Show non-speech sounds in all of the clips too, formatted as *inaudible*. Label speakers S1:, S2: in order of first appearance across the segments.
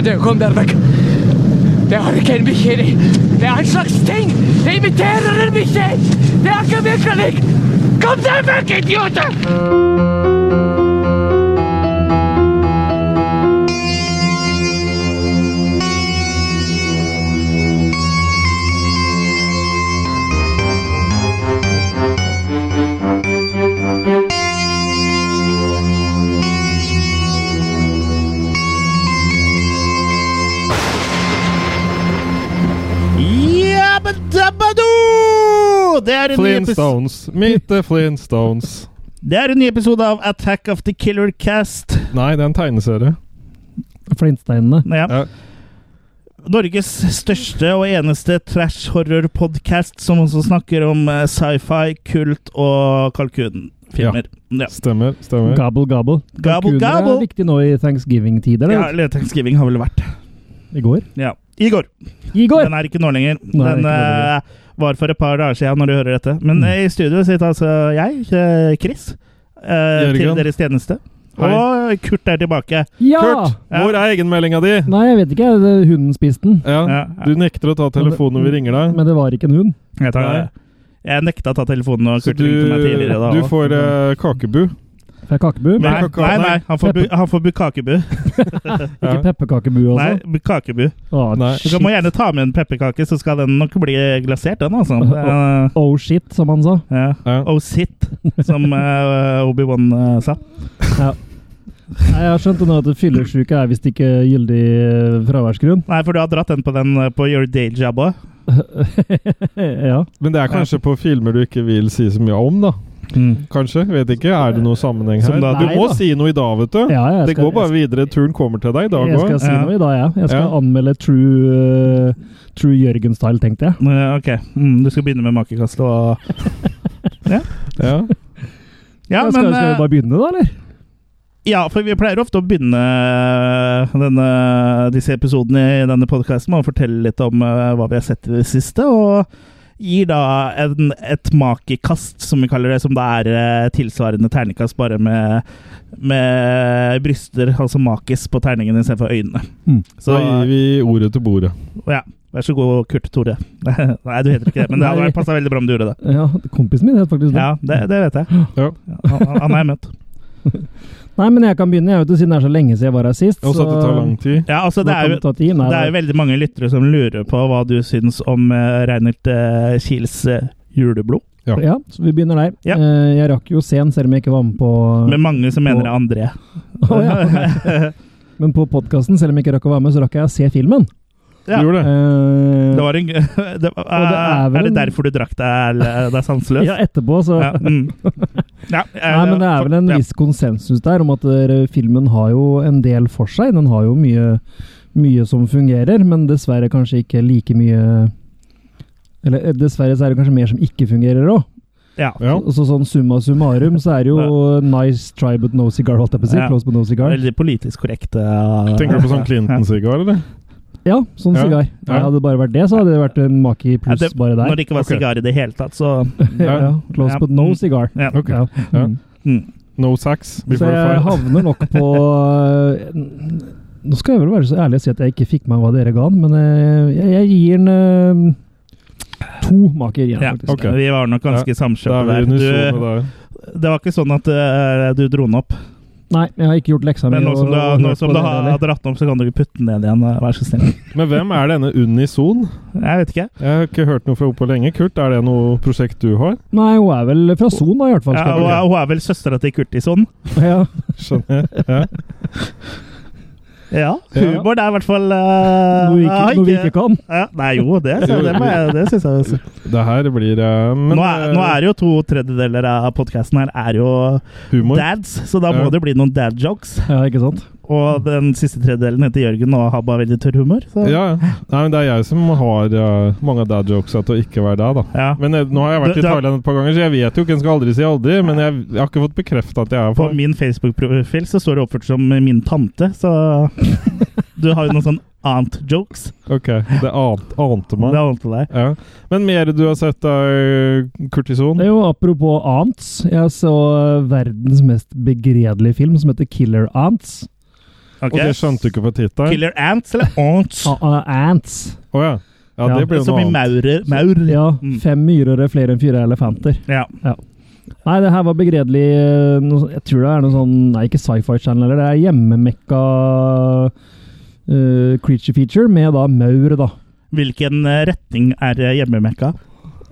S1: Dere, kom dere vekk. Det er ikke en bikkje inni. Det er en slags ting. Det imiterer en bikkje. Det er ikke virkelig. Kom dere vekk, idioter!
S2: Jabbadabado! Det er en ny episode
S3: Flintstones. Meet the Flintstones.
S2: Det er en ny episode av Attack of the Killer Cast.
S3: Nei, det er en tegneserie.
S4: Flintsteinene.
S2: Ja.
S3: Ja.
S2: Norges største og eneste trash horror-podkast som også snakker om eh, sci-fi, kult og kalkunfilmer. Ja.
S3: Stemmer. stemmer.
S4: Gabel, gabel.
S2: Gabel,
S4: Kalkuner
S2: gabel.
S4: er viktig eh, nå i thanksgiving-tider.
S2: ja,
S4: eller?
S2: eller Thanksgiving har vel vært
S4: I går.
S2: Ja. I går.
S4: I går!
S2: Den er ikke nå lenger.
S4: Nå er
S2: Den
S4: den ikke nå lenger.
S2: eh, var for et par dager siden når du hører dette. Men
S4: Mm.
S2: eh, i studio sitter altså jeg, eh, Chris, eh, til
S3: Jørgen.
S2: deres tjeneste.
S3: Hei.
S2: Og Kurt er tilbake.
S4: Ja!
S3: Kurt, hvor er egenmeldinga di?
S4: Nei, jeg vet ikke. Det- Hunden spiste den.
S3: Ja,
S2: Ja.
S3: du nekter å ta telefonen når vi ringer deg.
S4: Men det var ikke en hund.
S2: Jeg, tar,
S3: Nei.
S2: jeg nekta å ta telefonen og
S3: Så
S2: Kurt
S3: du,
S2: ringte meg tidligere. Da,
S3: du
S2: også.
S3: får eh, kakebu.
S4: Fra kakebu.
S2: Nei,
S3: Men-
S2: nei, nei, han får, bu, han får bu kakebu.
S3: Ja.
S4: Ikke pepperkakebu,
S2: Nei,
S4: altså.
S2: bu kakebu.
S4: Å,
S3: Nei.
S2: Du kan må gjerne ta med en pepperkake, så skal den nok bli glasert, den,
S3: *laughs*
S2: altså. Eh,
S4: Oh shit, som han sa.
S2: ja.
S3: Ja.
S2: Oh sit, som eh, Obi-Wan eh, sa.
S4: Ja. Nei, jeg har skjønt det nå at fyllesyke er visst ikke gyldig eh, *laughs* fraværsgrunn.
S2: Nei, for du har dratt den på den eh, på Your Day Job òg.
S4: ja.
S3: Men det er kanskje på filmer du ikke vil si så mye om, da. Kanskje? Vet ikke. Er det noe sammenheng
S2: Som
S3: her?
S2: da-
S3: Du
S4: Nei
S3: må
S4: da.
S3: si noe i dag, vet du.
S4: ja jeg
S3: Det
S4: skal-
S3: går bare videre. Turen kommer til deg i dag
S4: Jeg skal
S3: òg.
S4: si
S2: Ja.
S4: noe i dag, jeg. Jeg skal
S3: Ja.
S4: anmelde True, eh, true Jørgen-style, tenkte jeg.
S2: Eh, Ok, mm, du skal begynne med makekastet og
S3: Ja.
S2: Ja,
S4: skal,
S2: men
S4: skal vi
S2: eh,
S4: bare begynne, da, eller?
S2: Ja, for vi pleier ofte å begynne eh, denne, disse episodene i denne podkasten med å fortelle litt om eh, hva vi har sett i det siste, og gir da en, et makekast, som vi kaller det, som da er eh, tilsvarende terningkast, bare med, med bryster, altså makis, på terningen istedenfor øynene.
S4: Mm.
S3: Så
S2: Så
S3: gir vi ordet til bordet.
S2: ja, vær så god, Kurt Tore. *laughs* Nei, du heter ikke det, men det hadde passa veldig bra om du gjorde det.
S4: Ja, kompisen min het *laughs* faktisk det.
S2: Ja, det, det vet jeg.
S3: Ja.
S2: Han, han har jeg møtt.
S4: Nei, men jeg kan begynne, jeg vet du, siden det er så lenge siden jeg var her sist.
S3: Og så at det tar lang tid.
S2: Ja, altså, det er jo
S4: tatt i. Nei,
S2: Det er jo veldig mange lyttere som lurer på hva du syns om eh, Reinert eh, Kiels eh, juleblod.
S3: Ja.
S4: Ja, så vi begynner der.
S2: Ja.
S4: Eh, jeg rakk jo sen, selv om jeg ikke var med på
S2: Med mange som mener det er André.
S4: Å, ja. Men på podkasten, selv om jeg ikke rakk å være med, så rakk jeg å se filmen.
S3: Du
S2: *laughs* ja.
S3: gjorde det.
S4: Eh,
S2: Det var en, *laughs* det, var-
S4: er vel
S2: er det
S4: en-
S2: derfor du drakk deg eller deg sanseløs?
S4: ja, etterpå, så
S2: Ja, mm.
S4: *laughs*
S2: Ja, eh,
S4: Nei, men det er vel en
S2: ja.
S4: viss konsensus der om at eh, filmen har jo en del for seg. Den har jo mye, mye som fungerer, men dessverre kanskje ikke like mye Eller eh, dessverre så er det kanskje mer som ikke fungerer òg.
S2: ja.
S3: Ja.
S4: Så, så sånn summa summarum så er det jo nice try but no cigar, holdt jeg på å si.
S2: Ja.
S4: Close but no cigar.
S2: Veldig politisk korrekt. eh,
S3: Tenker du på sånn Clinton-sigar, eller?
S4: Ja, sånn
S3: Ja.
S4: sigar.
S3: Ja.
S4: Hadde det bare vært det, så hadde det vært en maki
S2: Ja,
S4: pluss
S2: det-
S4: bare
S2: Når
S4: der.
S2: det ikke var
S3: Ok.
S2: sigar i det hele tatt, så
S4: *laughs* ja. Close
S2: Ja.
S4: but no cigar.
S2: ja.
S3: Ok.
S4: Ja.
S3: Ja.
S4: Mm.
S2: Mm.
S3: No sax
S4: Så
S3: before
S4: jeg
S3: fight.
S4: havner nok på eh, Nå skal jeg vel være så ærlig å si at jeg ikke fikk med meg hva dere ga den, men eh, jeg, jeg gir den eh, to maker igjen,
S2: Ja,
S4: faktisk.
S3: ok.
S2: Vi var nok ganske
S3: Da
S2: samkjøpte
S3: er vi
S2: der.
S3: unisone
S2: Du,
S3: der.
S2: det var ikke sånn at eh, du dro den opp.
S4: Nei, jeg har ikke gjort leksa mi.
S2: Men nå
S4: og-
S2: som du, har-
S4: og
S2: nå
S4: hørt
S2: som
S4: på
S2: du
S4: dere,
S2: har
S4: eller?
S2: dratt den opp, så kan du ikke putte den ned igjen. eh, Vær så snill.
S3: Men hvem er denne unison?
S2: Jeg vet ikke.
S3: Jeg har ikke hørt noe fra henne på lenge. Kurt, er det noe prosjekt du har?
S4: Nei, hun er vel fra Son, da, i hvert fall.
S2: Ja,
S4: skal
S2: hun,
S4: jeg
S2: er, hun er vel søstera til Kurtison.
S4: si. ja.
S3: Skjønner jeg. Ja.
S2: Ja,
S3: Ja.
S2: humor det er i hvert fall *laughs* eh,
S4: Noe vi ikke,
S2: har
S4: noe vi ikke kan.
S2: ja, Nei, jo, det, så, det, må jeg- det syns jeg. Også.
S3: Det her blir eh, men,
S2: nå, er, nå er jo to tredjedeler av podkasten her er jo
S3: eh, humor.
S2: dads, så da
S3: Ja.
S2: må det bli noen dad jokes.
S4: Ja, ikke sant?
S2: Og den siste tredjedelen heter Jørgen og har bare veldig tørr humor. Så.
S3: Ja, ja. Nei, men det er jeg som har eh, mange av dad jokesa til å ikke være deg, da.
S2: Ja.
S3: Men eh, nå har jeg vært
S2: Du-
S3: i
S2: du har-
S3: Thailand et par ganger, så jeg vet jo ikke. En skal aldri si aldri, men jeg, jeg har ikke fått bekrefta at jeg er
S2: På
S3: for
S2: min Facebook-profil så står det oppført som min tante, så *laughs* du har jo noen sånn aunt-jokes.
S3: Ok, det ant, ante
S2: Det
S3: meg.
S2: har holdt til deg.
S3: Ja. Men mer du har sett av eh, Kurtison?
S4: Det er jo apropos ants. eh, Jeg så verdens mest begredelige film som heter Killer Ants.
S2: Ok.
S3: Og det skjønte du ikke på tittelen?
S2: Killer ants
S3: *laughs*
S2: eller ants?
S4: Ah, ah, ants.
S3: Å ja. ja.
S4: Ja,
S3: Det blir jo
S2: Som
S3: noe
S2: i maurer.
S3: annet.
S2: Maur.
S4: Ja,
S2: Mm.
S4: fem myrer er flere enn fire elefanter.
S2: Ja.
S4: Nei, det her var begredelig eh, noe, Jeg tror det er noe sånn Nei, ikke sci-fi channel, eller det er hjemmemekka eh, creature feature med da maur, da.
S2: Hvilken eh, retning er eh, hjemmemekka?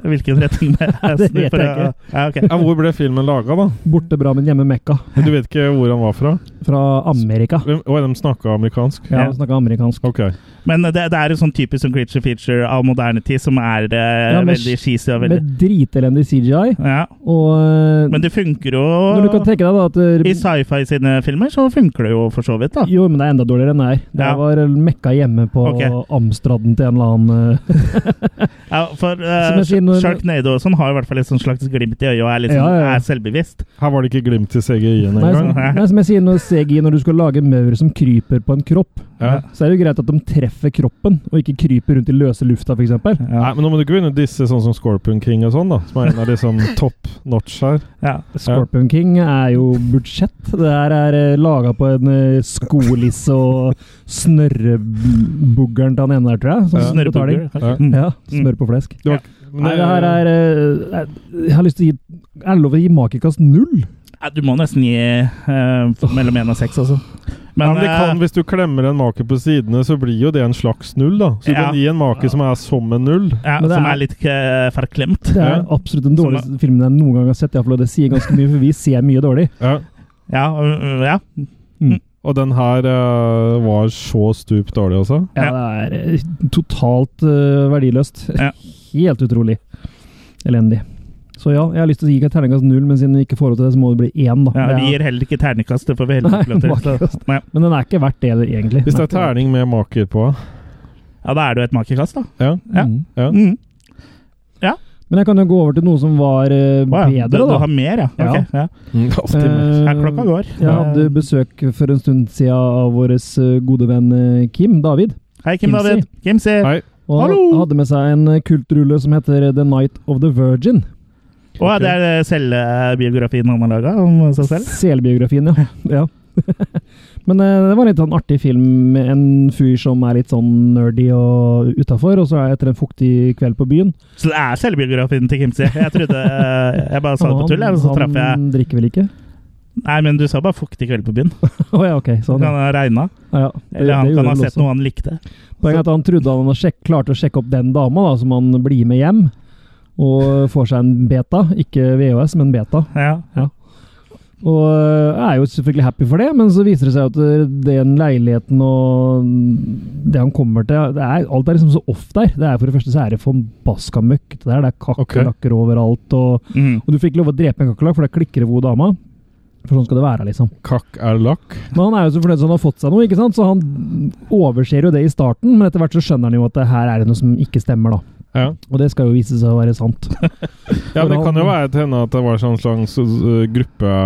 S2: Hvilken *laughs* retning er
S4: Det vet jeg ikke.
S2: Ja, ok.
S3: Ja, hvor ble filmen laga, da?
S4: Borte bra, men hjemme mekka.
S3: Men Du vet ikke hvor han var fra?
S4: Fra Amerika.
S3: Hvem- Å, de snakka amerikansk?
S4: Ja, Snakka amerikansk.
S3: Ok.
S2: Men det, det er en sånn typisk sånn creature feature av moderne tid som er eh,
S4: Ja, men
S2: veldig cheesy og veldig
S4: Med dritelendig CGI.
S2: ja.
S4: Og eh,
S2: Men det funker jo
S4: når du kan tenke deg da at
S2: I
S4: eh,
S2: sci-fi sine filmer så funker det jo for så vidt, da.
S4: Jo, men det er enda dårligere enn det her. Det
S2: Ja.
S4: var eh, mekka hjemme på
S2: Ok.
S4: Amstraden til en eller annen eh,
S2: Ja, for
S4: Som
S2: uh,
S4: jeg sier, når-
S2: Sharknado og sånn har i hvert fall et sånt slags glimt i øyet og er, litt sånn,
S4: Ja, ja, ja.
S2: er selvbevisst.
S3: Her var det ikke glimt i CGI-en
S4: nei, sånn. som,
S3: engang.
S4: nei, som jeg sier når CGI, når du skal lage maur som kryper på en kropp,
S3: Ja.
S4: så er det jo greit at de treffer kroppen, og ikke kryper rundt i løse lufta, f.eks.
S2: Ja.
S3: Nei, men nå må du ikke begynne å disse sånn som Scorpion King og sånn, da. Som er en av de sånn top notch her.
S2: Ja.
S4: Scorpion King er jo budsjett. Det her er laga på en eh, skolisse og snørrebuggeren til han ene der, tror jeg. Som
S3: Ja.
S4: betaling.
S3: Ja.
S2: Mm.
S4: Ja, smør på flesk.
S3: Det var- men
S4: Nei, det her er eh, Jeg, jeg har lyst til å gi Er det lov å gi makikast null?
S2: Ja, du må nesten gi eh, mellom én og seks, altså.
S3: ja, men det
S2: eh,
S3: kan, Hvis du klemmer en make på sidene, så blir jo det en slags null, da. Så du
S2: Ja.
S3: kan gi en make som er som en null.
S2: ja,
S4: men det
S2: som
S4: er-
S2: er litt eh, forklemt.
S4: Det
S3: Ja.
S4: er absolutt den
S2: Som er-
S4: dårligste filmen jeg noen gang har sett. i hvert fall, og Det sier ganske mye, for vi ser mye dårlig.
S3: Ja.
S2: Ja, øh, ja.
S3: Og den her eh, var så stup dårlig, altså.
S4: Ja, Det er eh, totalt eh, verdiløst. *laughs*
S2: Ja.
S4: Helt utrolig elendig. Så ja, jeg har lyst til å gi terningkast null, men siden vi ikke får lov til det, så må det bli én. da.
S2: ja
S4: Det er-
S2: Vi gir heller ikke terningkast, det får
S4: *laughs*
S2: vi heller ikke lov til.
S4: Nei,
S2: så- Nei.
S4: Men den er ikke verdt det, egentlig.
S3: Hvis det
S4: Nei.
S3: er terning med maker på
S2: Ja, da er det jo et makekast, da.
S3: Ja.
S2: ja.
S4: Mm.
S3: ja.
S2: Mm.
S4: Men jeg kan jo gå over til noe som var eh,
S2: Å, ja. Du,
S4: bedre,
S2: du
S4: da.
S2: har mer, ja.
S4: Ja.
S2: Ok, ja.
S3: Mm, alltid med.
S2: ja.
S4: Eh,
S2: Klokka går.
S4: Jeg hadde besøk for en stund siden av vår gode venn eh, Kim David.
S2: Hei, Kim
S4: Kimsi.
S2: David. Kimsi.
S3: Hei.
S4: Og han
S2: Hallo!
S4: hadde med seg en eh, kultrulle som heter The Night of the Virgin.
S2: Å, ja, det er eh, selvbiografien han har laga om seg selv?
S4: Selbiografien,
S2: *laughs*
S4: ja. ja. *laughs* Men eh, det var en litt sånn artig film med en fyr som er litt sånn nerdy og utafor, og så er etter en fuktig kveld på byen
S2: Så det er selvbiografien til Kimsi. Jeg trodde eh, Jeg bare sa det på tull, jeg, men så traff jeg
S4: Han drikker vel ikke? *laughs*
S2: Nei, men du sa bare 'fuktig kveld på byen'.
S4: Å Sånn, ja, ok. Så
S2: Han
S4: han,
S2: kan ha regna.
S4: ja, ja, det,
S2: Eller han
S4: det gjorde
S2: kan ha
S4: vel
S2: sett
S4: også.
S2: noe han likte.
S4: Poenget er at han trodde han hadde sjekk, klarte å sjekke opp den dama da, som han blir med hjem. Og får seg en beta. Ikke VHS, men beta.
S2: Ja.
S4: Og øh, er jo selvfølgelig happy for det, men så viser det seg at øh, den leiligheten og det han kommer til det er, Alt er liksom så off der. Det er For det første så er det forbaska møkkete der. Det er kakerlakker overalt. Og,
S2: Mm.
S4: og du fikk lov å drepe en kakerlakk, for da klikker det hvor dama. For sånn skal det være, liksom.
S3: Kakk er lakk.
S4: Men han er jo så fornøyd som han har fått seg noe, ikke sant? så han overser jo det i starten. Men etter hvert så skjønner han jo at det her er det noe som ikke stemmer, da.
S3: Ja.
S4: Og det skal jo vise seg å være sant.
S3: ja, men Det kan jo være til henne at det var sånn slags uh, gruppe,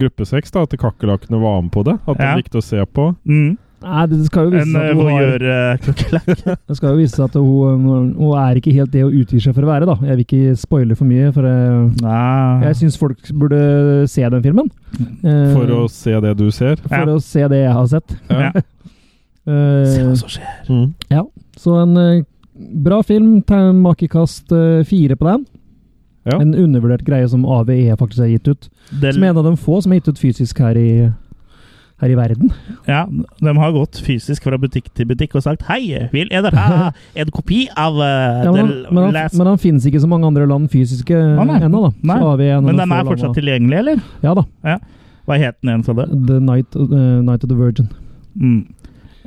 S3: gruppesex. da, At kakerlakkene var med på det. At de
S2: Ja.
S3: likte å se på.
S2: Mm.
S4: Nei, det skal jo vise
S2: En
S4: seg
S2: eh,
S4: at hun, har,
S2: voyeur-klokkeleik.
S4: det skal jo vise seg at hun, hun er ikke helt det hun utgir seg for å være, da. Jeg vil ikke spoile for mye, for jeg,
S2: Ah,
S4: jeg syns folk burde se den filmen. Eh,
S3: For å se det du ser.
S2: Ja.
S4: for å se det jeg har sett. *laughs*
S2: Ja.
S4: Eh,
S2: Se altså. hva som skjer.
S3: Mm.
S4: Så en eh, bra film. Ta en Makekast eh, fire på den.
S3: Ja.
S4: En undervurdert greie som AVE faktisk har gitt ut.
S2: Det-
S4: Som er en av de få som er gitt ut fysisk her i, her i verden.
S2: Ja, de har gått fysisk fra butikk til butikk og sagt Hei, vil dere ha
S4: *laughs*
S2: en kopi av eh,
S4: Ja, men,
S2: The
S4: men, han,
S2: Last
S4: men han finnes ikke i så mange andre land fysiske
S2: nei.
S4: ennå, da.
S2: Nei.
S4: Så AVE er en av
S2: Men
S4: de
S2: den
S4: få
S2: er fortsatt
S4: landa-
S2: tilgjengelig, eller?
S4: Ja da.
S2: Hva het den igjen, sa du?
S4: The Night, eh, Night of the Virgin.
S2: Mm.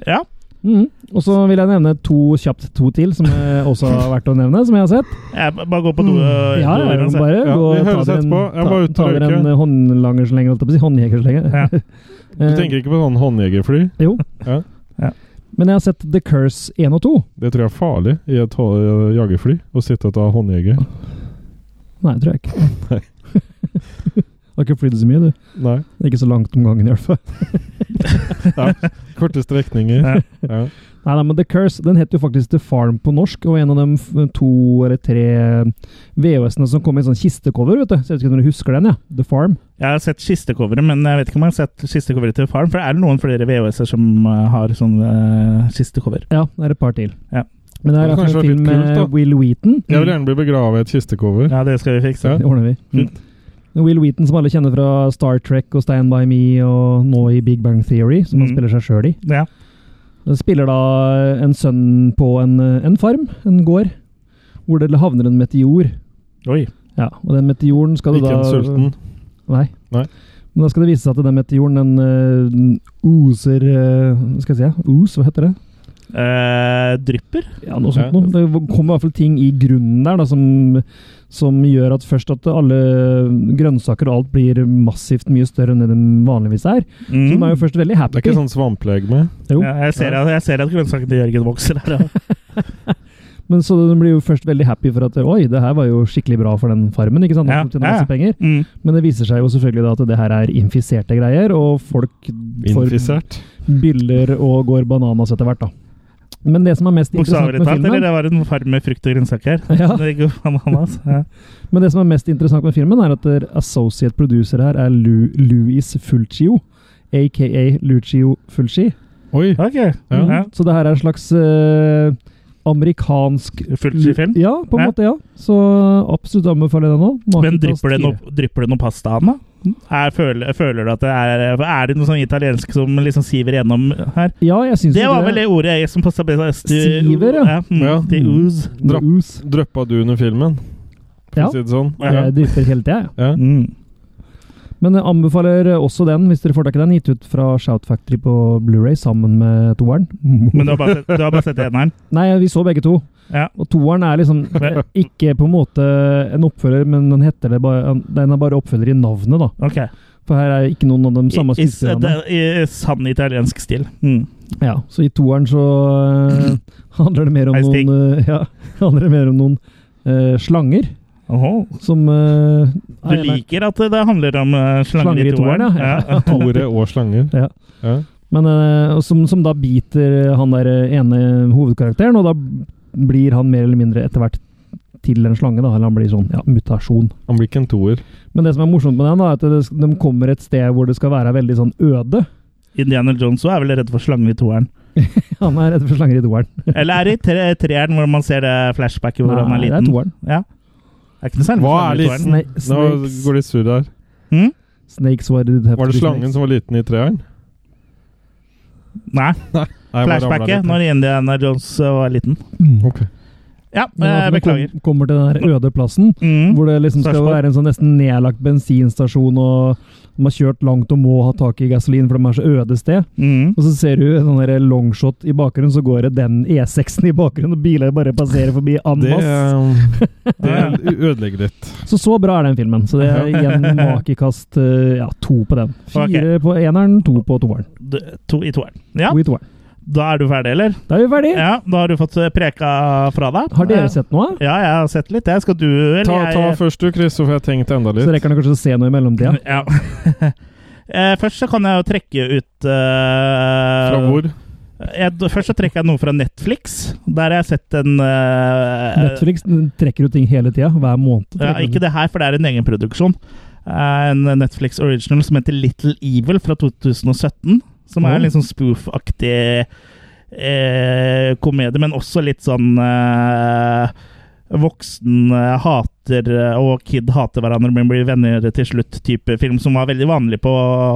S2: Ja.
S4: Mhm. Og så vil jeg nevne to kjapt to til, som
S3: *laughs*
S4: eh, også har vært å nevne, som jeg har sett.
S2: Jeg b- bare gå på do. eh,
S4: Ja, Mm. ja,
S2: do uansett.
S4: bare
S3: Ja,
S4: gå
S3: vi
S4: og ta
S3: høres
S4: dere en,
S3: etterpå. Jeg
S4: ta,
S3: må ut og
S4: ta dere en
S3: røyke.
S4: håndlangerslenge, holdt jeg på å si. Håndjegerslenge. *laughs*
S2: Ja.
S3: Du
S4: eh,
S3: tenker ikke på sånn håndjegerfly?
S4: Jo.
S3: Ja.
S2: Ja.
S4: Men jeg har sett The Curse 1 og 2.
S3: Det tror jeg er farlig i et hå- jagerfly. Å sitte og ta håndjeger.
S4: Nei, det tror jeg ikke.
S3: *laughs* Nei.
S4: du har ikke flydd så mye, du.
S3: Nei.
S4: Det er Ikke så langt om gangen, i hvert fall.
S3: Korte strekninger.
S2: Ja.
S3: Ja.
S4: Nei, nei, men The Curse den het jo faktisk The Farm på norsk, og en av de f- to eller tre VHS-ene som kom i en sånn kistecover, vet du. Så jeg vet ikke om dere husker den, ja. The Farm.
S2: Jeg har sett kistecoveret, men jeg vet ikke om jeg har sett kistecoveret til Farm. For er det noen flere VHS-er som eh, har sånne eh, kistecover?
S4: Ja, det er et par til.
S2: Ja.
S4: Men det
S3: Det
S4: er i hvert fall
S3: kanskje
S4: en film
S3: var litt kult,
S4: med
S3: da.
S4: Will Wheaton.
S3: Jeg vil gjerne bli begravet i et kistecover.
S2: Ja, det skal vi fikse.
S4: *laughs* Det ordner vi.
S2: Fint.
S4: Mm. Will Wheaton, som alle kjenner fra Star Trek og Stand By Me, og nå i Big Bang Theory, som han
S2: Mm.
S4: spiller seg sjøl i.
S2: Ja.
S4: Han spiller da en sønn på en, en farm, en gård, hvor det havner en meteor.
S2: Oi.
S4: Ja, og den meteoren skal du
S3: Ikke
S4: da
S3: en sulten.
S4: Nei.
S3: Nei.
S4: Men da skal det vise seg at den meteoren den øh, den oser øh, Hva skal jeg si? ja? Os, hva heter det?
S2: Eh, drypper?
S4: Ja, noe sånt
S3: Ja.
S4: noe. Det kommer i hvert fall ting i grunnen der da, som, som gjør at først at alle grønnsaker og alt blir massivt mye større enn det de vanligvis er. Så de er
S2: Mm.
S4: jo først veldig
S3: Det
S4: happy.
S3: er ikke sånn svamplegeme.
S4: Jo.
S2: Ja, jeg, ser, jeg ser at grønnsakene til Jørgen vokser her. ja.
S4: Men så de blir jo først veldig happy for at oi, det her var jo skikkelig bra for den farmen. ikke sant?
S2: Ja,
S4: De tjener
S2: ja, ja.
S4: masse penger.
S2: Mm.
S4: Men det viser seg jo selvfølgelig da at det her er infiserte greier, og folk får
S3: Infisert.
S4: byller og går bananas etter hvert. da. Men det som er mest interessant
S2: Bokstavelig
S4: med
S2: talt, eller?
S4: filmen
S2: Det var en farm med frukt og grønnsaker.
S4: *laughs* ja,
S2: Det gikk jo bananas. Ja.
S4: men det som er mest interessant med filmen, er at der associate producer her er Lu Louis Fulcio, aka Lucio Fulci.
S3: Oi!
S2: Ok.
S3: Ja.
S2: Ja.
S4: Så det her er en slags eh, amerikansk
S2: Fulci-film?
S4: Ja, på en
S2: Ja.
S4: måte, ja. Så absolutt anbefaler jeg den nå.
S2: Men
S4: Makekast
S2: drypper det,
S4: fire.
S2: noe, drypper det noe pasta av den, da? Er, føler, føler du at det er Er det noe sånn italiensk som liksom siver gjennom her?
S4: Ja, jeg syns
S2: Det var vel det ordet jeg som passa best. til-
S4: Siver, ja.
S2: mm,
S3: Ja.
S2: Til ooze.
S3: Drapp.
S4: Us.
S3: Dryppa du under filmen, for
S4: Ja.
S3: å si det sånn?
S4: Jeg drypper hele tida, jeg.
S3: Ja.
S2: Mm.
S4: Men jeg anbefaler også den, hvis dere får tak i den. Gitt ut fra Shout Factory på Blu-ray sammen med toeren.
S2: Men du har bare sett, du har bare sett eneren?
S4: Nei, vi så begge to.
S2: Ja.
S4: Og toeren er liksom eh, ikke på en måte en oppfølger, men den heter det bare Den er bare oppfølger i navnet, da.
S2: Ok.
S4: For her er ikke noen av dem samme
S2: I, i,
S4: skuespillerne.
S2: det- i sann italiensk stil. Mm.
S4: Ja, så i toeren så eh, *laughs* handler det mer om
S2: Hei, Stig.
S4: noen eh, Ja, *laughs* handler det mer om noen eh, slanger
S2: Oho.
S4: som eh,
S2: Du
S4: er-
S2: liker at det handler om eh, slanger i toeren?
S4: ja. *laughs*
S2: Ja.
S3: Tore og slanger.
S4: Ja.
S3: Ja.
S4: Men, eh, og som, som da biter han der ene hovedkarakteren, og da blir han mer eller mindre etter hvert til en slange, da, eller han blir sånn ja, mutasjon.
S3: Han blir ikke en toer.
S4: Men det som er morsomt med den, da, er at det, de kommer et sted hvor det skal være veldig sånn øde. *laughs*
S2: Indiana Jones også er vel redd for slanger i toeren?
S4: Han er redd for slanger i toeren.
S2: Eller er det i tre- treeren hvor man ser det flashbacket hvor han er
S4: det
S2: liten?
S4: er toeren.
S2: Ja. Er ikke noe særlig
S3: Hva
S2: for
S3: er
S2: slanger i toeren.
S3: listen?
S4: Nei,
S3: Nå
S4: snakes.
S3: går det surr her.
S2: Hm?
S4: Snakes why did it have
S3: Var
S4: to
S3: det
S4: be
S3: slangen
S4: snakes?
S3: som var liten i treeren?
S2: Nei.
S3: Nei, jeg bare ramlet
S2: Flashbacket
S3: litt.
S2: når Indiana Jones eh, var liten.
S4: Mm.
S3: Ok.
S2: Ja,
S4: Men
S2: eh,
S4: altså, når
S2: beklager.
S4: kom- Kommer til den der øde plassen,
S2: Mm.
S4: hvor det liksom skal
S2: Sarpsborg.
S4: være en sånn nesten nedlagt bensinstasjon, og de har kjørt langt og må ha tak i gasolin, for de er så øde sted.
S2: Mm.
S4: Og så ser du en sånn der longshot i bakgrunnen, så går det den E6-en i bakgrunnen, og biler bare passerer forbi en
S3: Det,
S4: masse.
S3: eh,
S2: *laughs*
S3: det ødelegger litt.
S4: Så så bra er den filmen. Så det er igjen makekast eh, ja, to på den. Fire på eneren, to på toeren.
S2: D- To i toeren. Ja,
S4: To i toeren.
S2: da er du ferdig, eller?
S4: Da er vi ferdige!
S2: Ja, Da har du fått eh, preka fra deg.
S4: Har dere
S2: Eh,
S4: sett noe?
S2: Ja, jeg har sett litt. Jeg skal du eller
S3: Ta, ta
S2: jeg-
S3: først du, Chris, så får jeg tenkt enda
S4: Så
S3: litt.
S4: rekker dere kanskje å se noe i mellomtida?
S2: *laughs* Ja. Eh, Først så kan jeg jo trekke ut eh,
S3: Fra hvor?
S2: Jeg, først så trekker jeg noe fra Netflix. Der har jeg sett en eh,
S4: Netflix den trekker jo ting hele tida, hver måned.
S2: Ja, ikke det her, for det er en egen produksjon. Eh, En Netflix original som heter Little Evil fra 2017. Som er
S4: Oi.
S2: en litt sånn spoof-aktig eh, komedie, men også litt sånn eh, Voksen eh, hater eh, og kid hater hverandre, men blir venner til slutt-type film, som var veldig vanlig på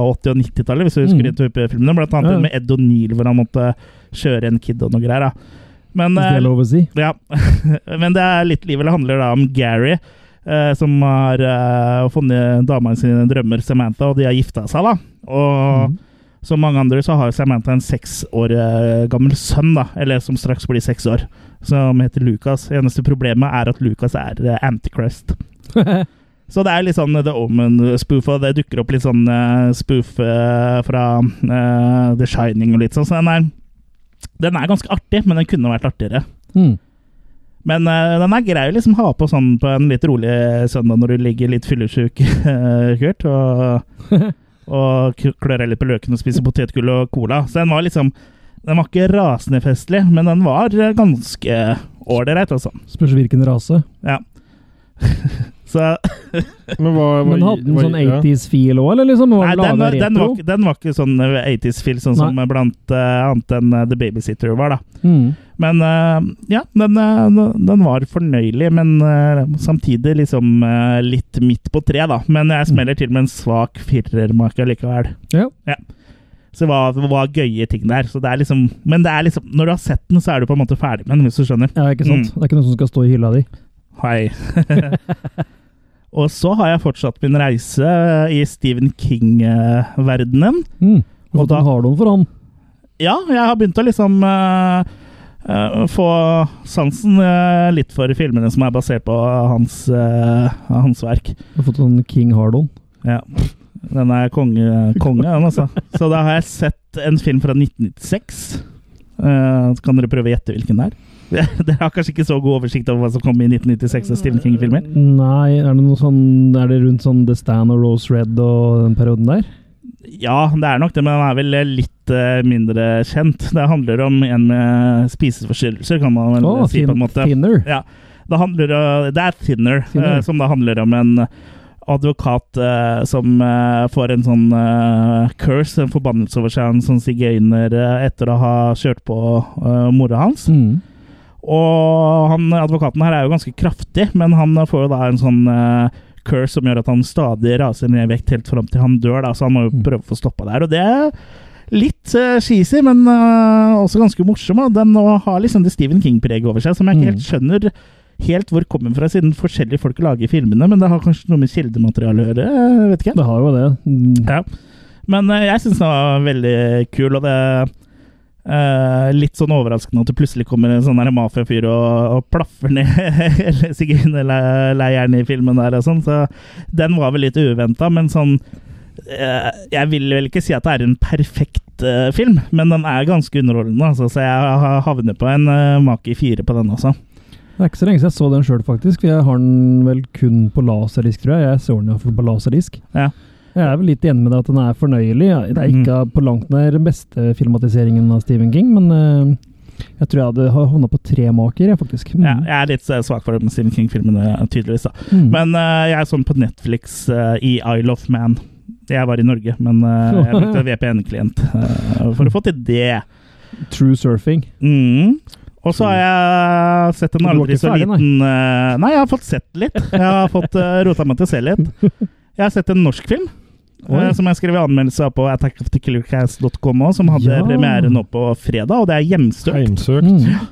S2: 80- og 90-tallet, hvis du husker
S4: Mm.
S2: de type filmene. Blant annet
S4: Ja.
S2: den med Ed O'Neill, hvor han måtte kjøre en kid og noe greier. da. Men,
S4: Hvis det
S2: eh,
S4: er lov å si.
S2: ja, *laughs* men det er litt liv, eller handler da om Gary, eh, som har eh, funnet dama i sine drømmer, Samantha, og de har gifta seg, da. Og
S4: Mm.
S2: som mange andre så har jo Samantha en seks år eh, gammel sønn, da, eller som straks blir seks år, som heter Lucas. Eneste problemet er at Lucas er eh, Antichrist. Så det er litt sånn The Omen-spoof, og det dukker opp litt sånn eh, spoof eh, fra eh, The Shining og litt sånn. Så den er, den er ganske artig, men den kunne vært artigere.
S4: Mm.
S2: Men eh, den er grei å liksom ha på sånn på en litt rolig søndag når du ligger litt fyllesyk, *laughs* eh, Kurt.
S4: *laughs*
S2: Og, og k- klør deg litt på løken og spiser potetgull og cola. Så den var liksom Den var ikke rasende festlig, men den var eh, ganske ålreit, altså.
S4: Spørs hvilken rase.
S2: Ja.
S4: *laughs*
S2: Så
S3: Men hva, hva
S4: Men hadde den sånn 80s-feel òg, eller liksom? Var
S2: Nei, den var,
S4: laget
S2: den, var,
S4: retro?
S2: ikke- den var ikke sånn 80s-film, sånn som blant eh, annet enn eh, The Babysitter var, da.
S4: Mm.
S2: Men eh, ja, den, eh, den var fornøyelig, men eh, samtidig liksom eh, litt midt på tre, da. Men jeg smeller til med en svak firermake likevel.
S4: Ja.
S2: Så det var, det var gøye ting der. Så det er liksom, men det er liksom, når du har sett den, så er du på en måte ferdig med den, hvis du skjønner.
S4: ja, ikke sant?
S2: Mm.
S4: Det er ikke noe som skal stå i hylla di.
S2: Hei. Og så har jeg fortsatt min reise i Stephen King-verdenen.
S4: Mm.
S2: Og
S4: Og
S2: da-
S4: da har du den for han.
S2: Ja, jeg har begynt å liksom eh, eh, få sansen eh, litt for filmene som er basert på hans, eh, hans verk.
S4: Du har fått sånn King Hardon.
S2: Ja. Den er konge, konge den altså. Så da har jeg sett en film fra 1996. Eh, så kan dere prøve å gjette hvilken det *laughs* er? Dere har kanskje ikke så god oversikt over hva som kom i 1996 av Stephen King-filmer?
S4: Nei, er det noe sånn Er det rundt sånn The Stand og Rose Red og den perioden der?
S2: Ja, det er nok det, men den er vel litt eh, mindre kjent. Det handler om en med spiseforstyrrelser, kan man vel
S4: Å,
S2: si på en
S4: thin-
S2: måte.
S4: Thinner.
S2: Ja. Det, handler, uh, det er Thinner, uh,
S4: Thinner.
S2: som da handler om en eh, advokat uh, som uh, får en sånn uh, curse, en forbannelse over seg, en sånn sigøyner, uh, etter å ha kjørt på uh, mora hans.
S4: Mm.
S2: Og han, advokaten her er jo ganske kraftig, men han får jo da en sånn eh, curse som gjør at han stadig raser ned i vekt helt fram til han dør, da, så han må jo
S4: Mm.
S2: prøve å få stoppa det her. Og det er litt eh, cheesy, men eh, også ganske morsom. Og den nå har liksom det Stephen King-preget over seg, som jeg
S4: Mm.
S2: ikke helt skjønner helt hvor kommer fra, siden forskjellige folk lager filmene, men det har kanskje noe med kildemateriale å gjøre, jeg vet ikke.
S4: Det har jo det. Mm.
S2: Ja. Men eh, jeg syns den var veldig kul, og det eh, Litt sånn overraskende at det plutselig kommer en sånn der mafiafyr og, og plaffer ned *laughs* hele sigøynerleiren i filmen der og sånn, så den var vel litt uventa, men sånn eh, Jeg vil vel ikke si at det er en perfekt eh, film, men den er ganske underholdende, altså, så jeg har- havner på en uh, make fire på den også.
S4: Det er ikke så lenge siden jeg så den sjøl, faktisk. for Jeg har den vel kun på laserdisk, tror jeg. Jeg så den iallfall på laserdisk.
S2: Ja. Mm.
S4: Jeg er vel litt enig med deg at den er fornøyelig. Ja, Det er ikke på langt nær den beste filmatiseringen av Stephen King, men eh, jeg tror jeg hadde havna på tre maker, jeg, faktisk. Mm.
S2: Ja, jeg er litt eh, svak for Stephen King-filmene, tydeligvis. da
S4: Mm.
S2: Men eh, jeg er sånn på Netflix eh, i Isle of Man. Jeg var i Norge, men eh, jeg
S4: *laughs*
S2: brukte VPN-klient eh, for å få til det.
S4: True surfing.
S2: Mm. Og så har jeg sett en
S4: Du var
S2: aldri
S4: ikke
S2: så
S4: ferdig, nei.
S2: liten eh, Nei, jeg har fått sett litt. Jeg har fått eh, rota meg til å se
S4: *laughs*
S2: litt. Jeg har sett en norsk film. eh,
S4: Oi.
S2: som jeg skrev i anmeldelse av på attackofthekillercast.com òg, som hadde
S4: Ja.
S2: premiere nå på fredag, og det er Hjemstøkt.
S3: Heimsøkt.
S4: Mm.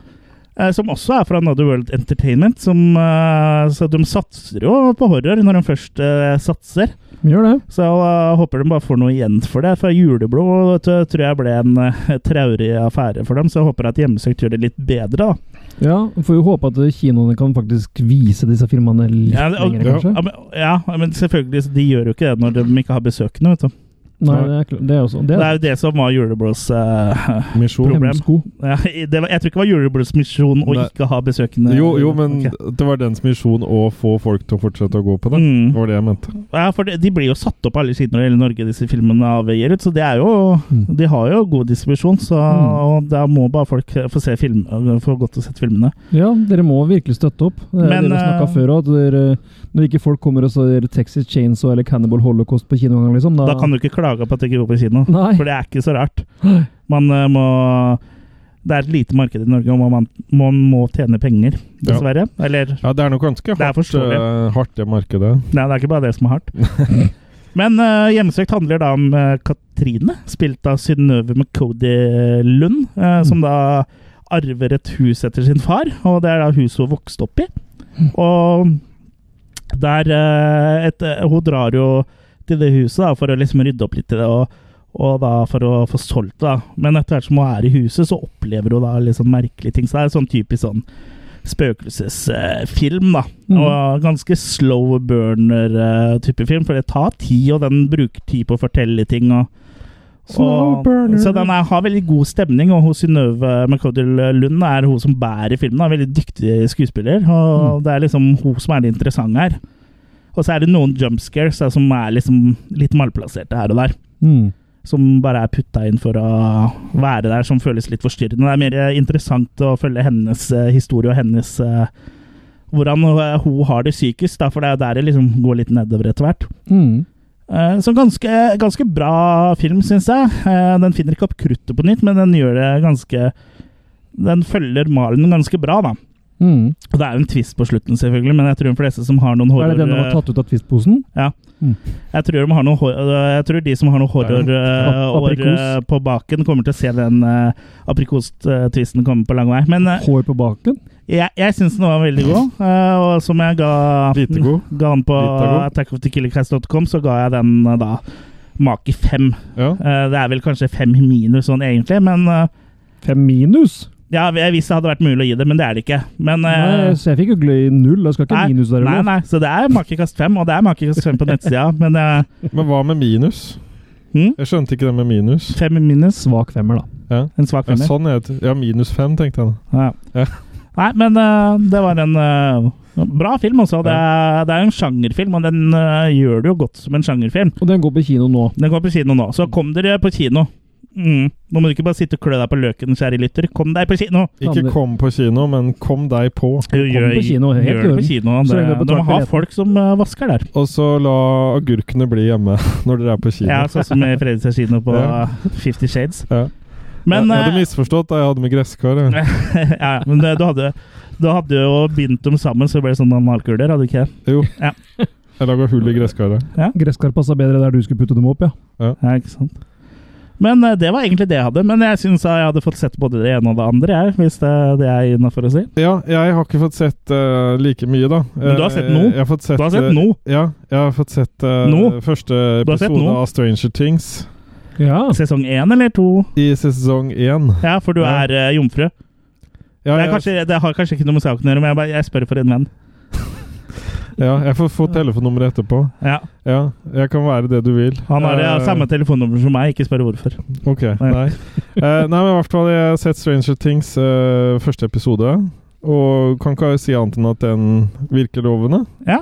S2: Eh, som også er fra Another World Entertainment. Som, eh, så de satser jo på horror når de først eh, satser.
S4: Gjør det.
S2: Så jeg eh, håper de bare får noe igjen for det. For juleblod vet du, tror jeg ble en eh, traurig affære for dem, så jeg håper at hjemmesøkt gjør det litt bedre. da.
S4: Ja, Får jo håpe at kinoene kan faktisk vise disse filmene litt
S2: Ja, og-
S4: lenger, kanskje.
S2: Ja, men, ja, men selvfølgelig, så de gjør jo ikke det når de ikke har besøkende. vet du.
S4: Nei, det er, kl- det er også det
S2: Det
S4: er
S2: er jo det som var juleblods eh,
S3: Misjon.
S2: problem.
S4: hemsko.
S2: ja, det var, Jeg tror ikke det var juleblods misjon å
S3: Nei.
S2: ikke ha besøkende.
S3: Jo, jo, men
S2: Ok.
S3: det var dens misjon å få folk til å fortsette å gå på det. Det
S2: mm.
S3: var det jeg mente.
S2: Ja, for de, de blir jo satt opp alle sider når det gjelder Norge, disse filmene av Gerhard. Så det er jo
S4: Mm.
S2: De har jo god distribusjon, så
S3: Mm.
S2: og da må bare folk eh, få se film, få godt og sett filmene.
S4: Ja, dere må virkelig støtte opp. Det er
S2: Men,
S4: det vi snakka
S2: eh,
S4: før òg. Når ikke folk kommer og ser Texas Chainsaw eller Cannibal Holocaust på kinogangen, liksom, da,
S2: Da kan du ikke klage på at det ikke går på kino.
S4: Nei.
S2: For det er ikke så rart. Man eh, må Det er et lite marked i Norge, og man, man må tjene penger,
S3: Ja.
S2: dessverre. Eller
S3: Ja, det er nok ganske
S2: Det er
S3: hardt,
S2: forståelig.
S3: eh, hardt det markedet.
S2: Nei, det er ikke bare det som er hardt. Men eh, Hjemsøkt handler da om eh, Katrine, spilt av Synnøve McCody Lund, eh, som da arver et hus etter sin far, og det er da huset hun vokste opp i.
S4: Mm.
S2: Og der eh, et, eh, Hun drar jo til det huset da, for å liksom rydde opp litt i det, og, og da for å få solgt det. da. Men etter hvert som hun er i huset, så opplever hun da litt sånn merkelige ting. Så det er sånn typisk sånn spøkelsesfilm, da.
S4: Mhm.
S2: Og ganske slow burner-type film, for det tar tid, og den bruker tid på å fortelle ting. og
S4: Slow
S2: og-
S4: burner.
S2: Så den er, har veldig god stemning, og hun Synnøve McCodell Lund er hun som bærer filmen. Er veldig dyktig skuespiller, og det er liksom hun som er det interessante her. Og så er det noen jumpscares da, som er liksom litt malplasserte her og der.
S4: Mm.
S2: som bare er putta inn for å være der, som føles litt forstyrrende. Det er mer eh, interessant å følge hennes eh, historie og hennes eh, Hvordan eh, hun har det psykisk, da, for det er jo der det liksom går litt nedover etter hvert.
S4: Mm.
S2: Eh, Så ganske, ganske bra film, syns jeg. Eh, Den finner ikke opp kruttet på nytt, men den gjør det ganske Den følger malen ganske bra, da.
S4: Mm.
S2: Og det er jo en twist på slutten, selvfølgelig, men jeg tror de fleste som har noen
S4: Er
S2: horror... eh,
S4: det den som var tatt ut av tvistposen?
S2: Jeg tror, de har noen hor øh, jeg tror de som har noen
S4: Ap-
S2: horror-år
S4: aprikos.
S2: eh, på baken, kommer til å se den øh, aprikostvisten komme på lang vei. Men øh,
S4: Hår på baken?
S2: jeg, jeg syns den var veldig god, øh, og som jeg ga,
S3: Lite god.
S2: ga den på
S3: Lite god.
S2: attackofthekillercast.com, så ga jeg den øh, da make fem.
S3: Ja.
S2: Eh, det er vel kanskje fem minus sånn egentlig, men øh,
S4: Fem minus?
S2: ja, jeg visste det hadde vært mulig å gi det, men det er det ikke. Men øh,
S4: Nei, så jeg fikk jo gløy null. Jeg skal ikke
S2: nei,
S4: minus der.
S2: nei, nei, så det er makekast fem, og det er makekast fem på nettsida,
S4: *laughs*
S2: men øh,
S3: Men hva med minus?
S4: Mm?
S2: hm?
S3: Jeg skjønte ikke det med minus.
S2: fem minus,
S4: Svak femmer, da.
S3: Ja,
S2: en svak
S3: ja
S2: femmer.
S3: sånn er det. Ja, minus fem, tenkte jeg da.
S2: Ja.
S3: Ja.
S2: Nei, men eh, det var en eh, bra film også. Det er, det er en sjangerfilm, og den eh, gjør det jo godt som en sjangerfilm.
S4: Og den går på kino nå.
S2: Den går på kino nå, så kom dere på kino. Mm. Nå må du ikke bare sitte og klø deg på løken, kjære lytter. Kom deg på kino!
S3: Ikke
S4: Andre-
S3: kom på kino, men kom deg på.
S2: Gjør,
S4: på kino, helt i
S2: gjør det på
S4: orden.
S2: kino.
S4: Så
S2: Det,
S4: lenge du
S2: de
S4: betaler
S2: må ha
S4: billetten.
S2: folk som eh, vasker der.
S3: Og så la agurkene bli hjemme *laughs* når dere er på kino.
S2: Ja, sånn som i Fredrikstad kino på
S3: Ja.
S2: Fifty Shades.
S3: Ja.
S2: Men,
S3: jeg, jeg
S2: eh,
S3: hadde misforstått da jeg hadde med gresskar. jeg.
S2: *laughs* ja, ja, men det, du, hadde, du hadde jo bindt dem sammen, så det ble sånn analkuler, hadde du ikke det?
S3: Jo.
S2: Ja.
S3: *laughs* Jeg laga hull i gresskaret.
S4: Gresskar passa bedre der du skulle putte dem opp, ja.
S2: Ja, ikke sant. Men eh, det var egentlig det jeg hadde. Men jeg syns jeg hadde fått sett både det ene og det andre, jeg, hvis det er det jeg er innafor å si.
S3: Ja, jeg har ikke fått sett eh, like mye, da.
S2: Men du har
S3: Eh,
S2: sett noe.
S3: Jeg har fått sett,
S2: Du har sett
S3: eh,
S2: nå.
S3: Ja, jeg har fått sett eh,
S2: Noe.
S3: første
S2: Du har sett
S3: episode
S2: noe.
S3: av Stranger Things
S4: Ja,
S2: Sesong én eller to?
S3: i sesong én.
S2: Ja, for du
S3: Ja.
S2: er eh, jomfru.
S3: Ja,
S2: Det, er
S3: jeg,
S2: kanskje, det har kanskje ikke noe med saken å gjøre, men jeg, bare, jeg spør for en venn.
S3: ja, jeg får få telefonnummeret etterpå.
S2: Ja,
S3: Ja, jeg kan være det du vil.
S2: Han har eh,
S3: Eh,
S2: samme telefonnummer som meg, ikke spør hvorfor.
S3: Ok, nei. Eh, nei, men i hvert fall, jeg har sett Stranger Things eh, første episode, og kan ikke si annet enn at den virker lovende.
S2: Ja.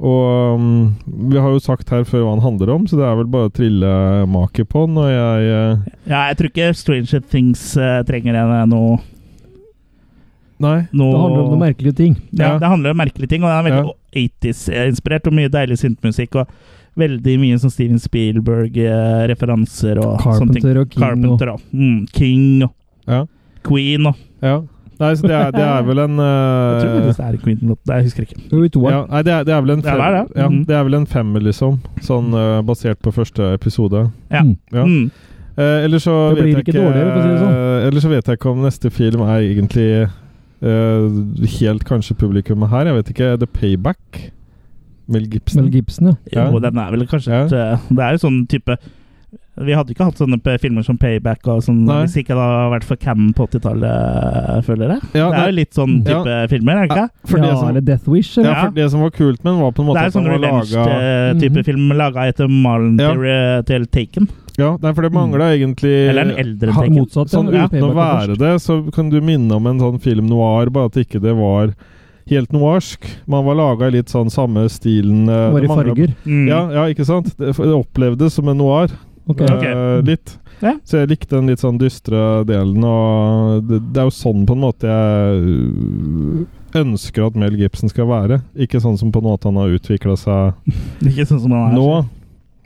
S3: Og um, vi har jo sagt her før hva den handler om, så det er vel bare å trille maket på den, og jeg eh,
S2: Ja, jeg tror ikke Stranger Things eh, trenger en, eh, noe,
S3: Nei.
S2: noe
S4: Det handler om noen merkelige ting.
S2: ja,
S3: Ja.
S2: Det handler om merkelige ting, og det er veldig
S3: Ja.
S2: 80s-inspirert. Og mye deilig syntmusikk, og veldig mye sånn Steven Spielberg-referanser og sånne ting.
S4: Carpenter og King og
S2: Carpenter og mm, King og
S3: Ja.
S2: Queen og
S3: ja. Nei, så det er, det er vel en
S2: *laughs* Jeg tror
S3: eh,
S2: faktisk det er en Queen-låt. Nei, Jeg husker ikke.
S4: Jo, i
S3: ja,
S4: toeren.
S3: nei, det er, det er vel en
S2: Ja,
S3: fem,
S2: det er det.
S3: ja,
S2: Mhm.
S3: det er vel en femmer, liksom. Sånn eh, basert på første episode.
S2: Ja.
S4: Mm.
S3: Ja.
S2: Mm.
S3: Eh, eller så
S4: Det blir
S3: vet jeg
S4: ikke dårligere, for å si det sånn.
S3: eh, Eller så vet jeg ikke om neste film er egentlig eh, helt kanskje publikummet her. Jeg vet ikke. The Payback? Mel Gibson?
S4: Mel Gibson, ja.
S2: Jo,
S3: Ja.
S2: den er vel kanskje
S3: Ja.
S2: et, eh, Det er jo sånn type Vi hadde ikke hatt sånne p- filmer som Payback og sånn
S3: Nei.
S2: hvis ikke det hadde vært for Cam på 80-tallet, føler jeg.
S3: Ja, Mm.
S2: det er jo litt sånn
S3: Ja.
S2: type filmer, er det ikke? det?
S3: for, det
S4: ja
S3: som,
S4: eller Death Wish,
S3: ja,
S4: eller?
S2: Ja.
S3: for det som var kult med den, var på en
S2: Det
S3: måte
S2: er jo
S3: at
S2: sånn
S3: den var laga
S2: revenge-type
S4: Mhm.
S2: film laga etter malen
S3: Ja.
S2: til, eh, til Taken.
S3: ja, Nei, for det
S4: Mm.
S3: mangla egentlig
S2: Eller en eldre
S4: Ha-
S2: Taken.
S4: Motsatt.
S3: Sånn
S4: ja.
S3: uten å være det, så kan du minne om en sånn film noir, bare at ikke det var helt noirsk. Man var laga i litt sånn samme stilen. eh,
S4: Bare
S3: det
S4: i
S3: manglet-
S4: farger.
S2: Mm.
S3: Ja, ja, ikke sant? Det, for det opplevdes som en noir.
S4: Ok.
S2: Ja. Ok.
S3: Eh, litt.
S2: Ja.
S3: Så jeg likte den litt sånn dystre delen, og det, det er jo sånn på en måte jeg øh, ønsker at Mel Gibson skal være. Ikke sånn som på en måte han har utvikla seg
S2: Ikke sånn som han er.
S3: nå.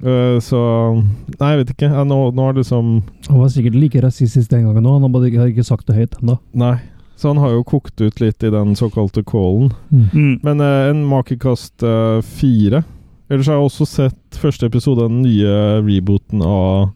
S3: Eh, så Nei, jeg vet ikke. Ja, nå, nå er det liksom
S4: Han var sikkert like rasistisk den gangen òg, han har bare ikke- har ikke sagt det høyt ennå.
S3: Nei. Så han har jo kokt ut litt i den såkalte callen.
S2: Mm.
S3: Men eh, en makekast eh, fire. Ellers har jeg også sett første episode av den nye rebooten av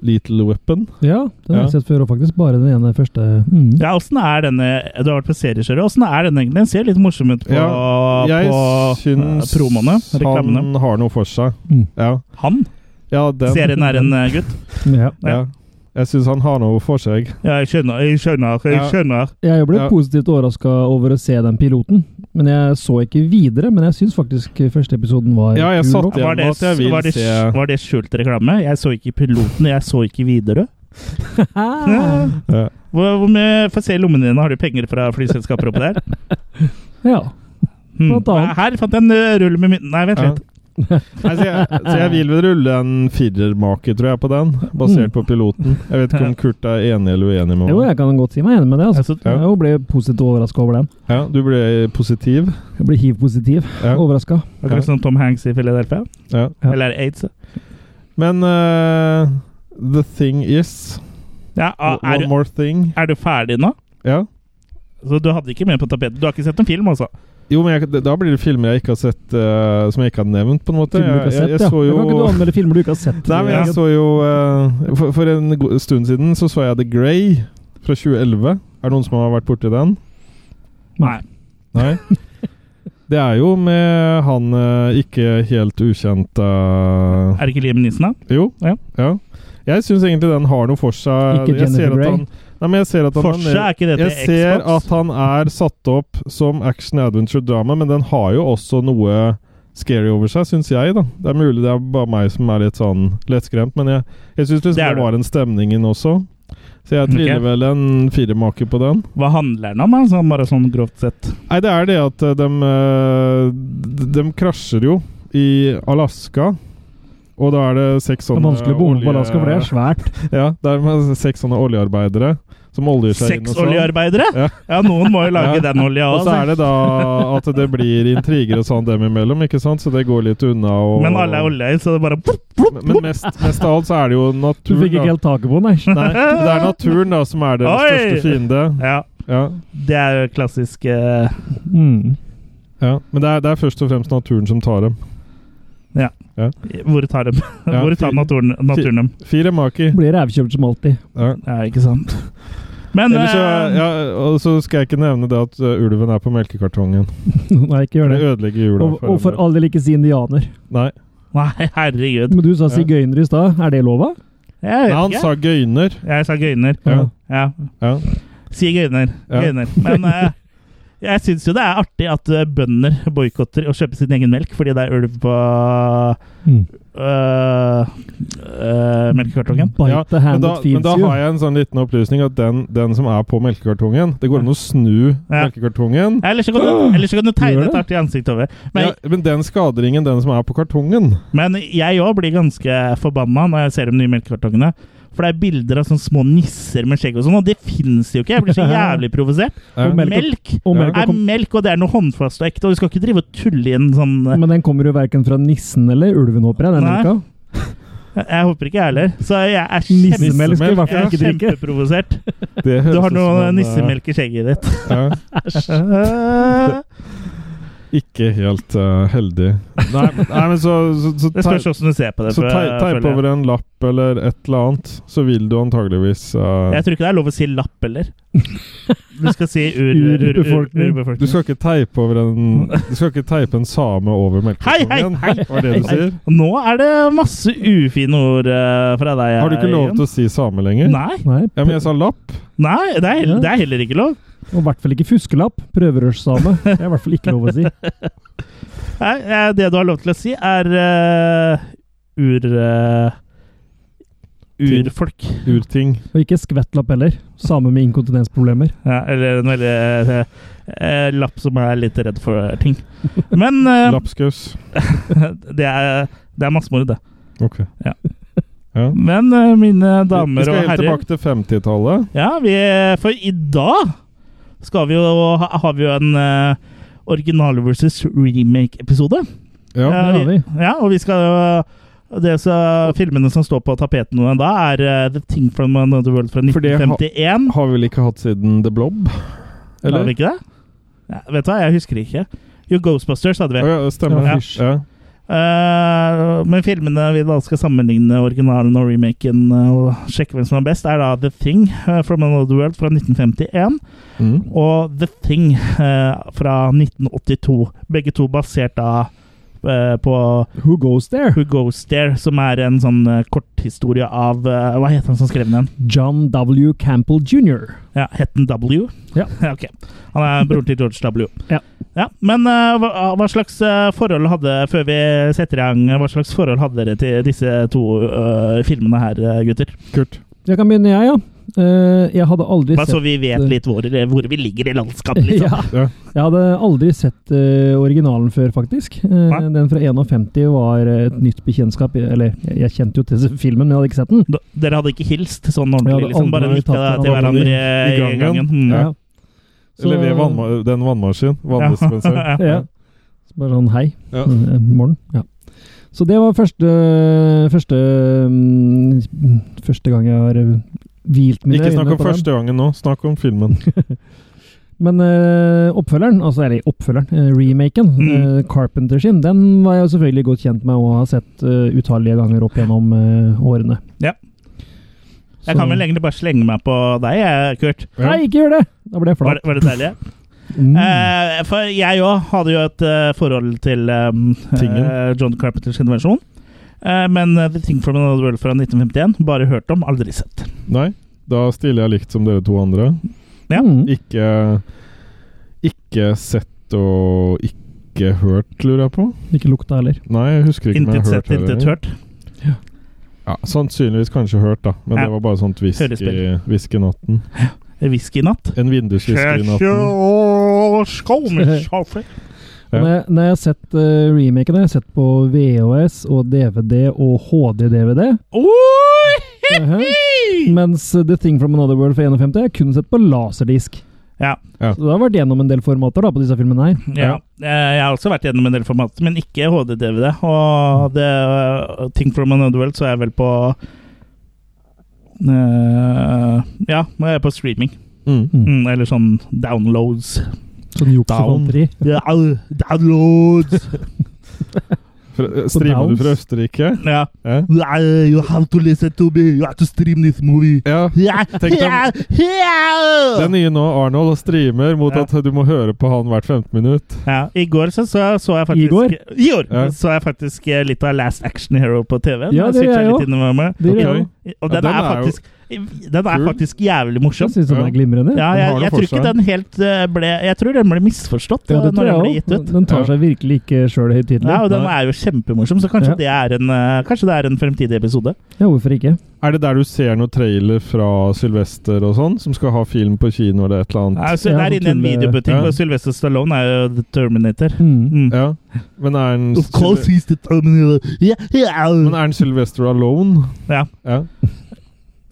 S3: Little Weapon.
S4: Ja, den har jeg
S3: Ja.
S4: sett før, og faktisk bare den ene første. Mm.
S2: Ja, åssen er denne Du har vært på serieskjøret. Åssen er den egentlig? Den ser litt morsom ut på,
S3: jeg
S2: på
S3: syns
S2: eh, promoene. Reklamene.
S3: han har noe for seg.
S4: Mm.
S3: Ja.
S2: Han?
S3: ja den.
S2: Serien er en eh, gutt?
S4: Ja.
S3: Ja. Jeg syns han har noe for seg.
S2: Ja, jeg skjønner, jeg skjønner, jeg
S3: Ja.
S2: skjønner.
S4: Jeg ble
S3: Ja.
S4: positivt overraska over å se den piloten, men jeg så ikke videre. Men jeg syns faktisk første episoden var
S3: Ja, jeg
S4: kul.
S3: satt-
S4: også.
S3: Ja,
S2: Var det,
S3: at jeg vil
S2: var, det,
S3: se-
S2: var det skjult reklame? Jeg så ikke piloten, jeg så ikke Widerøe.
S4: Ah.
S3: Ja.
S2: Hvor, hvor mye Få se i lommene dine, har du penger fra flyselskaper oppi der?
S4: Ja.
S2: Hmm.
S4: Blant annet.
S2: Her fant jeg en eh, rull med mynt Nei, vent
S3: Ja.
S2: litt.
S3: Nei, så, jeg, så jeg vil vel rulle en firermake, tror jeg, på den. Basert på piloten. Jeg vet ikke om Kurt er enig eller uenig med meg.
S4: Mm. Jo, jeg kan godt si meg enig med det. Altså.
S2: Altså,
S3: Ja.
S4: Jeg ble positivt overraska over den.
S3: Ja, du ble positiv.
S4: Jeg ble hiv-positiv
S3: Ja.
S4: overraska.
S2: akkurat som Tom Hanks i Philadelphia.
S3: Ja.
S4: Ja.
S2: Eller aids.
S3: Men eh, the thing is
S2: Ja, a- Ah, er,
S3: One
S2: du-
S3: more thing.
S2: er du ferdig nå?
S3: Ja.
S2: Så du hadde ikke mer på tapetet? Du har ikke sett en film, altså?
S3: Jo, men jeg, da blir det filmer jeg ikke har sett, eh, som jeg ikke har nevnt, på en måte.
S4: Filmer du
S3: Jeg,
S4: ikke har
S3: jeg,
S4: sett,
S3: jeg
S4: ja.
S3: så
S4: Da Kan ikke du
S3: jo
S4: anmelde filmer du ikke har sett?
S3: Nei, men jeg så jo eh, for, for en go- stund siden så så jeg The Grey fra 2011. Er det noen som har vært borti den?
S2: Nei.
S4: *laughs*
S3: Nei? Det er jo med han eh, ikke helt ukjente
S2: Er det ikke Liam Nissen, da?
S3: Jo.
S2: Ja.
S3: Jeg syns egentlig den har noe for seg.
S4: Ikke
S3: jeg ser at
S4: Jennifer Grey.
S3: han, nei, men jeg ser at han
S2: Forsa er ikke det til
S3: Jeg ser at
S2: Xbox?
S3: han er satt opp som action-adventure-drama, men den har jo også noe scary over seg, syns jeg. da. Det er mulig det er bare meg som er litt sånn lettskremt, men jeg, jeg syns det,
S2: Det er du.
S3: var en stemning i den også. Så
S4: Mm,
S3: jeg triller
S2: Ok.
S3: vel en firemaker på den.
S2: Hva handler den om, da? Sånn, bare sånn grovt sett.
S3: Nei, det er det at eh, de, de krasjer jo i Alaska. Og da er det seks
S4: Det
S3: sånne
S4: er vanskelig å bo på Alaska, for det er svært.
S3: Ja, det er seks sånne oljearbeidere som oljer seg inn. og
S2: Seks
S3: sånn.
S2: oljearbeidere?
S3: Ja.
S2: Ja, noen må jo lage
S3: Ja.
S2: den olja
S3: Og så
S2: òg.
S3: er det da at det blir intriger og sånn dem imellom, ikke sant? Så det går litt unna. Og,
S2: Men alle er olja i, så det bare plopp, plopp,
S3: Men- Men
S2: plopp.
S3: mest, mest av alt så er det jo
S4: Du
S3: naturen,
S4: fikk ikke
S3: da.
S4: helt taket på den,
S3: *laughs*
S4: nei.
S3: Nei, det er naturen da som er deres
S2: Oi!
S3: største fiende.
S2: Ja,
S3: Ja,
S2: det er jo klassisk eh,
S4: Mm.
S3: ja. Men det er, det er først og fremst naturen som tar dem.
S2: Hvor tar, de,
S3: Ja,
S2: hvor tar
S3: fi-
S2: naturen, naturen dem?
S3: Fire maki.
S4: Blir rævkjørt som alltid. *laughs*
S3: Ja.
S2: Ja, ikke sant? Men
S3: Ellers så,
S2: eh,
S3: ja, og så skal jeg ikke nevne det at ø, ulven er på melkekartongen.
S4: Nei, ikke gjør
S3: Det
S4: det.
S3: ødelegger jula
S4: Og, og for
S3: alle.
S4: all del ikke si indianer.
S3: Nei.
S2: *laughs* Nei, herregud.
S4: Men du sa sigøyner i stad. Er det lova?
S2: Jeg
S3: Nei,
S2: vet
S3: han
S2: ikke.
S3: sa gøyner.
S2: Jeg sa gøyner.
S3: Ja.
S2: Ja.
S3: Ja.
S2: Si gøyner.
S3: Ja.
S2: gøyner. Men
S3: *laughs*
S2: eh, jeg syns jo det er artig at eh, bønder boikotter å kjøpe sin egen melk fordi det er ulv på
S4: Mm.
S2: øh, øh, melkekartongen.
S4: Bite
S3: Ja,
S4: the
S3: Men
S4: hand
S3: da,
S4: that
S3: men
S4: feeds
S3: da
S4: you.
S3: har jeg en sånn liten opplysning at den, den som er på melkekartongen Det går an å snu
S2: Ja.
S3: melkekartongen.
S2: Eller så kan
S3: *gasps*
S2: du, eller så kan du
S4: Gjør
S2: tegne et
S4: det?
S2: artig ansikt over. Men,
S3: ja, men den skader ingen, den som er på kartongen.
S2: men jeg òg blir ganske forbanna når jeg ser de nye melkekartongene. For det er bilder av sånne små nisser med skjegg og sånn, og det fins jo ikke! Jeg blir
S3: *laughs*
S2: så jævlig provosert.
S3: eh,
S4: Og melk-
S2: Melk
S4: Og melk
S2: er
S4: kom,
S2: melk, og det er noe håndfast og ekte, og du skal ikke drive og tulle i en sånn
S4: men den kommer jo verken fra nissen eller ulven, håper jeg. Den
S2: Nei.
S4: melka.
S2: Jeg, jeg håper ikke jeg heller. Så jeg er, kjempe,
S4: Nissemelk skal du i
S2: jeg
S4: hvert fall
S2: er
S4: ikke drikke.
S2: kjempeprovosert.
S3: Det
S2: Du
S3: høres
S2: har
S3: ut
S2: noe
S3: som en, eh,
S2: nissemelk i skjegget
S3: *laughs*
S2: ditt.
S3: Ja,
S2: Det
S3: ikke helt eh, heldig. Nei, men- nei, men så, så, så, tei-
S2: spørs hvordan du ser på *laughs* det.
S3: så
S2: tror
S3: tei,
S2: jeg,
S3: teip
S2: føler jeg.
S3: over en lapp eller et eller annet, så vil du antageligvis eh,
S2: Jeg tror ikke det er lov å si lapp
S3: *laughs*
S2: heller. Du skal si ur, ur, ur, ur,
S4: Urbefolkning.
S3: Du
S2: urbefolkning.
S3: skal ikke teipe over en Du skal ikke teipe en same over
S2: Hei, hei,
S3: melkekartongen,
S2: hei!
S3: var det du
S2: Hei.
S3: sier?
S2: Nå er det masse ufine ord eh, fra deg.
S3: Har du ikke lov til å si same lenger?
S2: Nei,
S4: Nei.
S3: Ja, men jeg sa lapp.
S2: nei det, er, heller- det er heller ikke lov.
S4: Og i hvert fall ikke fuskelapp. Prøverørssame. Det er i hvert fall ikke lov å si.
S2: Nei, eh, Det du har lov til å si, er eh, ur... eh,
S3: Ting.
S2: urfolk.
S3: Urting.
S4: Og ikke skvettlapp heller. Same med inkontinensproblemer.
S2: Ja, eller en veldig eh, eh, lapp som er litt redd for ting. Men
S3: *laughs*
S2: eh,
S3: Lapskaus.
S2: *laughs* det, er, det er massemord, det.
S3: Ok.
S2: Ja.
S3: *laughs* Ja.
S2: Men eh, mine
S3: vi
S2: damer
S3: skal
S2: og
S3: helt
S2: herrer
S3: tilbake til 50-tallet.
S2: Ja, vi, for i dag skal vi jo, ha- har vi jo en eh, original versus remake-episode.
S3: Ja.
S4: det har vi.
S2: Eh, Ja, og vi skal jo det så, Filmene som står på tapeten nå da, er eh, The Thing from Another World fra
S3: For det har-
S2: 1951.
S3: Har vi vel ikke hatt siden The Blob?
S2: Har vi ikke det? Ja, vet du hva, jeg husker ikke. Jo, Ghostbusters hadde vi.
S3: Å ja, stemmer.
S4: Ja.
S3: Ja. Ja.
S2: Eh, men filmene vi da skal sammenligne originalen og remaken eh, og sjekke hvem som er best, er da The Thing eh, from Another World fra 1951
S3: Mm.
S2: og The Thing eh, fra 1982. Begge to basert da eh, på
S4: Who goes there?
S2: Who Goes There, som er en sånn eh, korthistorie av eh, Hva het han som skrev den?
S4: John W. Campbell jr.
S2: Ja, Het den W? *laughs*
S4: Ja.
S2: ok. Han er broren til George W.
S4: Ja.
S2: Men eh, hva, hva slags eh, forhold hadde før vi setter i gang, hva slags forhold hadde dere til disse to eh, filmene her, eh, gutter?
S3: Kurt.
S4: Jeg kan begynne, jeg, ja. Eh, jeg hadde aldri
S2: Bare
S4: sett
S2: så vi vet litt hvor, eh, hvor vi ligger i
S4: *laughs*
S2: landskapet, liksom.
S4: ja.
S3: Ja.
S4: Jeg hadde aldri sett eh, originalen før, faktisk. Eh,
S2: Nei.
S4: den fra 51 var eh, et nytt bekjentskap. Jeg- Eller, jeg, jeg kjente jo til *laughs* filmen, men jeg hadde ikke sett den.
S2: Da- Dere hadde ikke hilst sånn
S4: Vi
S2: ordentlig,
S4: hadde
S2: liksom? Bare
S4: aldri
S2: nikka
S4: tatt
S2: til
S3: hverandre
S2: hverandre
S3: i- i
S2: i gangen?
S3: gangen.
S2: Mm.
S4: Ja. Så-
S3: Eller ved vannma den vannmaskinen. Vanndispenseren.
S2: *laughs* Ja.
S4: Ja. Så bare sånn hei.
S3: Ja.
S4: Eh, Morgen. Ja. Så det var første Første, mm, første gang jeg har eh, hvilt mine
S3: Ikke snakk
S4: øyne
S3: om
S4: på den.
S3: første gangen nå, snakk om
S4: *laughs*
S3: filmen.
S4: Men eh, oppfølgeren, altså eller oppfølgeren, eh, remaken,
S2: Mm.
S4: eh, Carpenter sin, den var jeg jo selvfølgelig godt kjent med og har sett eh, utallige ganger opp gjennom eh, årene.
S2: Ja.
S4: Så-
S2: Jeg kan vel egentlig bare slenge meg på deg, jeg, Kurt.
S4: Nei, ikke gjør det! Da ble jeg
S2: Var,
S4: flat.
S2: var det deilig?
S4: Mm.
S2: Eh, for jeg òg hadde jo et eh, forhold til eh,
S3: Tingen.
S2: eh, John Carpenters versjon. Eh, men eh, The Thing from Another World fra 1951 bare hørt om, aldri sett.
S3: Nei, da stiller jeg likt som dere to andre.
S2: ja.
S4: Mm.
S3: Ikke Ikke sett og ikke hørt, lurer jeg på.
S4: Ikke lukta heller.
S3: Nei, jeg husker ikke om jeg
S2: Intet
S3: har hørt
S2: sett, intet
S3: heller.
S2: hørt.
S3: Ja, sannsynligvis kanskje hørt, da. Men
S2: Ja.
S3: det var bare sånt hvisk i,
S2: Hørespill.
S3: hvisk i natten.
S2: Whisky i natt.
S3: En vindusvisker i natten. *laughs*
S2: Skål,
S3: Ja.
S4: Når, jeg, når jeg har sett eh, remaken, har jeg sett på VHS og DVD og HD-DVD. Mens eh, The Thing From Another World fra 51 har jeg kun sett på laserdisk.
S2: Ja.
S3: Ja.
S4: Så det har vært gjennom en del formater da, på disse filmene her.
S2: ja. Eh, Jeg har også vært gjennom en del formater, men ikke HD-DVD. Og det, eh, Think from another world så er jeg vel på eh, Ja, nå er jeg på streaming.
S3: Mm.
S2: Mm, eller sånn downloads.
S4: Sånn juks og
S2: Down.
S4: fanteri.
S2: Ja, au, *laughs* downloads!
S3: Fra- eh, Streamer du
S4: Downs.
S3: fra Østerrike? Eh?
S2: Ja.
S3: Ja.
S2: Ja, You have to listen to me, you have to stream this movie.
S3: ja.
S2: Ja,
S3: Tenk deg-
S2: ja, ja.
S3: Det nye nå, Arnold, streamer mot
S2: Ja.
S3: at du må høre på han hvert 15 minutt.
S2: Ja, I går så, så, så jeg faktisk
S4: I går?
S2: I år
S3: Ja.
S2: så jeg faktisk eh, litt av Last Action Hero på TV.
S4: Ja,
S2: Den
S4: det
S2: switchet
S4: gjør jeg
S2: litt innom meg.
S4: Det gjør
S3: Ok.
S4: jeg.
S2: Og
S3: Ja,
S2: den,
S3: den
S2: er
S3: er jo
S2: faktisk Den er
S3: kul.
S2: faktisk jævlig morsom.
S4: Jeg syns den
S3: Ja.
S4: er glimrende.
S2: Ja,
S3: Den
S2: jeg,
S3: har det
S2: jeg
S3: for
S2: tror ikke
S3: seg.
S2: den helt eh, ble Jeg tror den ble misforstått
S4: Ja,
S2: eh,
S4: det tror
S2: når den ble
S4: jeg
S2: gitt
S4: òg.
S2: ut.
S4: Den tar seg virkelig ikke sjøl høytidelig.
S2: Ja, og den er jo kjempemorsom, så kanskje,
S4: Ja.
S2: det er en, eh, kanskje det er en fremtidig episode.
S4: Ja, hvorfor ikke?
S3: Er det der du ser noen trailer fra Sylvester og sånn, som skal ha film på kino eller et eller annet?
S2: Ja, så det er
S4: Ja, for
S2: inne i en
S4: tulle-
S2: videobutikk,
S3: Ja.
S2: for Sylvester Stallone er jo The Terminator.
S4: Mm.
S2: Mm.
S3: Ja. Men er den
S2: Of course he's the Terminator. Yeah,
S3: Men
S2: yeah.
S3: er den Sylvester alone?
S2: Ja.
S3: Ja.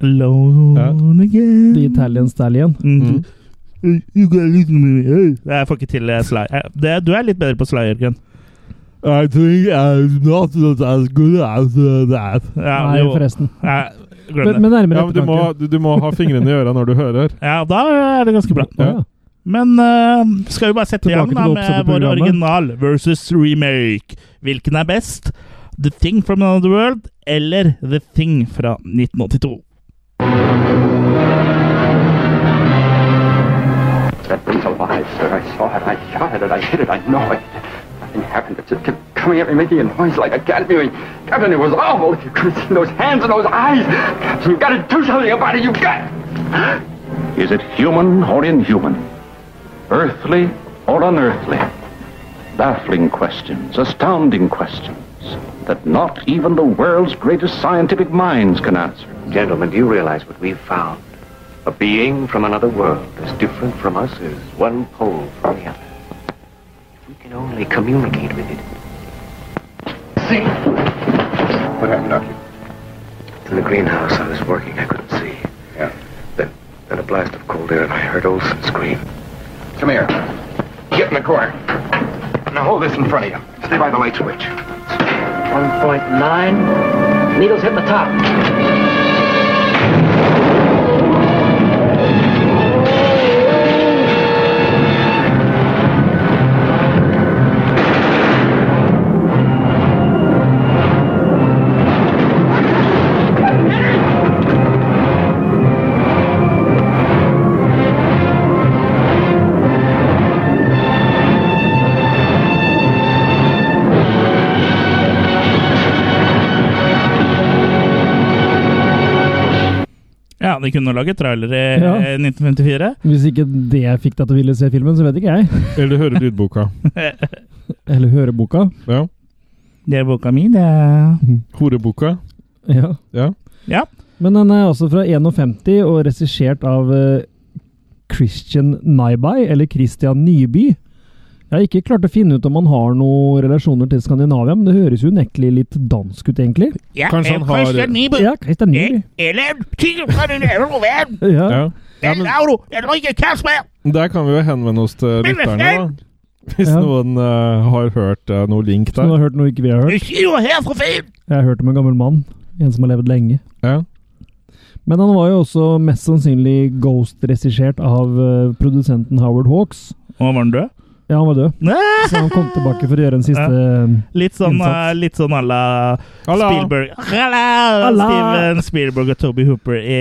S2: Alone again.
S4: The Italian Stallion.
S2: Mm.
S3: Mm.
S2: Jeg får ikke til eh, Sly. Eh, Det, du er litt bedre på Sly, Jørgen.
S3: I think I'm not as good as that.
S2: Ja,
S4: Nei,
S2: jo.
S4: forresten.
S2: Ja, glem
S4: Men,
S2: det.
S4: men nærmere
S3: Ja, men du må,
S4: ettertanke.
S3: du, du må ha fingrene i øra når du hører.
S2: Ja, da er det ganske bra.
S4: Å, ja.
S2: Men eh, skal vi bare sette i gang
S4: Tilbake
S2: da
S4: til det
S2: med
S4: oppsatte
S2: vår
S4: programmet.
S2: original versus remake? Hvilken er best? The Thing from Another World eller The Thing fra 1982?
S5: That thing's alive, sir. I saw it. I shot at it. I hit it. I know it. Nothing happened. It just kept coming at me, making a noise like a cat mewing. Captain, it was awful. If you could have seen those hands and those eyes. Captain, you've got to do something about it. You've got...
S6: Is it human or inhuman? Earthly or unearthly? Baffling questions, astounding questions that not even the world's greatest scientific minds can answer.
S7: Gentlemen, do you realize what we've found? A being from another world, as different from us as one pole from the other. If we can only communicate with it.
S5: See? What happened, Doctor?
S7: In the greenhouse I was working, I couldn't see.
S5: Yeah.
S7: Then, then a blast of cold air, and I heard Olson scream.
S5: Come here. Get in the corner. Now hold this in front of you. Stay by the light switch.
S7: 1.9. Needles hit the top.
S2: Ja, de kunne lage trailer i
S4: Ja.
S2: eh, 1954.
S4: Hvis ikke det fikk deg til å ville se filmen, så vet ikke jeg.
S3: Eller du hører lydboka.
S4: Eller høre boka.
S3: Ja.
S4: Mhm.
S2: Det er boka mi, det. er-
S3: Horeboka.
S4: Ja.
S3: Ja.
S2: Ja.
S4: Men den er også fra 51 og regissert av eh, Christian Nyby, eller Christian Nyby. Jeg har ikke klart å finne ut om han har noen relasjoner til Skandinavia, men det høres jo unektelig litt dansk ut, egentlig.
S1: Jeg
S3: Kanskje han
S1: er
S3: har-
S1: Christian Nyby.
S4: Ja, Christian Nyby.
S1: Jeg er levd tidligere fra den ældre verden.
S4: Ja.
S3: Ja. Ja,
S1: Den
S3: men
S1: laver du en rike kassmær.
S3: der kan vi jo henvende oss
S1: Men
S3: til
S1: det er
S3: lytterne, da. Hvis
S4: Ja.
S3: noen eh, har hørt eh, noe link
S4: Så du
S3: der.
S4: har hørt noe ikke vi har hørt?
S1: Jeg siger her fra Fyn.
S4: Jeg har hørt om en gammel mann. En som har levd lenge.
S3: Ja.
S4: Men han var jo også mest sannsynlig ghost-regissert av eh, produsenten Howard Hawks.
S2: Og var den død?
S4: Ja, han var død,
S2: Nei,
S4: *laughs* så han kom tilbake for å gjøre en siste
S2: Litt sånn,
S4: Innsats.
S2: eh, litt sånn à la
S3: Alla.
S2: Spielberg Alla.
S4: Alla.
S2: Steven Spielberg og Toby Hooper i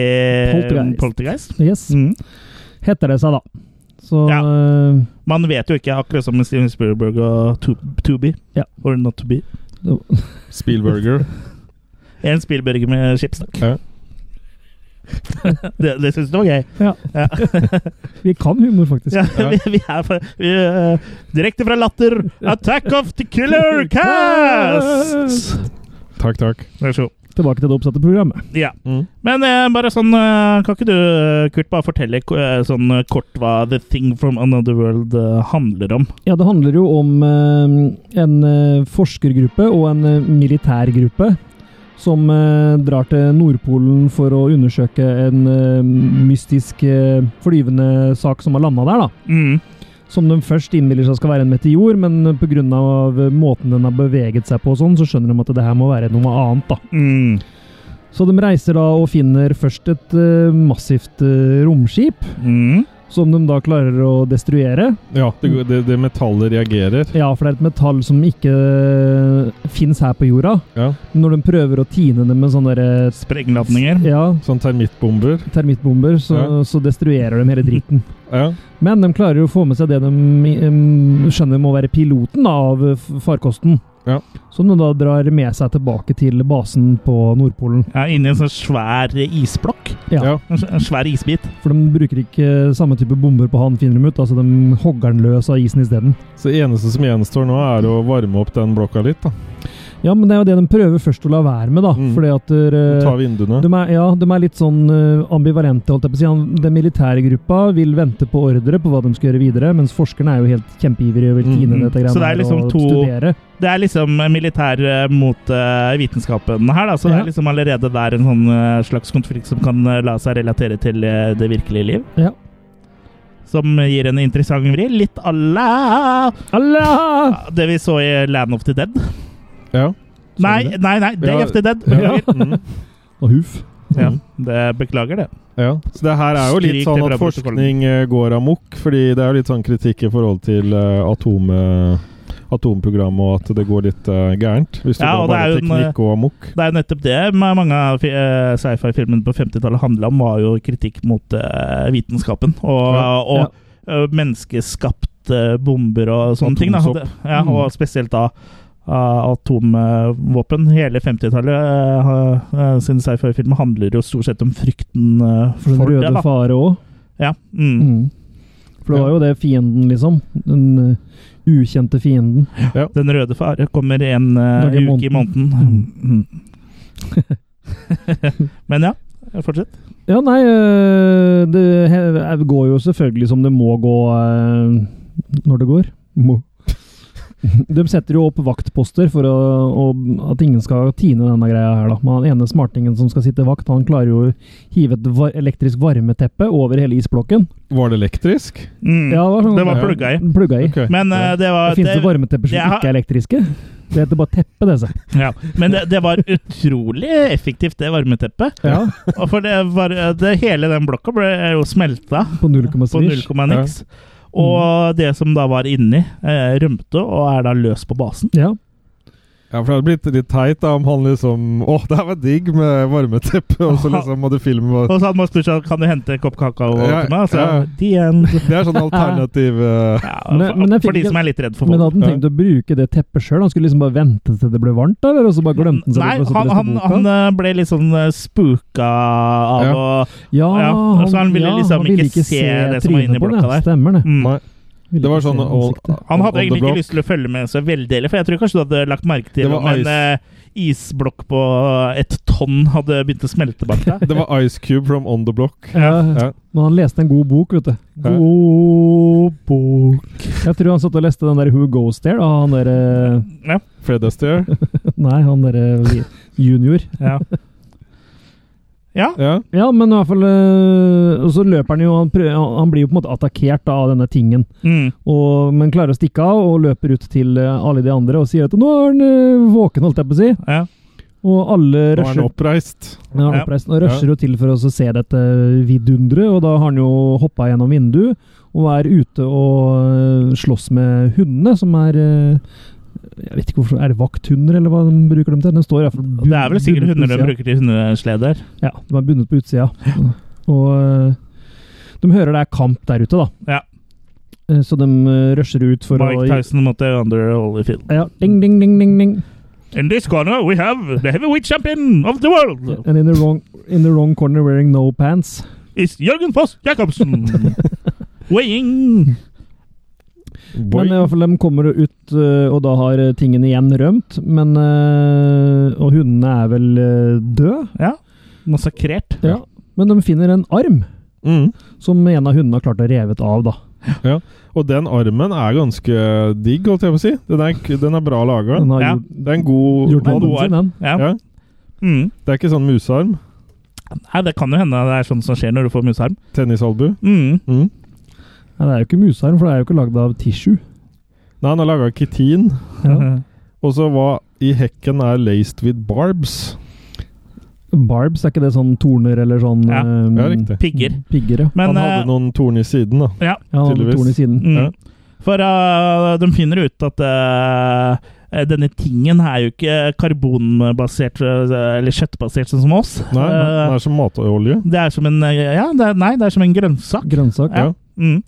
S4: Poltergeist. Mhm.
S2: Poltergeist. Poltergeist.
S4: eh, Yes.
S2: Mm.
S4: Heter det seg, da. Så
S2: Ja.
S4: eh,
S2: Man vet jo ikke, akkurat som med Steven Spielberg og To, to Be.
S4: Ja.
S2: Or Not To Be.
S3: Spielberger.
S2: En Spielberg med skipsnakk.
S3: Ja.
S2: *laughs* det det syns du var gøy.
S4: ja.
S2: Ja.
S4: Vi kan humor, faktisk.
S2: Ja,
S3: Ja.
S2: vi, vi er fra, vi, eh, direkte fra latter. Attack of the Killer Cast!
S3: Takk, takk.
S2: Vær så god.
S4: Tilbake til det oppsatte programmet.
S2: Ja.
S3: Mm.
S2: Men eh, bare sånn eh, Kan ikke du, eh, Kurt, bare fortelle eh, sånn eh, kort hva The Thing from Another World eh, handler om?
S4: Ja, det handler jo om eh, en eh, forskergruppe og en eh, militærgruppe som eh, drar til Nordpolen for å undersøke en eh, mystisk eh, flyvende sak som har landa der, da.
S2: Mm.
S4: Som de først innbiller seg skal være en meteor, men pga. måten den har beveget seg på, og sånn, så skjønner de at det her må være noe annet. da.
S2: Mm.
S4: Så de reiser da og finner først et eh, massivt eh, romskip,
S2: Mm.
S4: som de da klarer å destruere.
S3: Ja, det, det, det metallet reagerer.
S4: Ja, for det er et metall som ikke fins her på jorda.
S3: Ja.
S4: Når de prøver å tine det med sånne der, eh,
S2: Sprengladninger.
S4: ja,
S3: Sånn termittbomber.
S4: termittbomber, så,
S3: Ja.
S4: så destruerer de hele dritten.
S3: Ja.
S4: Men de klarer jo å få med seg det de em, skjønner må være piloten da, av f- farkosten.
S3: Ja.
S4: Som de da drar med seg tilbake til basen på Nordpolen.
S2: Ja, Inni en sånn svær isblokk.
S4: Ja.
S3: Ja.
S2: En s- En svær isbit.
S4: For de bruker ikke samme type bomber på han, finner de ut. Altså, de hogger den løs av isen isteden.
S3: Så det eneste som gjenstår nå, er å varme opp den blokka litt. da.
S4: Ja, men det er jo det de prøver først å la være med, da.
S3: Mm.
S4: Fordi at eh,
S3: Ta vinduene.
S4: De er, ja, de er litt sånn eh, ambivalente, holdt jeg på å si. Han- Den militære gruppa vil vente på ordre på hva de skal gjøre videre, mens forskerne er jo helt kjempeivrige og vil tine
S2: Mm, mm.
S4: dette greiene
S2: Så det er
S4: her
S2: liksom
S4: og
S2: to-
S4: studere.
S2: Det er liksom eh, militær eh, mot eh, vitenskapen her, da. Så det
S4: Ja.
S2: er liksom allerede der en sånn eh, slags konflikt som kan eh, la seg relatere til eh, det virkelige liv.
S4: Ja.
S2: Som gir en interessant vri. Litt à la
S4: Allah!
S2: det vi så i Land of the Dead.
S3: Ja.
S2: Nei,
S3: det?
S2: nei, nei, Day
S3: Ja.
S2: of the Dead.
S3: Ja.
S2: Beklager.
S3: Mm.
S4: Og huff.
S2: Ja, det beklager det.
S3: ja. Så det her er jo litt
S2: Stryk det
S3: sånn
S2: fra
S3: at
S2: protokollen.
S3: forskning eh, går amok, fordi det er jo litt sånn kritikk i forhold til eh, atom, eh, atomprogrammet og at det går litt eh, gærent. Hvis du
S2: Ja,
S3: går
S2: og det
S3: bare
S2: er jo en, eh,
S3: teknikk og amok.
S2: Det er jo nettopp det ma- mange av fi- eh, sci-fi-filmene på 50-tallet handla om, var jo kritikk mot eh, vitenskapen og,
S3: Ja,
S2: og eh, menneskeskapte bomber og sånne ting. Da.
S3: Atomsopp.
S2: Det- Ja, og spesielt da eh, atomvåpen. Hele 50-tallet eh, eh, sin sci-fi-film handler jo stort sett om frykten eh,
S4: For den
S2: for det.
S4: røde
S2: Da.
S4: fare òg.
S2: Ja, mm.
S4: Mm. For det var jo det fienden, liksom. Den eh, ukjente fienden.
S2: Den røde fare kommer en eh,
S4: Dag i
S2: uke i måneden. Mm. *laughs* Men ja, fortsett.
S4: Ja, nei eh, Det he- går jo selvfølgelig som det må gå eh, når det går. Må. *laughs* De setter jo opp vaktposter for å, å, at ingen skal tine denne greia her. da. Men den ene smartingen som skal sitte vakt, han klarer jo å hive et var elektrisk varmeteppe over hele isblokken.
S3: Var det elektrisk?
S2: Mm.
S4: Ja, det var sånn-
S2: det var
S3: Ja.
S2: plugga i.
S4: Den plugga i.
S3: Ok.
S2: Men eh,
S3: Ja.
S2: det var
S4: Det finnes jo
S2: det-
S4: varmetepper som
S2: jeg har-
S4: ikke er elektriske. Det heter bare teppe, det. seg.
S2: Ja, men det, det var utrolig effektivt, det varmeteppet.
S4: Ja,
S2: Og for det var, eh, det, hele den blokka ble jo smelta
S4: på null komma
S2: på null
S4: svisj.
S2: komma niks.
S4: Mm.
S2: Og det som da var inni, eh, rømte og er da løs på basen.
S4: Ja.
S3: Ja, for det hadde blitt litt teit da, om han liksom Å, det her var digg med varmeteppe, og så liksom må du filme hva-
S2: Og så hadde man spurt sånn, kan du hente en kopp kakao
S3: Ja,
S2: til meg. Og så
S3: ja.
S2: the end. *laughs*
S3: Det er sånn alternativ eh,
S2: Ja,
S4: Men-
S2: for,
S4: men jeg fikk
S2: for de
S4: ikke-
S2: som er litt redd for vold.
S4: Men hadde han tenkt å bruke det teppet sjøl? Han skulle liksom bare vente til det ble varmt, da, eller? Og så bare glemte han seg
S2: Nei,
S4: litt, og så
S2: han,
S4: leste
S2: han,
S4: boka?
S2: han eh, ble litt sånn eh, spooka av
S3: Ja.
S2: å
S4: Ja,
S2: Ja, altså, han ville liksom ikke se det som var inni
S4: trynet på
S2: blokka der.
S4: Stemmer det.
S2: mm.
S3: Nei.
S4: Ville
S3: Det var
S4: ikke se
S3: sånn
S4: ansiktet.
S3: all-
S2: Han
S3: on
S2: hadde
S3: the
S2: egentlig
S3: block.
S2: ikke lyst til å følge med så veldig heller, for jeg tror kanskje du hadde lagt merke til
S3: Det var
S2: om en
S3: ice.
S2: eh, isblokk på et tonn hadde begynt å smelte bak
S3: *laughs*
S2: deg.
S3: Det var Ice Cube from On The Block.
S4: Ja,
S3: Ja.
S4: Men han leste en god bok, vet du. God bok Jeg tror han satt og leste den der Who Goes There av han derre
S2: Ja.
S3: Fred Astaire.
S4: Nei, han derre junior.
S2: Ja. ja.
S3: Ja.
S4: Ja, men i hvert fall øh, Og så løper han jo han, prøver, han blir jo på en måte attakkert da, av denne tingen.
S2: Mm.
S4: Og, men klarer å stikke av og løper ut til øh, alle de andre og sier at 'nå er han øh, våken', holdt jeg på å si.
S2: ja.
S4: Og alle
S3: Nå er
S4: rusher,
S3: han oppreist.
S4: Ja, han er
S2: Ja.
S4: oppreist, og rusher jo til for å se dette vidunderet. Og da har han jo hoppa gjennom vinduet og er ute og øh, slåss med hundene, som er øh, jeg vet ikke hvorfor, Er det vakthunder, eller hva de bruker dem til? Den står i hvert fall
S2: Og Det er vel sikkert
S4: bundet på
S2: hunder de
S4: utsida.
S2: bruker til hundesleder.
S4: Ja, de er bundet på utsida. Og eh, de hører det er kamp der ute, da.
S2: Ja.
S4: Eh, Så de eh, rusher ut for
S2: Mike
S4: å
S2: Tyson mot Under Holyfield.
S4: Ja, ding, ding, ding, ding, ding.
S2: In this corner we have the heavyweight champion of the world!
S4: And in the wrong, in the wrong corner wearing no pants.
S2: It's Jørgen Foss Jacobsen! Weighing
S3: Boy.
S4: Men eh, i hvert fall de kommer ut, eh, og da har eh, tingene igjen rømt. Men eh, Og hundene er vel eh, døde.
S2: Ja. Massakrert.
S4: Ja. Men de finner en arm
S3: Mm.
S4: som en av hundene har klart å revet av, da.
S3: Og den armen er ganske digg, holdt jeg på å si. Den er, den er bra laga.
S4: Den har
S2: Ja.
S4: gjort,
S3: Det er en god
S4: gjort
S2: en
S4: jobben
S2: god
S4: sin, den.
S2: Ja.
S3: Ja.
S2: Mm.
S3: Det er ikke sånn musearm.
S2: Nei, det kan jo hende det er sånn som skjer når du får musearm.
S3: Tennisalbu.
S2: Mm.
S3: Mm.
S4: Ja, det er jo ikke musearm, for det er jo ikke lagd av tissue.
S3: Nei, han har laga kitin.
S2: *laughs*
S4: Ja.
S3: Og så hva i hekken er laced with barbs?
S4: Barbs, er ikke det sånn torner eller sånn
S2: Ja.
S4: ehm,
S3: Ja, riktig.
S2: Pigger.
S4: Pigger, ja.
S2: Men
S3: han hadde
S2: eh,
S3: noen torn i siden, da.
S2: ja.
S4: ja han hadde
S3: Tydeligvis.
S4: torn i siden.
S2: Mm.
S3: Ja.
S2: For eh, de finner ut at eh, denne tingen er jo ikke karbonbasert eh, eller kjøttbasert, sånn som oss.
S3: Nei, den
S2: Eh,
S3: er som matolje.
S2: det er som en eh, Ja, det er, nei, det er som en grønnsak.
S4: Grønnsak.
S2: Ja. Mm.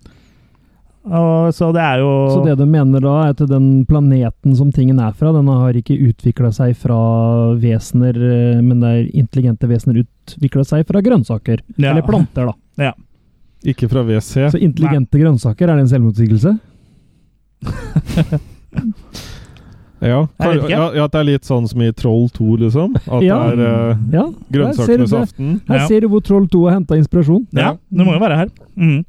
S2: Og, så det er jo
S4: Så det du mener da, er at den planeten som tingen er fra, den har ikke utvikla seg fra vesener, eh, men det er intelligente vesener utvikla seg fra grønnsaker.
S2: Ja.
S4: Eller planter, da.
S3: Ikke fra WC.
S4: Så intelligente grønnsaker, er det en selvmotsigelse?
S3: Ja.
S2: Jeg vet
S3: Kar-
S2: ikke.
S3: ja, ja, at det er litt sånn som i Troll 2, liksom. At
S4: Ja.
S3: det er
S2: Mm.
S3: uh,
S4: Ja. der ser du
S3: grønnsakenes
S4: det.
S3: aften.
S4: Her
S2: Ja.
S4: ser du hvor Troll 2 har henta inspirasjon.
S2: Ja, det må jo være her. Mm.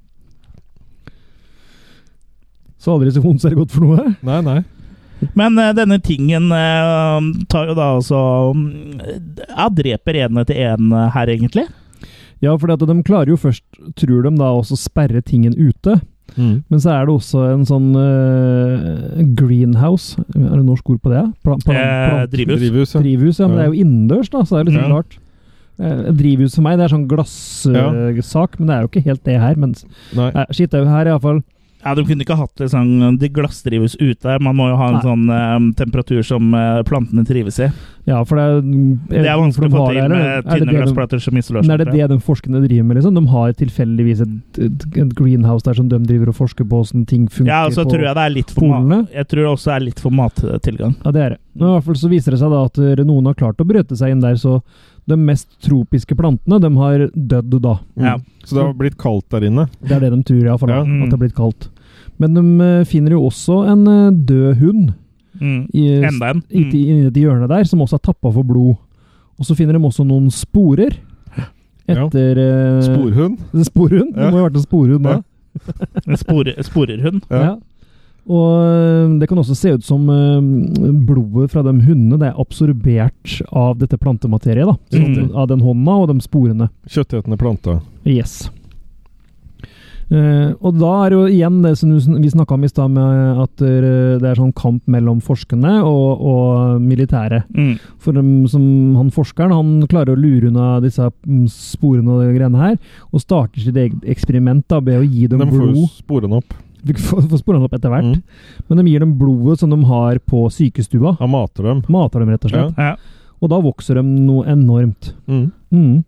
S4: Så aldri så vondt ser det godt for noe.
S3: Nei, nei.
S2: Men eh, denne tingen eh, tar jo da altså mm, Ja, dreper en etter en eh, her, egentlig.
S4: Ja, for de klarer jo først, tror de da, også sperre tingen ute.
S3: Mm.
S4: Men så er det også en sånn eh, greenhouse Er det norsk ord på det? Pla pla
S2: Eh,
S4: plant-
S2: drivhus.
S3: Mm. Drivhus, ja.
S4: drivhus, ja. Men det er jo innendørs, da, så det er litt
S2: Ja.
S4: sånn rart. Eh, drivhus for meg, det er sånn glassak, men det er jo ikke helt det her. Men
S3: Nei.
S4: nei, shit, det er jo her iallfall.
S2: Ja, De kunne ikke hatt det sånn De glassdrives ute. Man må jo ha en
S4: Nei.
S2: sånn eh, temperatur som eh, plantene trives i.
S4: Ja, for det er
S2: Det er vanskelig å få til med
S4: Er det
S2: tynne
S4: det de-
S2: glassplater som isolerer
S4: men er
S2: seg.
S4: det det de forskerne driver med? liksom? De har tilfeldigvis et, et, et greenhouse der som de driver og forsker på åssen ting funker
S2: Ja, og så
S4: på
S2: tror jeg det er litt for
S4: polene?
S2: mat, Jeg tror det også er litt for mattilgang.
S4: Ja, det er det. Men i hvert fall så viser det seg da at eh, noen har klart å brøte seg inn der, så de mest tropiske plantene, de har dødd da.
S3: Mm.
S2: Ja.
S3: Så det har blitt kaldt der inne.
S4: Det er det de tror, iallfall.
S3: Ja.
S4: Ja. At det har blitt kaldt. Men de eh, finner jo også en eh, død hund
S2: Mm.
S4: i,
S2: Enda en.
S4: i, i, i det hjørnet der, som også er tappa for blod. Og så finner de også noen sporer
S3: Ja.
S4: etter eh,
S3: Sporhund.
S4: *laughs* Sporhund?
S3: Ja.
S4: Det må jo ha vært en sporhund da.
S3: Ja.
S2: Mm. En spore, sporerhund.
S3: Ja.
S4: Ja. Og øhm, det kan også se ut som øhm, blodet fra de hundene det er absorbert av dette plantemateriet. da. Så
S2: Mm.
S4: at- Av den hånda og de sporene.
S3: Kjøttetende plante.
S4: Yes. Eh, og da er det jo igjen det som du sn- vi snakka om i stad, med at øh, det er sånn kamp mellom forskerne og, og militæret.
S2: Mm.
S4: For dem som, han forskeren han klarer å lure unna disse mm, sporene og de greiene her, og starter sitt eget eksperiment da, ved å gi
S3: De
S4: dem
S3: får jo
S4: blod.
S3: sporene opp.
S4: Vi får får sporene opp etter hvert.
S3: Mm.
S4: Men de gir dem blodet som de har på sykestua.
S3: Han mater dem.
S4: Mater dem, rett og slett.
S2: Ja.
S4: Og da vokser de noe enormt.
S3: Mm.
S4: Mm.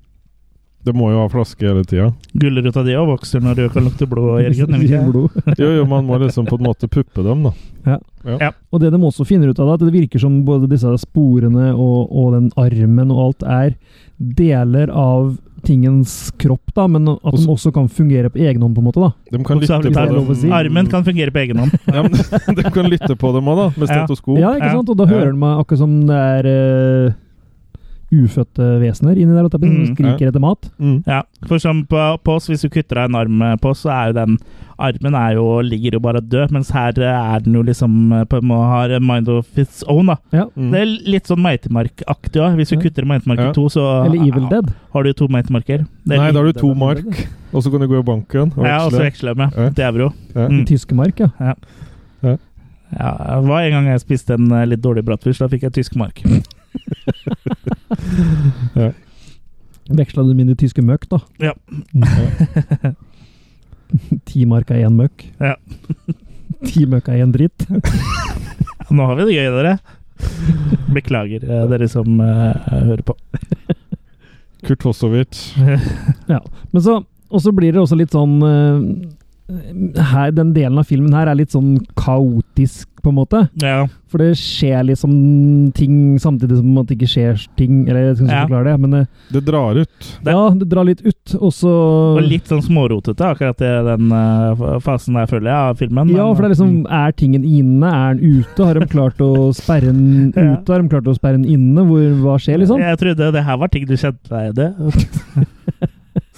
S3: Det må jo ha flaske hele tida.
S2: Gulrota di òg vokser når du kan lukte blod, Jørgen. er det
S4: Gir
S2: ikke?
S4: blod.
S3: Jo, jo, man må liksom på en måte puppe dem, da.
S4: Og det de også finner ut av, det, er at det virker som både disse sporene og, og den armen og alt er deler av tingens kropp, da, men at
S3: Også-
S4: den også kan fungere på egen hånd, på en måte. da.
S3: De kan lytte på
S2: Bokstavelig talt.
S3: dem.
S2: Armen kan fungere på egen hånd.
S3: ja, men, *laughs* De kan lytte på dem òg, da, med
S2: Ja.
S3: stetoskop.
S4: Ja, ikke
S2: Ja.
S4: sant? Og da
S3: Ja.
S4: hører de meg akkurat som det er eh, ufødte vesener inni der, og de
S2: Mm.
S4: skriker etter mat.
S3: Mm.
S2: Ja, for som på, på oss, hvis du kutter av en arm eh, på oss, så er jo den armen er jo, ligger jo bare død, mens her eh, er den jo liksom eh, på, må ha en mind of its own, da.
S4: Ja.
S3: Mm.
S2: Det er litt sånn meitemarkaktig òg. Hvis du
S4: Ja.
S2: kutter meitemark i
S3: Ja.
S2: to, så
S4: Eller Evil Dead.
S2: har du jo to meitemarker. Det er
S3: Nei, da har du to
S4: det er-
S3: mark, og så kan du gå i banken og
S2: Ja, og så
S3: veksle.
S2: veksler jeg med.
S3: Ja.
S2: Det er bro.
S3: Ja.
S2: Mm.
S4: Tyske mark, ja.
S2: Ja, det var en gang jeg spiste en eh, litt dårlig bratwurst, da fikk jeg tysk mark.
S4: Veksla dem inn i tyske møkk, da.
S2: Ja.
S4: Ti mark er én møkk.
S2: Ja.
S4: *laughs* Ti møkk er én dritt.
S2: Nå har vi det gøy,
S3: *laughs*
S2: dere. Beklager, eh, dere som eh, hører på.
S3: Kurt Hosovic.
S4: Men så, og så blir det også litt sånn eh, her, Den delen av filmen her er litt sånn kaotisk, på en måte.
S2: Ja.
S4: For det skjer liksom ting samtidig som at det ikke skjer ting Eller jeg skal ikke
S2: Ja.
S4: forklare det, men eh,
S3: Det drar ut.
S4: ja, det drar litt ut, og så
S2: Og litt sånn smårotete, akkurat i den eh, fasen der, føler jeg, av filmen.
S4: Ja,
S2: men-
S4: for det er liksom Er tingen inne? Er den ute? Har de klart å
S2: *laughs*
S4: sperre den
S2: Ja.
S4: ute? Har de klart å sperre den inne? Hvor, hva skjer, liksom?
S2: eh, Jeg trodde det her var ting du kjente deg i det. *laughs*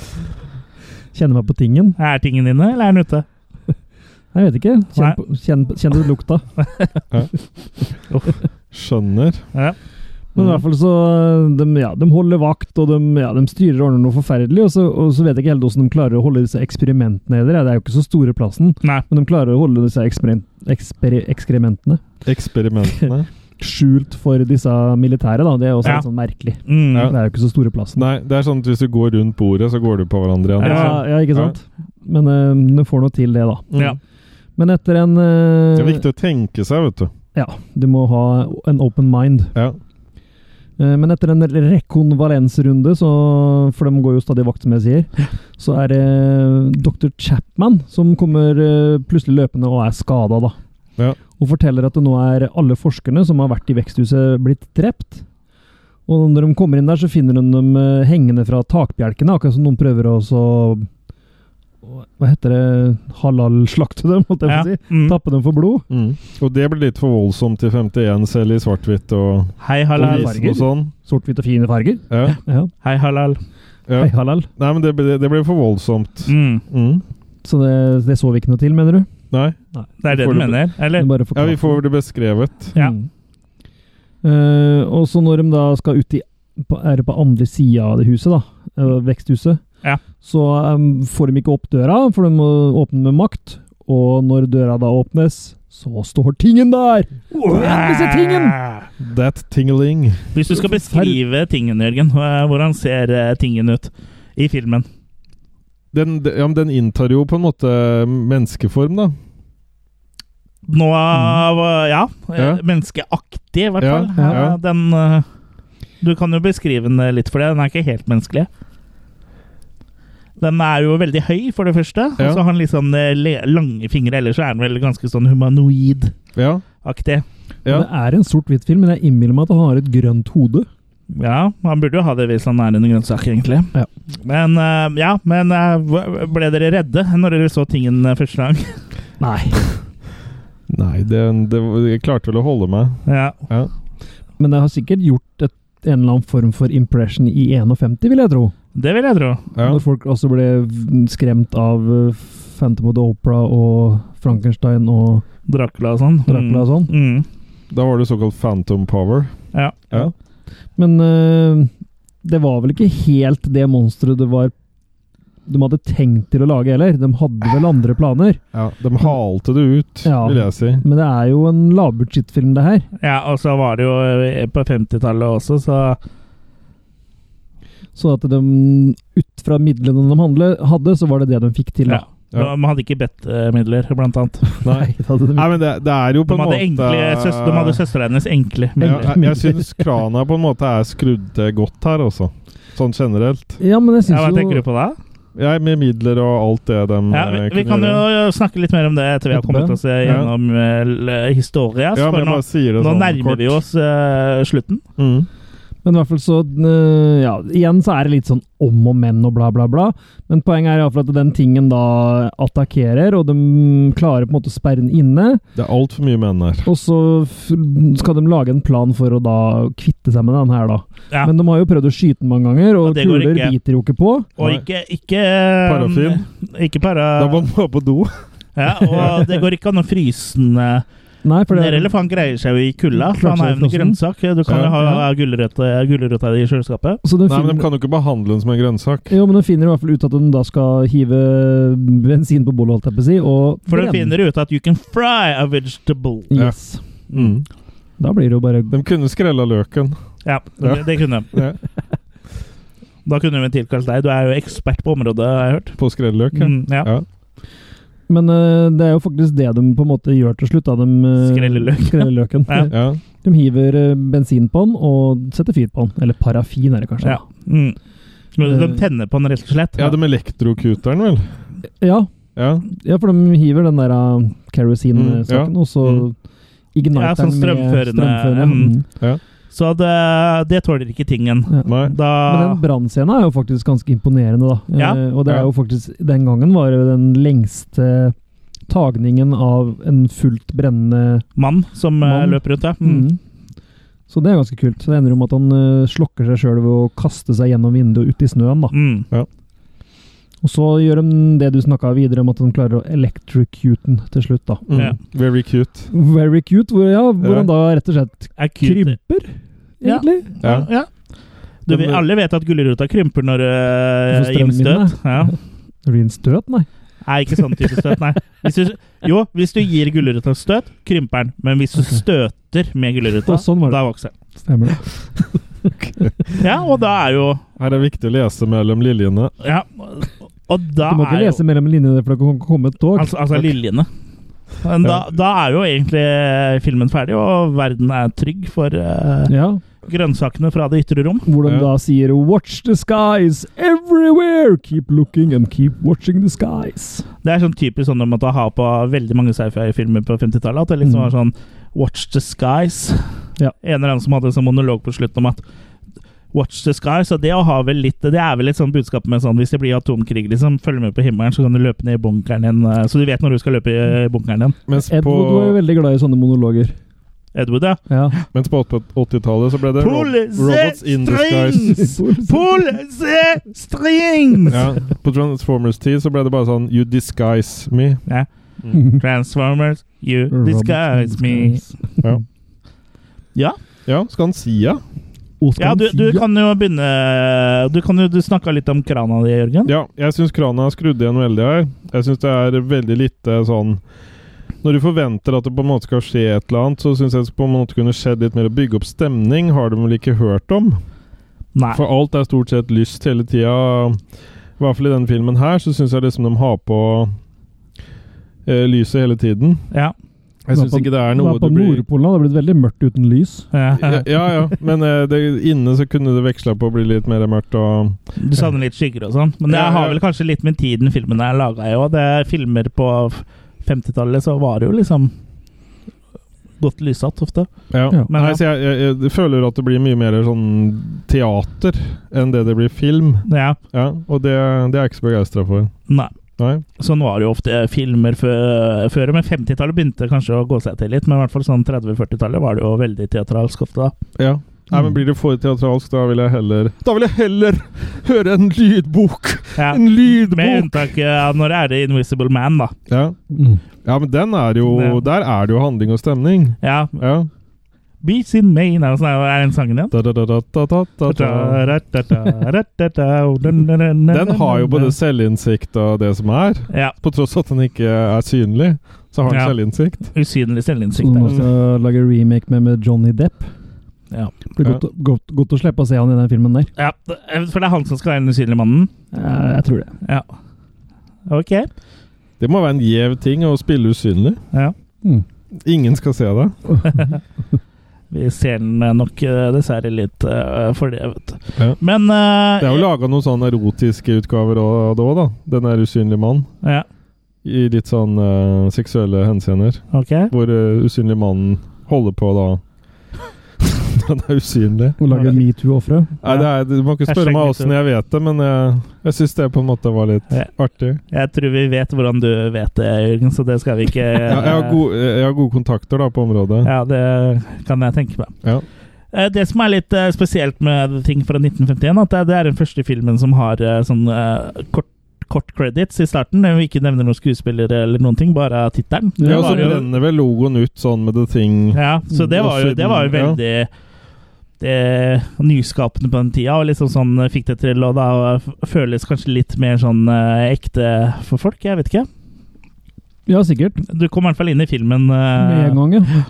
S4: Kjenner meg på tingen?
S2: Er tingen inne, eller er den ute?
S4: Jeg vet ikke. Kjenn,
S2: Nei.
S4: på, kjenn, på- kjenn lukta.
S3: Skjønner.
S2: Ja. Mm.
S4: Men i hvert fall så de, ja, de holder vakt, og de, ja, de styrer og ordner noe forferdelig. Og så, og så vet jeg ikke helt hvordan de klarer å holde disse eksperimentene heller. Ja, det er jo ikke så store plassen,
S2: Nei.
S4: men de klarer å holde disse eksper, eksper, ekskrementene
S3: Eksperimentene.
S4: skjult for disse militære. da. Det er også
S2: Ja.
S4: litt sånn merkelig.
S2: Mm.
S3: Ja.
S4: Det er jo ikke så store plassen.
S3: Nei, det er sånn at hvis du går rundt bordet, så går du på hverandre igjen.
S4: Ja, ja, ikke sant? Men eh, de får noe til, det, da.
S3: Mm.
S2: Ja.
S4: Men etter en eh,
S3: Det er viktig å tenke seg, vet du.
S4: Ja, du må ha en open mind.
S3: Ja.
S4: Eh, Men etter en rekonvalensrunde, så, for de går jo stadig vakt, som jeg sier, så er det dr. Chapman som kommer eh, plutselig løpende og er skada, da.
S3: Ja.
S4: Og forteller at det nå er alle forskerne som har vært i veksthuset, blitt drept. Og når de kommer inn der, så finner de dem eh, hengende fra takbjelkene, akkurat som noen prøver å så Hva heter det Halal-slakte dem, holdt jeg på
S2: Ja.
S4: å si.
S2: Mm.
S4: Tappe dem for blod.
S3: Mm. Og det blir litt for voldsomt til 51 selv i svart-hvitt og,
S2: Hei,
S3: og
S2: halal.
S4: Farger.
S3: visen og sånn.
S4: Sort-hvite, fine farger.
S3: Ja.
S4: Ja.
S2: Hei, halal.
S3: Ja.
S4: Hei, halal.
S3: Nei, men det, ble- det blir for voldsomt.
S2: Mm.
S3: Mm.
S4: Så det, det så vi ikke noe til, mener du?
S3: Nei.
S2: Det er det
S3: Får
S2: du
S3: du-
S2: mener, eller?
S4: Du bare
S3: Ja,
S4: forklarer.
S3: vi får det beskrevet.
S2: Ja.
S4: Mm. Eh, og så når de da skal ut i på, Er det på andre sida av det huset, da? eh, veksthuset.
S2: Ja.
S4: Så em, får de ikke opp døra, for de må åpne med makt. Og når døra da åpnes, så står tingen der! Disse tingen!
S3: That tingling.
S2: Hvis du skal beskrive tingen, Jørgen, *laughs* hva- hvordan ser eh, tingen ut i filmen?
S3: Den, de- ja, men den inntar jo på en måte menneskeform, da.
S2: Nå var- Ja, eh,
S3: Ja.
S2: menneskeaktig, i hvert
S3: Ja,
S2: fall.
S4: Mm. ja.
S2: Ja, Den eh, Du kan jo beskrive den eh, litt for det. Den er ikke helt menneskelig. Den er jo veldig høy, for det første.
S3: Ja.
S2: Og så har den litt sånn eh, le- lange fingre. Ellers så er den vel ganske sånn humanoid-aktig.
S3: Ja. ja.
S4: Det er en sort-hvitt film, men jeg innbiller meg at han har et grønt hode.
S2: Ja, han burde jo ha det hvis han er en grønnsak, egentlig.
S4: Ja.
S2: Men, eh, ja, men eh, hva- ble dere redde når dere så tingen eh, første gang? *laughs*
S4: Nei.
S3: Nei, det, det, jeg klarte vel å holde meg.
S2: Ja.
S3: Ja.
S4: *laughs* Men det har sikkert gjort et, en eller annen form for impression i 51, vil jeg tro.
S2: Det vil jeg tro.
S3: Ja.
S4: Når folk også ble v- skremt av eh, Phantom of the Opera og Frankenstein og
S2: Dracula og sånn.
S4: Dracula og sånn.
S2: Mm.
S3: Da var det såkalt phantom power.
S2: Ja.
S3: Ja.
S4: Men eh, det var vel ikke helt det monsteret det var de hadde tenkt til å lage heller. De hadde vel andre planer.
S3: Ja, de halte det ut,
S4: Ja.
S3: vil jeg si.
S4: Men det er jo en lavbudsjettfilm, det her.
S2: Ja, og så var det jo eh, på 50-tallet også, så
S4: Så at de ut fra midlene de handle, hadde, så var det det de fikk til.
S2: ja.
S4: Da.
S3: Ja.
S2: De hadde ikke bedt-midler, blant annet.
S3: Nei.
S4: Det hadde de
S3: Nei, men det, det er jo på
S2: De
S3: en
S2: hadde,
S3: måte eh,
S2: enkle, søs, de hadde søstrene hennes enkle
S3: Ja,
S2: midler.
S3: jeg jeg syns krana på en måte er skrudd til godt her, også. Sånn generelt.
S4: Ja, men jeg
S2: Ja, hva
S4: syns
S2: tenker
S4: jo
S2: du på da?
S3: Jeg med midler og alt det de eh,
S2: Ja, vi, vi kan jo eh, snakke litt mer om det etter vi har kommet oss gjennom eh, l- historia.
S3: ja,
S2: så
S3: men
S2: for
S3: jeg
S2: nå,
S3: bare sier det
S2: nå
S3: sånn
S2: nærmer
S3: kort.
S2: vi oss eh, slutten.
S3: Mm.
S4: Men i hvert fall så øh, Ja, igjen så er det litt sånn om og men og bla, bla, bla. Men poenget er iallfall at den tingen da attakkerer, og de klarer på en måte å sperre den inne.
S3: Det er altfor mye menn her.
S4: Og så f skal de lage en plan for å da kvitte seg med den her, da.
S2: Ja.
S4: Men de har jo prøvd å skyte den mange ganger,
S2: Og
S4: og
S2: det går
S4: kuler
S2: ikke.
S4: biter jo ikke på.
S2: Og
S3: Nei.
S2: ikke, ikke eh,
S3: Parafin.
S2: Ikke para...
S3: Da må man gå på do.
S2: Ja,
S3: *laughs*
S2: og det går ikke an å fryse den eh,
S4: Nei, for det,
S2: ned, eller for han greier seg jo i kulda. For han er jo en grønnsak. Du kan jo
S3: Ja.
S2: ha gulrøtta gulrøtta di i kjøleskapet.
S4: så de
S3: Nei, men
S4: finner,
S3: de kan jo ikke behandle den som en grønnsak.
S4: jo, men de finner i hvert fall ut at de da skal hive bensin på bollet, holdt jeg på å si, og
S2: For de
S4: brenne.
S2: finner ut at you can fry a vegetable.
S4: Yes.
S3: Mm.
S4: Da blir det jo bare
S3: De kunne skrella løken.
S2: Ja,
S3: Ja.
S2: det, det kunne de.
S3: Ja,
S2: Da kunne vi tilkalt deg. Du er jo ekspert på området, har jeg hørt.
S3: på skrelleløk. ja.
S2: Mm, ja.
S3: Ja.
S4: Men øh, det er jo faktisk det de på en måte gjør til slutt. Da. De, øh,
S2: Skreller løken.
S4: *laughs* skreller løken.
S2: Ja.
S3: Ja.
S4: De hiver øh, bensin på den og setter fyr på den. Eller parafin, er det kanskje.
S2: Ja. Mm. Men De tenner på den, rett og slett.
S3: ja, de elektrokuteren, vel?
S4: Ja,
S3: Ja.
S4: ja, for de hiver den der øh,
S3: Mm,
S4: kerosene-saken,
S3: ja.
S4: og så
S3: Mm.
S4: igniter
S2: Ja, sånn
S4: den
S2: strømførende,
S4: med strømførende.
S2: mm.
S4: Mm.
S2: Så det, det tåler ikke tingen.
S4: Ja.
S3: Nei.
S4: Men
S2: Da
S4: den brannscenen er jo faktisk ganske imponerende, da.
S2: Ja.
S4: Eh, og det
S3: Ja.
S4: er jo faktisk Den gangen var det den lengste tagningen av en fullt brennende
S2: mann som eh,
S4: Mann.
S2: løper rundt, ja. Mm.
S4: Mm. Så det er ganske kult. Så Det ender jo med at han eh, slokker seg sjøl ved å kaste seg gjennom vinduet ut i snøen. da.
S2: Mm.
S4: Og så gjør de det du snakka videre om, at de klarer å electrocute den til slutt. da.
S3: Mm.
S2: Ja.
S3: Very cute.
S4: Very cute, hvor, ja, hvor
S3: Ja.
S4: han da rett og slett
S2: Er cute.
S4: krymper,
S2: Ja.
S4: egentlig.
S2: Ja.
S3: Ja.
S2: ja. Du, vi alle vet at gulrota krymper når uh,
S4: Du får
S2: gir den
S4: strømmen
S2: støt. Ja.
S4: Det blir en støt, nei.
S2: Nei, ikke sånn type støt, nei. Hvis du, jo, hvis du gir gulrota støt, krymper den. Men hvis du
S4: Ok.
S2: støter med gulrota,
S4: Og sånn var det.
S2: da vokser den.
S4: Stemmer det.
S2: Ja, og da er jo
S3: Her er det viktig å lese mellom liljene.
S2: Ja, og- og da
S4: Du må ikke
S2: er jo
S4: lese mellom linjene, for det kan komme et tog.
S2: Altså, altså liljene. Men da, da er jo egentlig eh, filmen ferdig, og verden er trygg for eh,
S4: Ja,
S2: grønnsakene fra det ytre rom.
S4: Hvor de
S3: Ja.
S4: da sier 'Watch the skies everywhere! Keep looking and keep watching the skies'.
S2: Det er sånn typisk sånn de måtte ha på veldig mange sci-fi-filmer på 50-tallet. At det liksom var
S4: Mm.
S2: sånn Watch the skies.
S4: Ja.
S2: En eller annen som hadde en sånn monolog på slutten om at Watch the skies. Og det å ha vel litt Det er vel et sånn budskap med sånn hvis det blir atomkrig, liksom, følg med på himmelen, så kan du løpe ned i bunkeren din. eh, Så du vet når du skal løpe i eh, bunkeren din.
S3: Mens på,
S4: Edward var jo veldig glad i sånne monologer.
S2: Edward, ja.
S4: Ja.
S3: mens på 80-tallet så ble det ro-
S2: Pull the
S3: Robots in disguise. *laughs*
S2: strings! Pull the strings!
S3: Ja, på Transformers 10 så ble det bare sånn You disguise me. Mm.
S2: Transformers, you disguise me.
S3: Ja.
S2: Ja.
S3: Ja, skal han si ja?
S2: Ja, du, du kan jo begynne Du, kan jo- du snakka litt om krana di, Jørgen.
S3: Ja, jeg syns krana er skrudd igjen veldig her. Jeg syns det er veldig lite sånn Når du forventer at det på en måte skal skje et eller annet, så syns jeg det på en måte kunne skjedd litt mer. Bygge opp stemning har de vel ikke hørt om?
S2: Nei.
S3: For alt er stort sett lyst hele tida. I hvert fall i denne filmen her, så syns jeg liksom de har på eh, lyset hele tiden.
S2: Ja.
S3: Jeg syns ikke det er noe
S4: på
S3: du blir
S4: Nordpolen hadde det blitt veldig mørkt uten lys.
S3: *laughs* ja, ja, ja, men eh, det, inne så kunne det veksla på å bli litt mer mørkt og
S2: Du savner litt skygger og sånn. Men det
S3: Ja, ja.
S2: har vel kanskje litt med tiden filmen er laga i òg. Det er Filmer på 50-tallet, så var det jo liksom godt lyssatt ofte.
S3: Ja.
S4: Ja.
S3: Nei, så jeg, jeg, jeg føler at det blir mye mer sånn teater enn det det blir film.
S2: Ja.
S3: Ja, og det, det er jeg ikke så begeistra for.
S2: Nei.
S3: Nei.
S2: Sånn var det jo ofte filmer før, før men 50-tallet begynte kanskje å gå seg til litt. Men i hvert fall sånn 30-40-tallet var det jo veldig teatralsk ofte, da.
S3: Ja. Nei,
S4: Mm.
S3: men Blir det for teatralsk, da vil jeg heller Da vil jeg heller *laughs* høre en lydbok!
S2: Ja.
S3: En
S2: Med
S3: lydbok!
S2: unntak av når er det Invisible Man, da.
S3: Ja.
S4: Mm.
S3: ja, men den er jo
S2: Ja.
S3: Der er det jo handling og stemning.
S2: Ja.
S3: Ja.
S2: Beats in Maine, er det sånn- er den sangen igjen?
S3: Da, da, da, da, da, da, da, da. Den
S2: Den
S3: har jo både selvinnsikt og det som er.
S2: Ja.
S3: På tross at den ikke er synlig, så har den
S2: Ja.
S3: selvinnsikt.
S2: Usynlig selvinnsikt.
S4: Så
S2: der.
S4: du må også lage remake med, med Johnny Depp.
S2: Ja.
S4: Blir godt, godt, godt å slippe å se han i den filmen der.
S2: ja. For det er han som skal være den usynlige mannen?
S4: jeg tror det.
S2: Ja. Ok.
S3: Det må være en gjev ting å spille usynlig.
S2: Ja.
S4: Mm.
S3: Ingen skal se deg.
S2: Vi ser den eh, nok eh, dessverre litt eh, for det, vet du.
S3: Ja.
S2: Men eh,
S3: Det er jo laga noen sånne erotiske utgaver av det òg, da. Den er usynlig mann.
S2: Ja,
S3: I litt sånn eh, seksuelle henseender.
S2: ok.
S3: Hvor eh, usynlig mannen holder på da *laughs* Han er usynlig.
S4: Å lage metoo-ofre.
S3: Nei, det er, Du må ikke
S2: Hashtag
S3: spørre meg
S2: metoo.
S3: åssen jeg vet det, men jeg, jeg syns det på en måte var litt
S2: Ja.
S3: artig.
S2: Jeg tror vi vet hvordan du vet det, Jørgen, så det skal vi ikke
S3: *laughs* Ja, jeg, har gode, jeg har gode kontakter da på området.
S2: Ja, det kan jeg tenke meg.
S3: Ja.
S2: Eh, Det som er litt eh, spesielt med ting fra 1951, at det- det er den første filmen som har eh, sånn eh, kort kort credits i starten, hvor vi ikke nevner noen skuespillere eller noen ting, bare tittelen. Det
S3: Ja, og så
S2: var jo-
S3: renner vel logoen ut sånn med The Thing.
S2: Ja, så det var jo, det var jo
S3: Ja.
S2: veldig det, nyskapende på den tida, og liksom sånn eh, fikk det til, og da f- føles kanskje litt mer sånn eh, ekte for folk, jeg vet ikke.
S4: Ja, sikkert.
S2: Du kom i hvert fall inn i filmen
S4: Med
S2: eh,
S4: en gang, ja.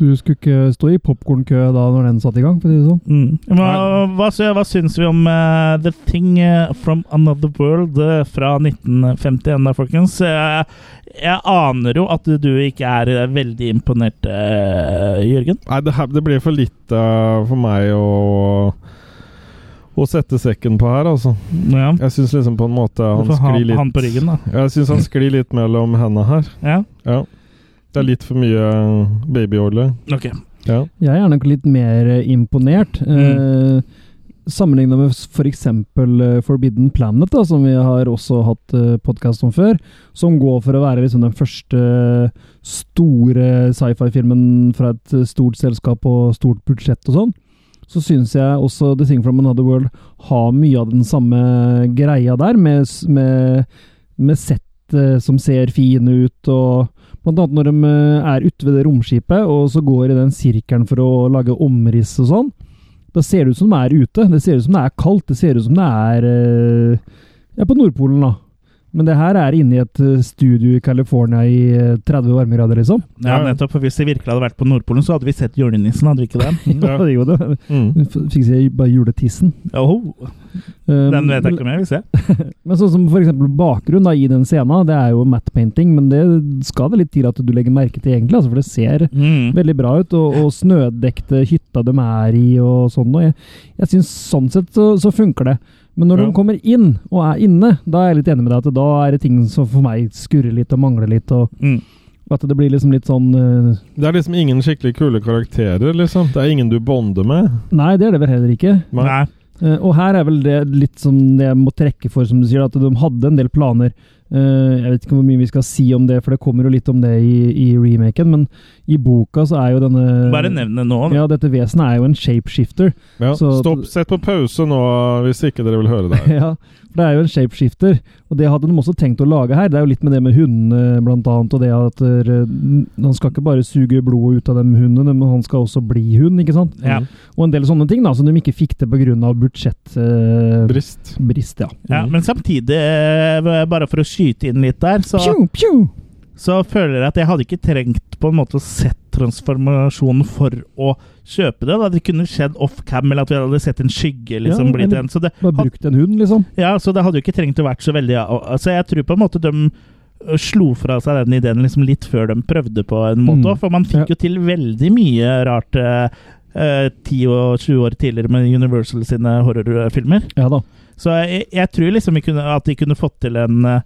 S4: Du skulle ikke stå i popkornkø da når den satte i gang, for å si det sånn.
S2: Mm. Hva, hva, sy- hva syns vi om eh, The Thing eh, From Another World eh, fra 1951, da, folkens? Eh, jeg aner jo at du ikke er eh, veldig imponert, eh, Jørgen.
S3: Nei, det, her, det blir for lite eh, for meg å, å sette sekken på her, altså.
S2: Ja.
S3: Jeg syns liksom på en
S2: Du
S3: måte han
S2: får ha
S3: sklir litt
S2: han på ryggen, da.
S3: Jeg syns han sklir litt mellom hendene her.
S2: Ja,
S3: Ja. Det er litt for mye eh, babyolje.
S2: ok.
S3: Ja.
S4: Jeg er gjerne litt mer eh, imponert.
S2: Mm.
S4: Eh, Sammenligna med f.eks. For eh, Forbidden Planet, da, som vi har også hatt eh, podkast om før. Som går for å være liksom den første store sci-fi-filmen fra et eh, stort selskap og stort budsjett og sånn. Så syns jeg også The Thing From Another World har mye av den samme greia der, med, s- med, med sett eh, som ser fine ut og Blant annet når de eh, er ute ved det romskipet, og så går i den sirkelen for å lage omriss og sånn. Da ser det ut som de er ute. Det ser ut som det er kaldt. Det ser ut som det er eh, Ja, på Nordpolen, da. Men det her er inne i et eh, studio i California i eh, 30 varmegrader, liksom. *laughs*
S2: Ja,
S3: Ja.
S2: nettopp. For hvis det virkelig hadde vært på Nordpolen, så hadde vi sett julenissen, hadde vi ikke det?
S3: *laughs* Ja.
S4: Det er jo det.
S3: Mm.
S4: Fikk si bare juletissen.
S2: Oh,
S4: Eh,
S2: den vet jeg ikke om jeg vil se.
S4: Men sånn som for eksempel bakgrunn da, i den scenen, det er jo matte painting, men det skal det litt til at du legger merke til, egentlig. Altså, for det ser
S2: Mm.
S4: veldig bra ut, og, og snødekte hytta de er i og sånn. Og jeg, jeg synes sånn sett så, så funker det. Men når
S3: Ja.
S4: de kommer inn og er inne, da er jeg litt enig med deg at da er det ting som for meg skurrer litt og mangler litt, og
S2: Mm.
S4: at det blir liksom litt sånn eh,
S3: Det er liksom ingen skikkelig kule karakterer, liksom. Det er ingen du bonder med.
S4: Nei, det er det vel heller ikke.
S2: Nei.
S4: Eh, og her er vel det litt som det jeg må trekke for, som du sier, at de hadde en del planer. Eh, jeg vet ikke hvor mye vi skal si om det, for det kommer jo litt om det i, i remaken, men i boka så er jo denne
S2: Bare nevn det nå. da.
S4: Ja, dette vesenet er jo en shapeshifter.
S3: Ja.
S4: Så-
S3: Stopp, sett på pause nå hvis ikke dere vil høre det.
S2: *laughs*
S3: her.
S4: Ja, for det er jo en shapeshifter, og det hadde de også tenkt å lage her. Det er jo litt med det med hundene, blant annet, og det at eh, han skal ikke bare suge blodet ut av de hundene, men han skal også bli hund, ikke sant?
S2: Ja.
S4: Og en del sånne ting da, som de ikke fikk til pga. budsjettbrist.
S3: Brist.
S4: eh, Brist, ja.
S2: Ja, men samtidig, eh, bare for å skyte inn litt der, så
S4: Pju, pju!
S2: så føler jeg at jeg hadde ikke trengt på en måte å sett transformasjonen for å kjøpe det. Da. Det kunne skjedd off-cam, eller at vi hadde sett en skygge liksom
S4: Ja,
S2: blitt
S4: eller-
S2: en. Så det,
S4: Bare brukt en hund, liksom.
S2: ja, så det hadde jo ikke trengt å vært så veldig ja. Altså, jeg tror på en måte de ø, slo fra seg den ideen liksom litt før de prøvde på en måte.
S4: Mm.
S2: også, For man fikk
S4: Ja.
S2: jo til veldig mye rart eh, eh, 10 og 20 år tidligere med Universal sine horrorfilmer.
S4: Ja da.
S2: Så jeg, jeg tror liksom vi kunne, at de kunne fått til en eh,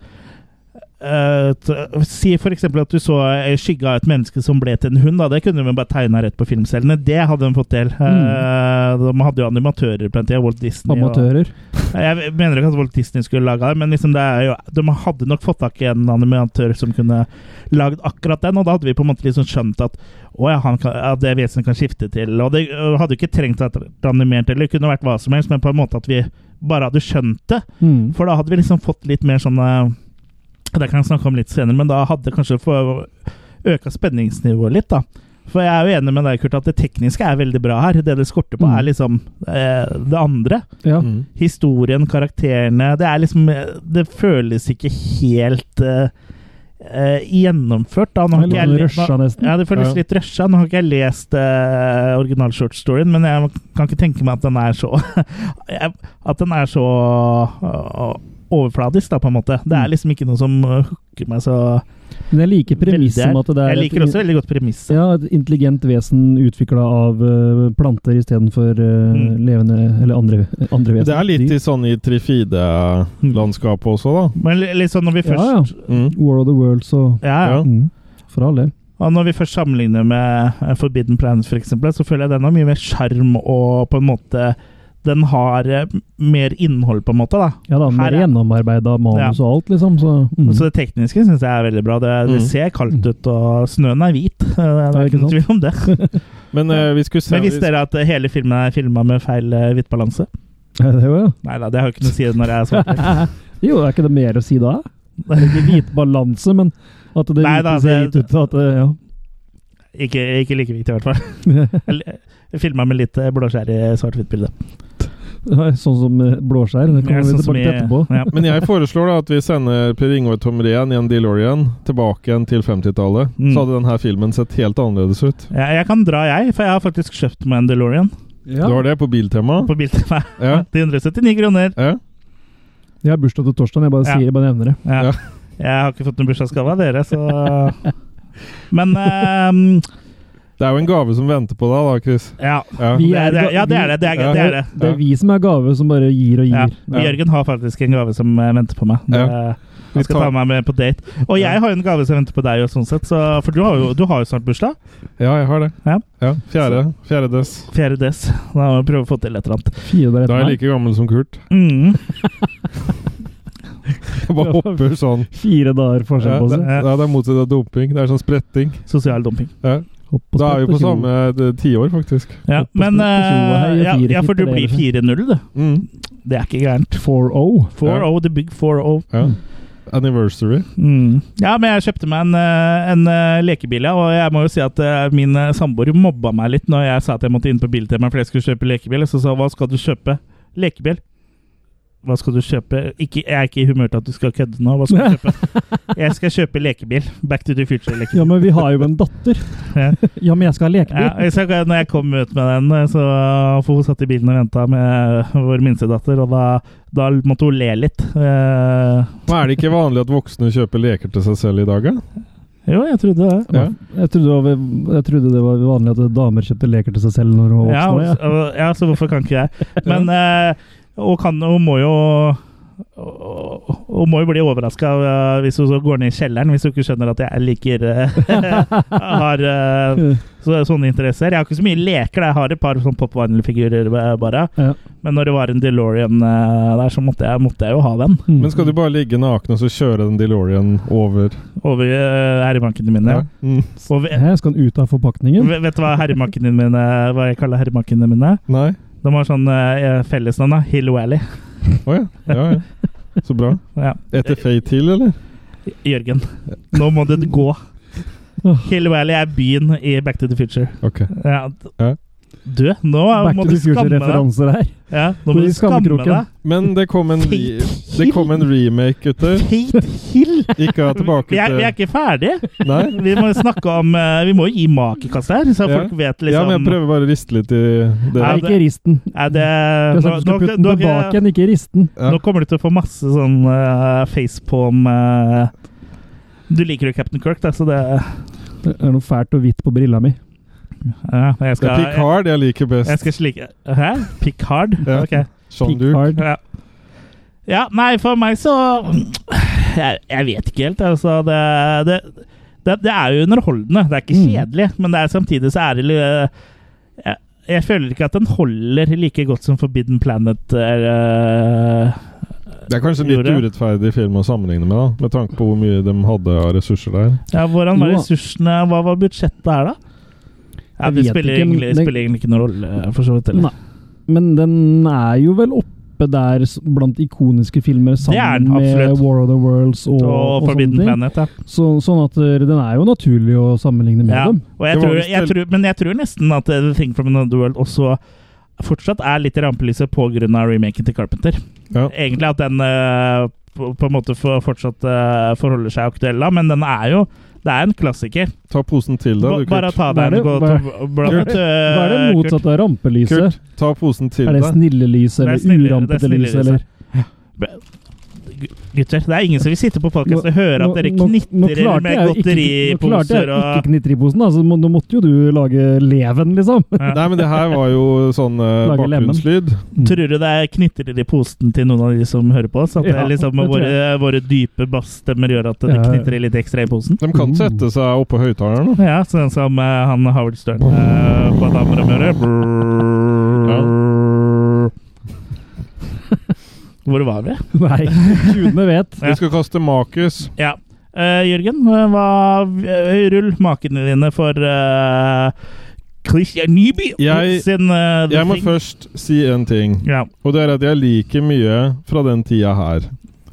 S2: eh, t- Si for eksempel at du så eh, skygge av et menneske som ble til en hund. Da. Det kunne vi bare tegna rett på filmcellene. Det hadde de fått til. Eh, de hadde jo animatører på den tida. Walt Disney.
S4: Amatører.
S2: Og, jeg mener ikke at Walt Disney skulle laga det, men liksom det er jo, de hadde nok fått tak i en animatør som kunne lagd akkurat den, og da hadde vi på en måte liksom skjønt at å ja, han kan, at det vesenet kan skifte til Og det ø, hadde jo ikke trengt å være animert, eller det kunne vært hva som helst, men på en måte at vi bare hadde skjønt det.
S4: Mm.
S2: For da hadde vi liksom fått litt mer sånn eh, Det kan jeg snakke om litt senere, men da hadde kanskje få- øka spenningsnivået litt, da. For jeg er jo enig med deg, Kurt, at det tekniske er veldig bra her. Det det skorter på,
S4: Mm.
S2: er liksom eh, det andre.
S4: Ja.
S3: Mm.
S2: Historien, karakterene Det er liksom eh, Det føles ikke helt eh, eh, gjennomført, da. Nå har ikke
S4: Eller
S2: jeg
S4: sånn
S2: le-
S4: rusha, nesten.
S2: ja, det føles
S3: Ja.
S2: litt rusha. Nå har ikke jeg lest uh, original-shortstoryen, men *laughs* jeg kan ikke tenke meg at den er så At den er så eh, overfladisk, da, på en måte.
S4: Mm.
S2: Det er liksom ikke noe som øh, hooker meg så
S4: Men jeg liker premisset om at det er
S2: Jeg liker også veldig godt premisset.
S4: Ja, et intelligent vesen utvikla av eh, planter istedenfor uh,
S2: Mm.
S4: levende Eller andre, andre vesen.
S3: Det er litt
S4: Dyr.
S3: i sånn i trifide-landskapet også, da.
S2: Men li- litt sånn når vi
S4: Ja,
S2: først
S4: ja.
S3: Mm.
S4: War of the Worlds og
S2: Ja, ja.
S3: Ja.
S4: mm, For all del.
S2: Og når vi først sammenligner med eh, Forbidden Planet, for eksempel, så føler jeg den har mye mer sjarm og på en måte Den har eh, mer innhold, på en måte. da.
S4: Ja da, mer
S2: Her er-
S4: gjennomarbeida manus og alt, liksom. Så, mm.
S2: Så det tekniske syns jeg er veldig bra. Det, det
S3: Mm.
S2: ser kaldt ut, og snøen er hvit. *laughs* Eh, Det er
S4: Ja, ikke
S2: ikke noen tvil om det.
S3: Men eh, vi skulle se
S2: Men visste dere at eh, hele filmen er filma med feil eh, hvittbalanse?
S4: *laughs* Ja, det er jo,
S2: Nei da, det har jo ikke noe å si når jeg er svart.
S4: *laughs* ja. jo, er ikke det mer å si da? Det er ikke hvit balanse, men at det
S2: Nei
S4: hvite
S2: da,
S4: ser
S2: det-
S4: hvit ut. At det, ja.
S2: Ikke, ikke like viktig, i
S4: *laughs*
S2: hvert fall. Filma med litt eh, blåskjær i svart-hvitt-bilde.
S4: sånn som eh, blåskjær. Det kommer vi
S2: Sånn som
S4: tilbake til
S2: i-
S4: etterpå.
S2: Ja.
S3: Men jeg foreslår da at vi sender Per Ingvar Tomrén i en DeLorean tilbake igjen til 50-tallet.
S2: Mm.
S3: Så hadde denne filmen sett helt annerledes ut.
S2: Ja, jeg kan dra, jeg, for jeg har faktisk kjøpt meg en DeLorean
S4: Ja.
S3: Du har det på Biltema?
S2: på Biltema.
S3: Ja.
S2: Til 179 kroner.
S3: ja.
S4: Jeg har bursdag til torsdag, jeg bare
S2: Ja.
S4: sier jeg bare nevner det.
S2: Ja.
S3: Ja.
S2: Jeg har ikke fått noen bursdagsgave av dere, så Men ehm,
S3: Det er jo en gave som venter på deg, da, Chris.
S2: ja.
S3: Ja.
S4: Vi-
S2: Det, det, ja, det er det. Det er det. Er det.
S4: Det er vi som er gave, som bare gir og
S2: Ja.
S4: gir.
S2: Og Jørgen har faktisk en gave som eh, venter på meg. Det,
S3: Vi
S2: Han skal ta
S3: tar-
S2: meg med på date. Og jeg
S3: Ja.
S2: har jo en gave som venter på deg, og sånn sett, så, for du har, jo, du har jo snart bursdag.
S3: Ja, jeg har det.
S2: Ja.
S3: Ja, Fjerde. Fjerde dess.
S2: 4. des. Da må vi prøve å få til et eller annet.
S4: Fire der
S3: Da
S4: etter
S3: er jeg
S4: meg.
S3: like gammel
S2: *laughs*
S3: som Kurt.
S2: Mm.
S3: Jeg bare hopper sånn.
S4: Fire dager
S3: Ja,
S4: forskjell på
S3: det,
S4: seg.
S3: ja, det er motsatt av doping. Det er sånn spretting.
S2: Sosial dumping.
S3: Ja.
S4: Hopp og
S3: Da er
S4: sprett
S3: vi på
S4: og tjo.
S3: samme eh, tiår, faktisk.
S2: Ja,
S4: Opp og
S2: men
S4: stå på tjoa her i
S2: eh, ja,
S4: fire
S2: ja, for du
S4: fitter,
S2: blir
S4: eller?
S2: 4-0, du.
S3: Mm.
S2: Det er ikke gærent.
S4: 4-0.
S2: 4-0, the big oh. 4-0.
S3: Ja. Anniversary.
S2: Mm. Ja, men jeg kjøpte meg en, eh, en eh, lekebil, ja, og jeg må jo si at eh, min eh, samboer mobba meg litt når jeg sa at jeg måtte inn på Biltema fordi jeg skulle kjøpe lekebil. Så sa hun, hva skal du kjøpe? Lekebil. Hva skal du kjøpe? Ikke, jeg er ikke i humør til at du skal kødde nå. Hva skal du kjøpe? Jeg skal kjøpe lekebil. Back to the future-lekebil.
S4: Ja, men vi har jo en datter.
S2: Ja.
S4: Ja, men jeg skal
S2: Ja,
S4: ha lekebil.
S2: jeg sa ikke at når jeg kom ut med den, eh, så for hun satt i bilen og venta med eh, vår minste datter, og da, da måtte hun le litt. Eh,
S3: Men er det ikke vanlig at voksne kjøper leker til seg selv i dag, da?
S2: jo, jeg trodde det.
S3: Ja.
S4: Jeg trodde, det var, jeg trodde det var vanlig at damer kjøpte leker til seg selv når de var
S2: Ja,
S4: voksne. Ja.
S2: og- ja, så hvorfor kan ikke
S4: *laughs*
S2: jeg? Men eh, hun, kan, hun må jo hun må jo bli overraska hvis hun så går ned i kjelleren, hvis hun ikke skjønner at jeg liker eh, *laughs* Har eh, så, sånne interesser. Jeg har ikke så mye leker, da. jeg har et par sånn Pop Warner-figurer eh, bare.
S4: Ja.
S2: Men når det var en DeLorean eh, der, så måtte jeg, måtte jeg jo ha den
S4: Mm.
S3: Men skal du bare ligge naken og så kjøre den DeLorean over?
S2: over eh, herremankene mine.
S3: Mm.
S2: Og ve-
S4: *laughs* Hæ, skal den ut av forpakningen?
S2: ve- vet du hva herremankene mine Hva jeg kaller herremankene mine?
S3: Nei?
S2: De har sånn eh, fellesnavn, da. Hill Valley.
S3: Å ja. ja, ja. Så bra.
S2: *laughs* Ja.
S3: Etter Fate Hill, eller?
S2: Jørgen, nå må det gå. Hill Valley er byen i Back to the Future.
S3: Ok.
S2: Ja.
S3: Ja.
S2: Du, nå
S4: Back
S2: må du
S4: to the
S2: skamme deg.
S4: future-referanser her.
S2: Ja, nå må
S4: I
S2: du skamme
S4: skammekroken.
S2: deg.
S3: Men det kom en, re det kom en remake, gutter.
S2: Fate Hill!
S3: Ikke tilbake
S2: Vi er, vi er
S3: til
S2: ikke ferdige.
S3: Nei?
S2: Vi må snakke om eh, Vi må jo gi makekast her, så
S3: Ja.
S2: folk vet
S3: Ja,
S2: liksom
S3: men jeg prøver bare å riste litt i det.
S4: Nei,
S2: Ja, det-
S4: ikke i risten.
S2: Er det
S4: Jeg
S2: nå, nå,
S4: sa du skulle putte
S2: nå,
S4: den tilbake igjen, ikke i risten.
S3: Ja.
S2: nå kommer du til å få masse sånn eh, facepalm eh, Du liker jo Captain Kirk, da, så det
S4: Det er noe fælt og hvitt på brilla mi.
S2: ja, jeg,
S3: Det er
S2: skal, jeg,
S3: Picard jeg liker
S2: jeg
S3: best.
S2: skal slike Hæ? Picard?
S3: Ja.
S2: Ok.
S3: Jean Duke.
S4: Picard.
S2: Ja. ja, nei, for meg så Jeg, jeg vet ikke helt, altså. Det, det, det, det er jo underholdende. Det er ikke
S4: Mm.
S2: kjedelig, men det er, samtidig så er det litt eh, jeg, jeg føler ikke at den holder like godt som Forbidden Planet. eh,
S3: Det er kanskje en litt
S2: Gjorde.
S3: urettferdig film å sammenligne med, da. Med tanke på hvor mye de hadde av ressurser der.
S2: Ja, hvordan var
S4: Jo.
S2: ressursene Hva var budsjettet her, da? Ja,
S4: Jeg
S2: det
S4: vet
S2: spiller,
S4: ikke, men
S2: egentlig,
S4: det-
S2: spiller egentlig ikke noen rolle, for så vidt. eller?
S4: Nei. Men den er jo vel oppe der s- blant ikoniske filmer
S2: er den,
S4: sammen med
S2: absolutt.
S4: War of the Worlds og,
S2: Og,
S4: og
S2: Forbidden
S4: sånne ting.
S2: Planet, ja.
S4: Så, sånn at eh, den er jo naturlig å sammenligne med
S2: ja.
S4: dem.
S2: Og jeg
S3: Det var
S2: tror,
S3: visst
S2: jeg
S3: veldig-
S2: tror, men jeg tror nesten at eh, The Thing from Another World også fortsatt er litt i rampelyset pga. remaken til Carpenter.
S3: Ja.
S2: Egentlig at den eh, på, på en måte for, fortsatt eh, forholder seg aktuell, da, men den er jo det er en klassiker.
S3: Ta posen til
S2: Ba-
S3: deg, du,
S2: Bare
S3: Kurt.
S2: ta
S4: Hva er
S2: deg
S4: det-
S2: en og
S4: hva-
S2: ta- bla-
S3: Kurt,
S2: eh,
S4: Hva er det
S2: Kurt.
S4: motsatte av rampelyset?
S3: Kurt, ta posen til
S4: Er det
S3: deg.
S4: snille lys
S2: Det er
S4: eller
S2: snillere- det er
S4: urampete lys?
S2: snillere
S4: Eller?
S2: Gutter, det er ingen som vil sitte på podkast og høre at dere
S4: Nå- nå- nå
S2: knitrer
S4: klarte
S2: med
S4: jeg jo ikke- Nå klarte jeg
S2: godteriposer
S4: jo
S2: og
S4: ikke knitteriposen, da, så må, nå måtte jo du lage leven, liksom. *laughs*
S3: Nei, men det her var jo sånn eh,
S4: Lage lemmen.
S3: bakgrunnslyd.
S2: Tror du det er knitrer i posen til noen av de som hører på oss? At det
S4: Ja,
S2: liksom
S4: det tror
S2: våre, våre dype bassstemmer gjør at det
S4: Ja.
S2: knitrer litt ekstra i posen?
S3: De kan sette seg oppå høyttaleren. da.
S2: Ja, sånn som eh, han Howard Stern eh, på damer og møre. Brrrr. Hvor var vi?
S4: Nei, gudene vet.
S2: Ja.
S3: Vi skal kaste Makus.
S2: Ja. Eh, Jørgen, eh, hva eh, Rull makene dine for eh, Christian Nyby
S3: Jeg-
S2: sin eh, The
S3: Jeg må
S2: Thing.
S3: først si en ting,
S2: Ja.
S3: og det er at jeg liker mye fra den tida her.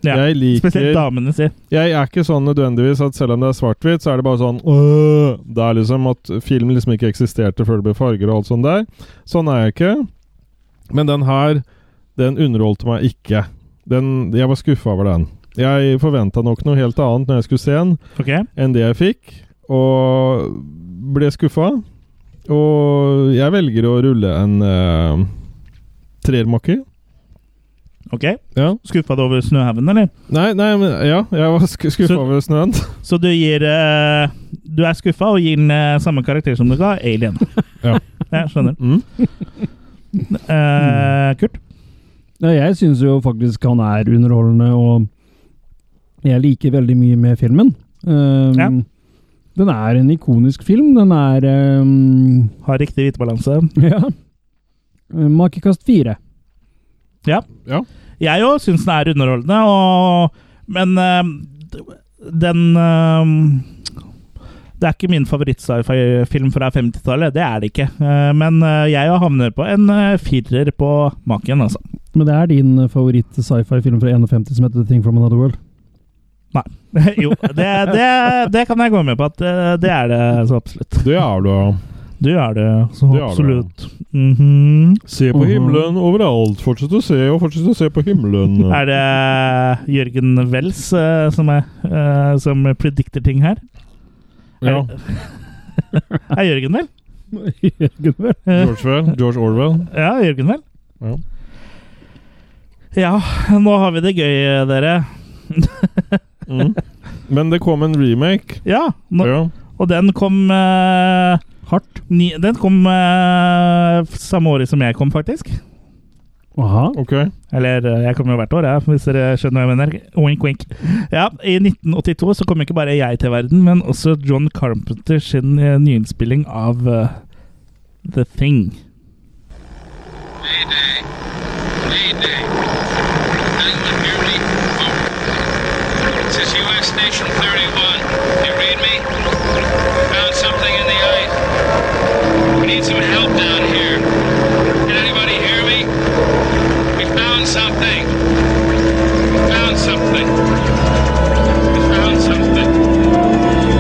S2: ja.
S3: Jeg
S2: Spesielt
S3: liker
S2: damene si.
S3: Jeg er ikke sånn nødvendigvis at selv om det er svart-hvitt, så er det bare sånn øh, Det er liksom at film liksom ikke eksisterte før det ble farger og alt sånt der. Sånn er jeg ikke. Men den her, den underholdte meg ikke. Den, jeg var skuffa over den. Jeg forventa nok noe helt annet når jeg skulle se den,
S2: Ok?
S3: enn det jeg fikk. Og ble skuffa. Og jeg velger å rulle en uh, trermakke.
S2: ok
S3: Ja.
S2: Skuffa du over Snøhaugen, eller?
S3: Nei, nei, men ja, jeg var skuffa
S2: Så-
S3: over snøen.
S2: Så du gir eh, Du er skuffa og gir den eh, samme karakter som du ga Alien.
S3: *laughs* Ja.
S2: Jeg skjønner.
S3: Mm.
S2: Eh, Kurt?
S4: Ja, jeg syns jo faktisk han er underholdende, og jeg liker veldig mye med filmen. Um,
S2: Ja.
S4: Den er en ikonisk film. Den er um,
S2: Har riktig hvitebalanse.
S4: *laughs* Ja. Ehm, Makekast fire.
S2: Jeg òg syns den er underholdende, og, men eh, den eh, Det er ikke min favoritt-sci-fi-film fra 50-tallet, det er det ikke. Eh, men eh, jeg òg havner på en eh, firer på maken, altså. *laughs*
S4: Men det er din favoritt-sci-fi-film fra 51 som heter The Thing from Another World.
S2: jo, det, det, det kan jeg gå med på at eh, det er det så absolutt.
S3: Det er du, ja.
S2: Du er det så
S3: Du er det.
S2: absolutt. Mhm.
S3: Se på
S4: Mhm.
S3: himmelen overalt. Fortsett å se, og fortsett å se på *laughs* himmelen.
S2: Er det Jørgen Wels eh, som, er, eh, som predikter ting her?
S3: Ja.
S2: *laughs* Er Jørgen vel?
S4: Gunnar.
S2: Eh,
S3: George, Orwell- George Orwell.
S2: Ja, Jørgen vel?
S3: Ja.
S2: Ja, nå har vi det gøy, dere.
S3: Mm. Men det kom en remake.
S2: Ja, nå,
S3: Ja.
S2: og den kom eh,
S4: Hardt.
S2: ni, Den kom eh, samme året som jeg kom, faktisk.
S4: Aha.
S3: Ok.
S2: Eller eh, jeg kommer jo hvert år, jeg, hvis dere skjønner hva jeg mener. Wink, wink. Ja, I 1982 så kom ikke bare jeg til verden, men også John Carpenter sin eh, nyinnspilling av eh, The Thing.
S8: Mayday. Mayday. England nearly over. This is U.S. Station 31. You read me? Found something in the ice. We need some help down here. Can anybody hear me? We found something. We found something. We found something.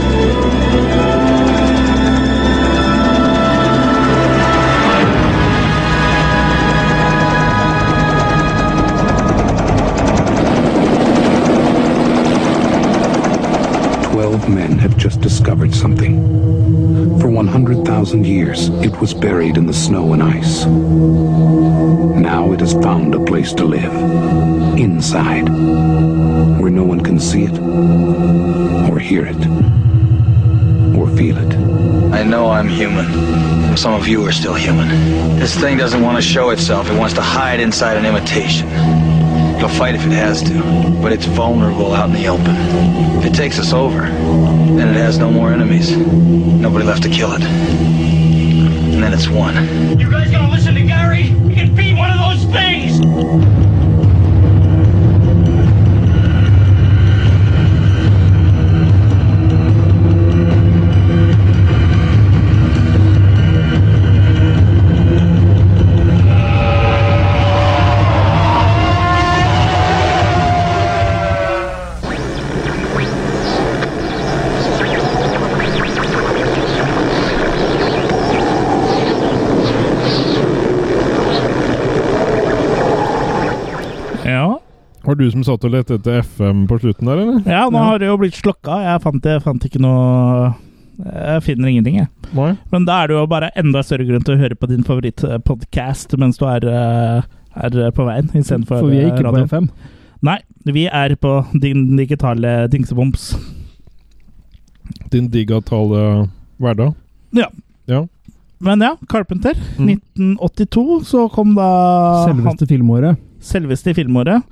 S9: Twelve men have just discovered something. For 100,000 years, it was buried in the snow and ice. Now it has found a place to live. Inside. Where no one can see it, or hear it, or feel it.
S10: I know I'm human. Some of you are still human. This thing doesn't want to show itself. It wants to hide inside an imitation. It'll fight if it has to, but it's vulnerable out in the open. If it takes us over, then it has no more enemies. Nobody left to kill it. And then it's one.
S8: You guys gonna listen to Gary? He can be one of those things!
S2: Ja,
S3: Var det du som satt og lette etter FM på slutten der, eller?
S2: ja nå har det jo blitt slokka. Jeg fant, jeg fant ikke noe Jeg finner ingenting, jeg.
S3: Nei.
S2: Men da er det jo bare enda større grunn til å høre på din favorittpodkast mens du er, eh, er på veien, istedenfor
S4: For vi er ikke på
S2: radioen.
S4: FM.
S2: Nei, vi er på din digitale dingseboms.
S3: Din digitale hverdag.
S2: Ja.
S3: Ja.
S2: Men ja, Carpenter.
S3: Mm.
S2: 1982 så kom da Ah, han-
S4: Selveste filmåret.
S2: selveste i filmåret.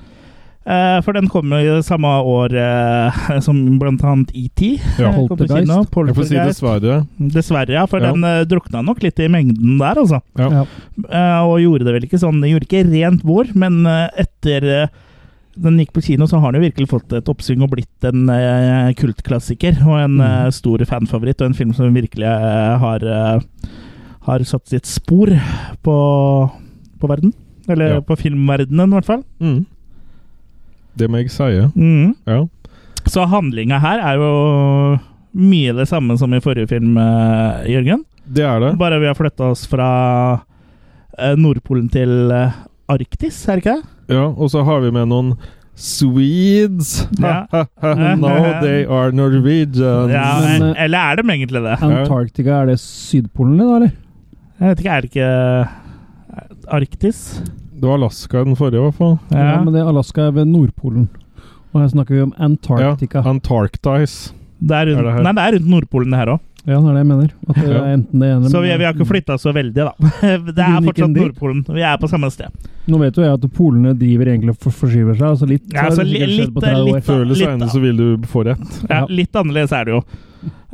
S2: Eh, for den kom jo i det samme år eh, *laughs* som blant annet ET.
S3: Ja.
S2: eh, kom på
S4: Poltergeist.
S2: kino.
S3: Jeg får si
S2: Poltergeist.
S3: dessverre.
S2: Dessverre, ja. For
S3: Ja.
S2: den eh, drukna nok litt i mengden der, altså.
S3: Ja.
S4: Ja.
S2: Eh, og gjorde det vel ikke sånn. Gjorde ikke rent vår, men eh, etter eh, den gikk på kino, så har den jo virkelig fått et oppsving og blitt en eh, kultklassiker. Og en eh,
S3: Mm.
S2: stor fanfavoritt, og en film som virkelig eh, har, eh, har satt sitt spor på, på verden. Eller
S3: Ja.
S2: på filmverdenen, i hvert fall.
S3: Mm. Det må jeg si.
S2: Mhm.
S3: Ja.
S2: Så handlinga her er jo mye det samme som i forrige film, eh, Jørgen.
S3: Det er det.
S2: Bare vi har flytta oss fra eh, Nordpolen til eh, Arktis, er det ikke det?
S3: Ja, og så har vi med noen Swedes. *laughs*
S2: Ja.
S3: no, they are Norwegians.
S2: Ja,
S4: Men,
S2: eh,
S4: eh,
S2: eller er de egentlig det?
S4: Antarktika, er det Sydpolen, da, eller?
S2: Jeg vet ikke, er det ikke Arktis?
S3: Det var Alaska den forrige, i hvert fall.
S2: Ja.
S4: Ja, men det er Alaska er ved Nordpolen. Og her snakker vi om Antarktika.
S3: Ja, Antarktis.
S2: det er rundt,
S3: Er det her?
S2: nei, det er rundt Nordpolen, det her òg.
S4: Ja, eh, det er det jeg mener. At det
S3: Ja.
S4: er enten det ene
S2: Så
S4: eller
S2: vi,
S4: det
S2: vi har ikke
S4: andre.
S2: flytta så veldig, da. *laughs* Det er
S4: Begynner ikke
S2: fortsatt
S4: en dritt.
S2: Nordpolen. Vi er på samme sted.
S4: Nå vet jo jeg at polene driver egentlig og for- forskyver seg, altså litt
S2: Ja, altså
S4: så har det
S2: li-
S4: sikkert skjedd på
S2: litt,
S4: 30 år.
S2: litt.
S3: Før eller
S2: Litt,
S3: senere
S2: da.
S3: så vil du få rett.
S2: Ja,
S4: Ja.
S2: litt annerledes er det jo.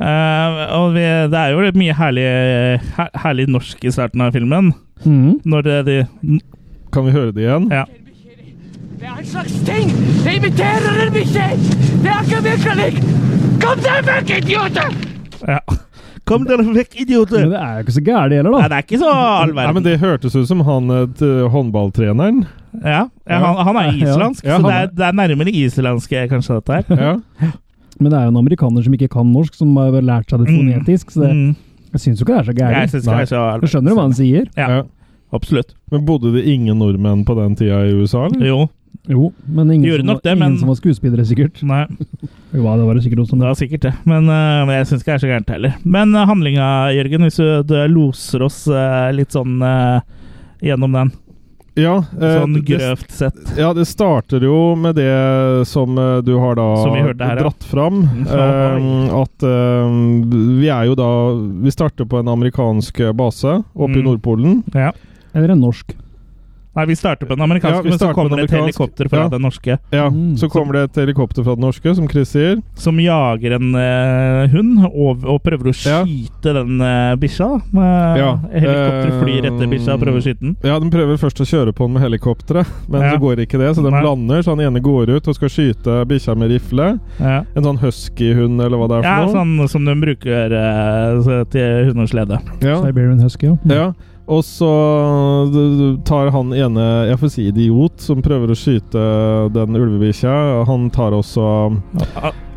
S2: Eh, og vi, det er jo mye herlig, her, herlig norsk i starten av filmen.
S4: Mhm.
S2: Når det, de
S3: Kan vi høre det igjen?
S2: Ja.
S1: Det er en slags ting! Det imiterer en bikkje! Det er ikke virkelig! Kom deg vekk, idioter!
S2: ja. Kom dere vekk, idioter!
S4: Men det er jo ikke så gærent det heller,
S2: Nei,
S4: da.
S2: det er ikke så all
S3: Nei, men
S2: verden.
S3: Det hørtes ut som han eh, t- håndballtreneren.
S2: *laughs* Ja, ja, han, han er
S4: Ja.
S2: islandsk,
S3: Ja,
S2: så
S3: han
S2: det er, det er nærmere islandsk eh, kanskje, dette
S3: *laughs*
S2: her.
S3: Ja.
S4: Men det er jo en amerikaner som ikke kan norsk, som har bare lært seg det
S2: Mm.
S4: fonetisk, så det,
S2: Mm.
S4: jeg syns jo ikke det er
S2: Jeg
S4: så gærent.
S2: syns ikke det er så all
S4: Du skjønner jo hva han sier?
S2: Ja.
S3: Ja.
S2: Absolutt.
S3: Men Bodde det ingen nordmenn på den tida i USA? eller?
S2: Jo.
S4: Jo, men ingen,
S2: Gjorde
S4: som,
S2: nok
S4: var-
S2: det,
S4: ingen
S2: men-
S4: som var skuespillere, sikkert.
S2: Nei,
S4: Jo, ja, det var det sikkert også.
S2: det
S4: Men...
S2: var sikkert det. Men øh, jeg syns ikke det er så gærent heller. Men uh, handlinga, Jørgen, hvis du, du loser oss øh, litt sånn øh, gjennom den,
S3: Ja, eh,
S2: sånn
S3: det-
S2: grøvt sett
S3: ja, det starter jo med det som eh, du har da
S2: Som vi hørte her, ja.
S3: dratt fram.
S2: *laughs* Ja,
S3: eh, at eh, vi er jo da Vi starter på en amerikansk eh, base oppe i
S2: Mm.
S3: Nordpolen.
S2: Ja.
S4: Eller en norsk.
S2: Nei, vi starter på den
S3: Ja,
S2: amerikanske,
S3: vi
S2: men så
S3: starter på
S2: kommer
S3: den
S2: det et
S3: amerikanske.
S2: helikopter fra
S3: Ja.
S2: den norske
S3: Ja,
S4: Mm.
S3: Så kommer det et helikopter fra det norske, som Chris sier.
S2: som jager en øh, hund og, og prøver å
S3: Ja.
S2: skyte den øh, bikkja. da. Eh,
S3: Ja.
S2: Helikopter flyr etter
S3: Eh,
S2: bikkja og prøver å skyte den.
S3: Ja, De prøver først å kjøre på den med helikopteret, men
S2: Ja.
S3: så går ikke det. Så de
S2: Nei.
S3: lander, så han ene går ut og skal skyte bikkja med rifle.
S2: Ja.
S3: En sånn huskyhund, eller hva det er
S2: Ja,
S3: for noe.
S2: sånn som de bruker eh, så- til hundeslede.
S3: Ja,
S4: Siberian Husky, ja.
S2: Mm.
S3: Ja, og så tar han ene, jeg får si idiot, som prøver å skyte den ulvebikkja. Han tar også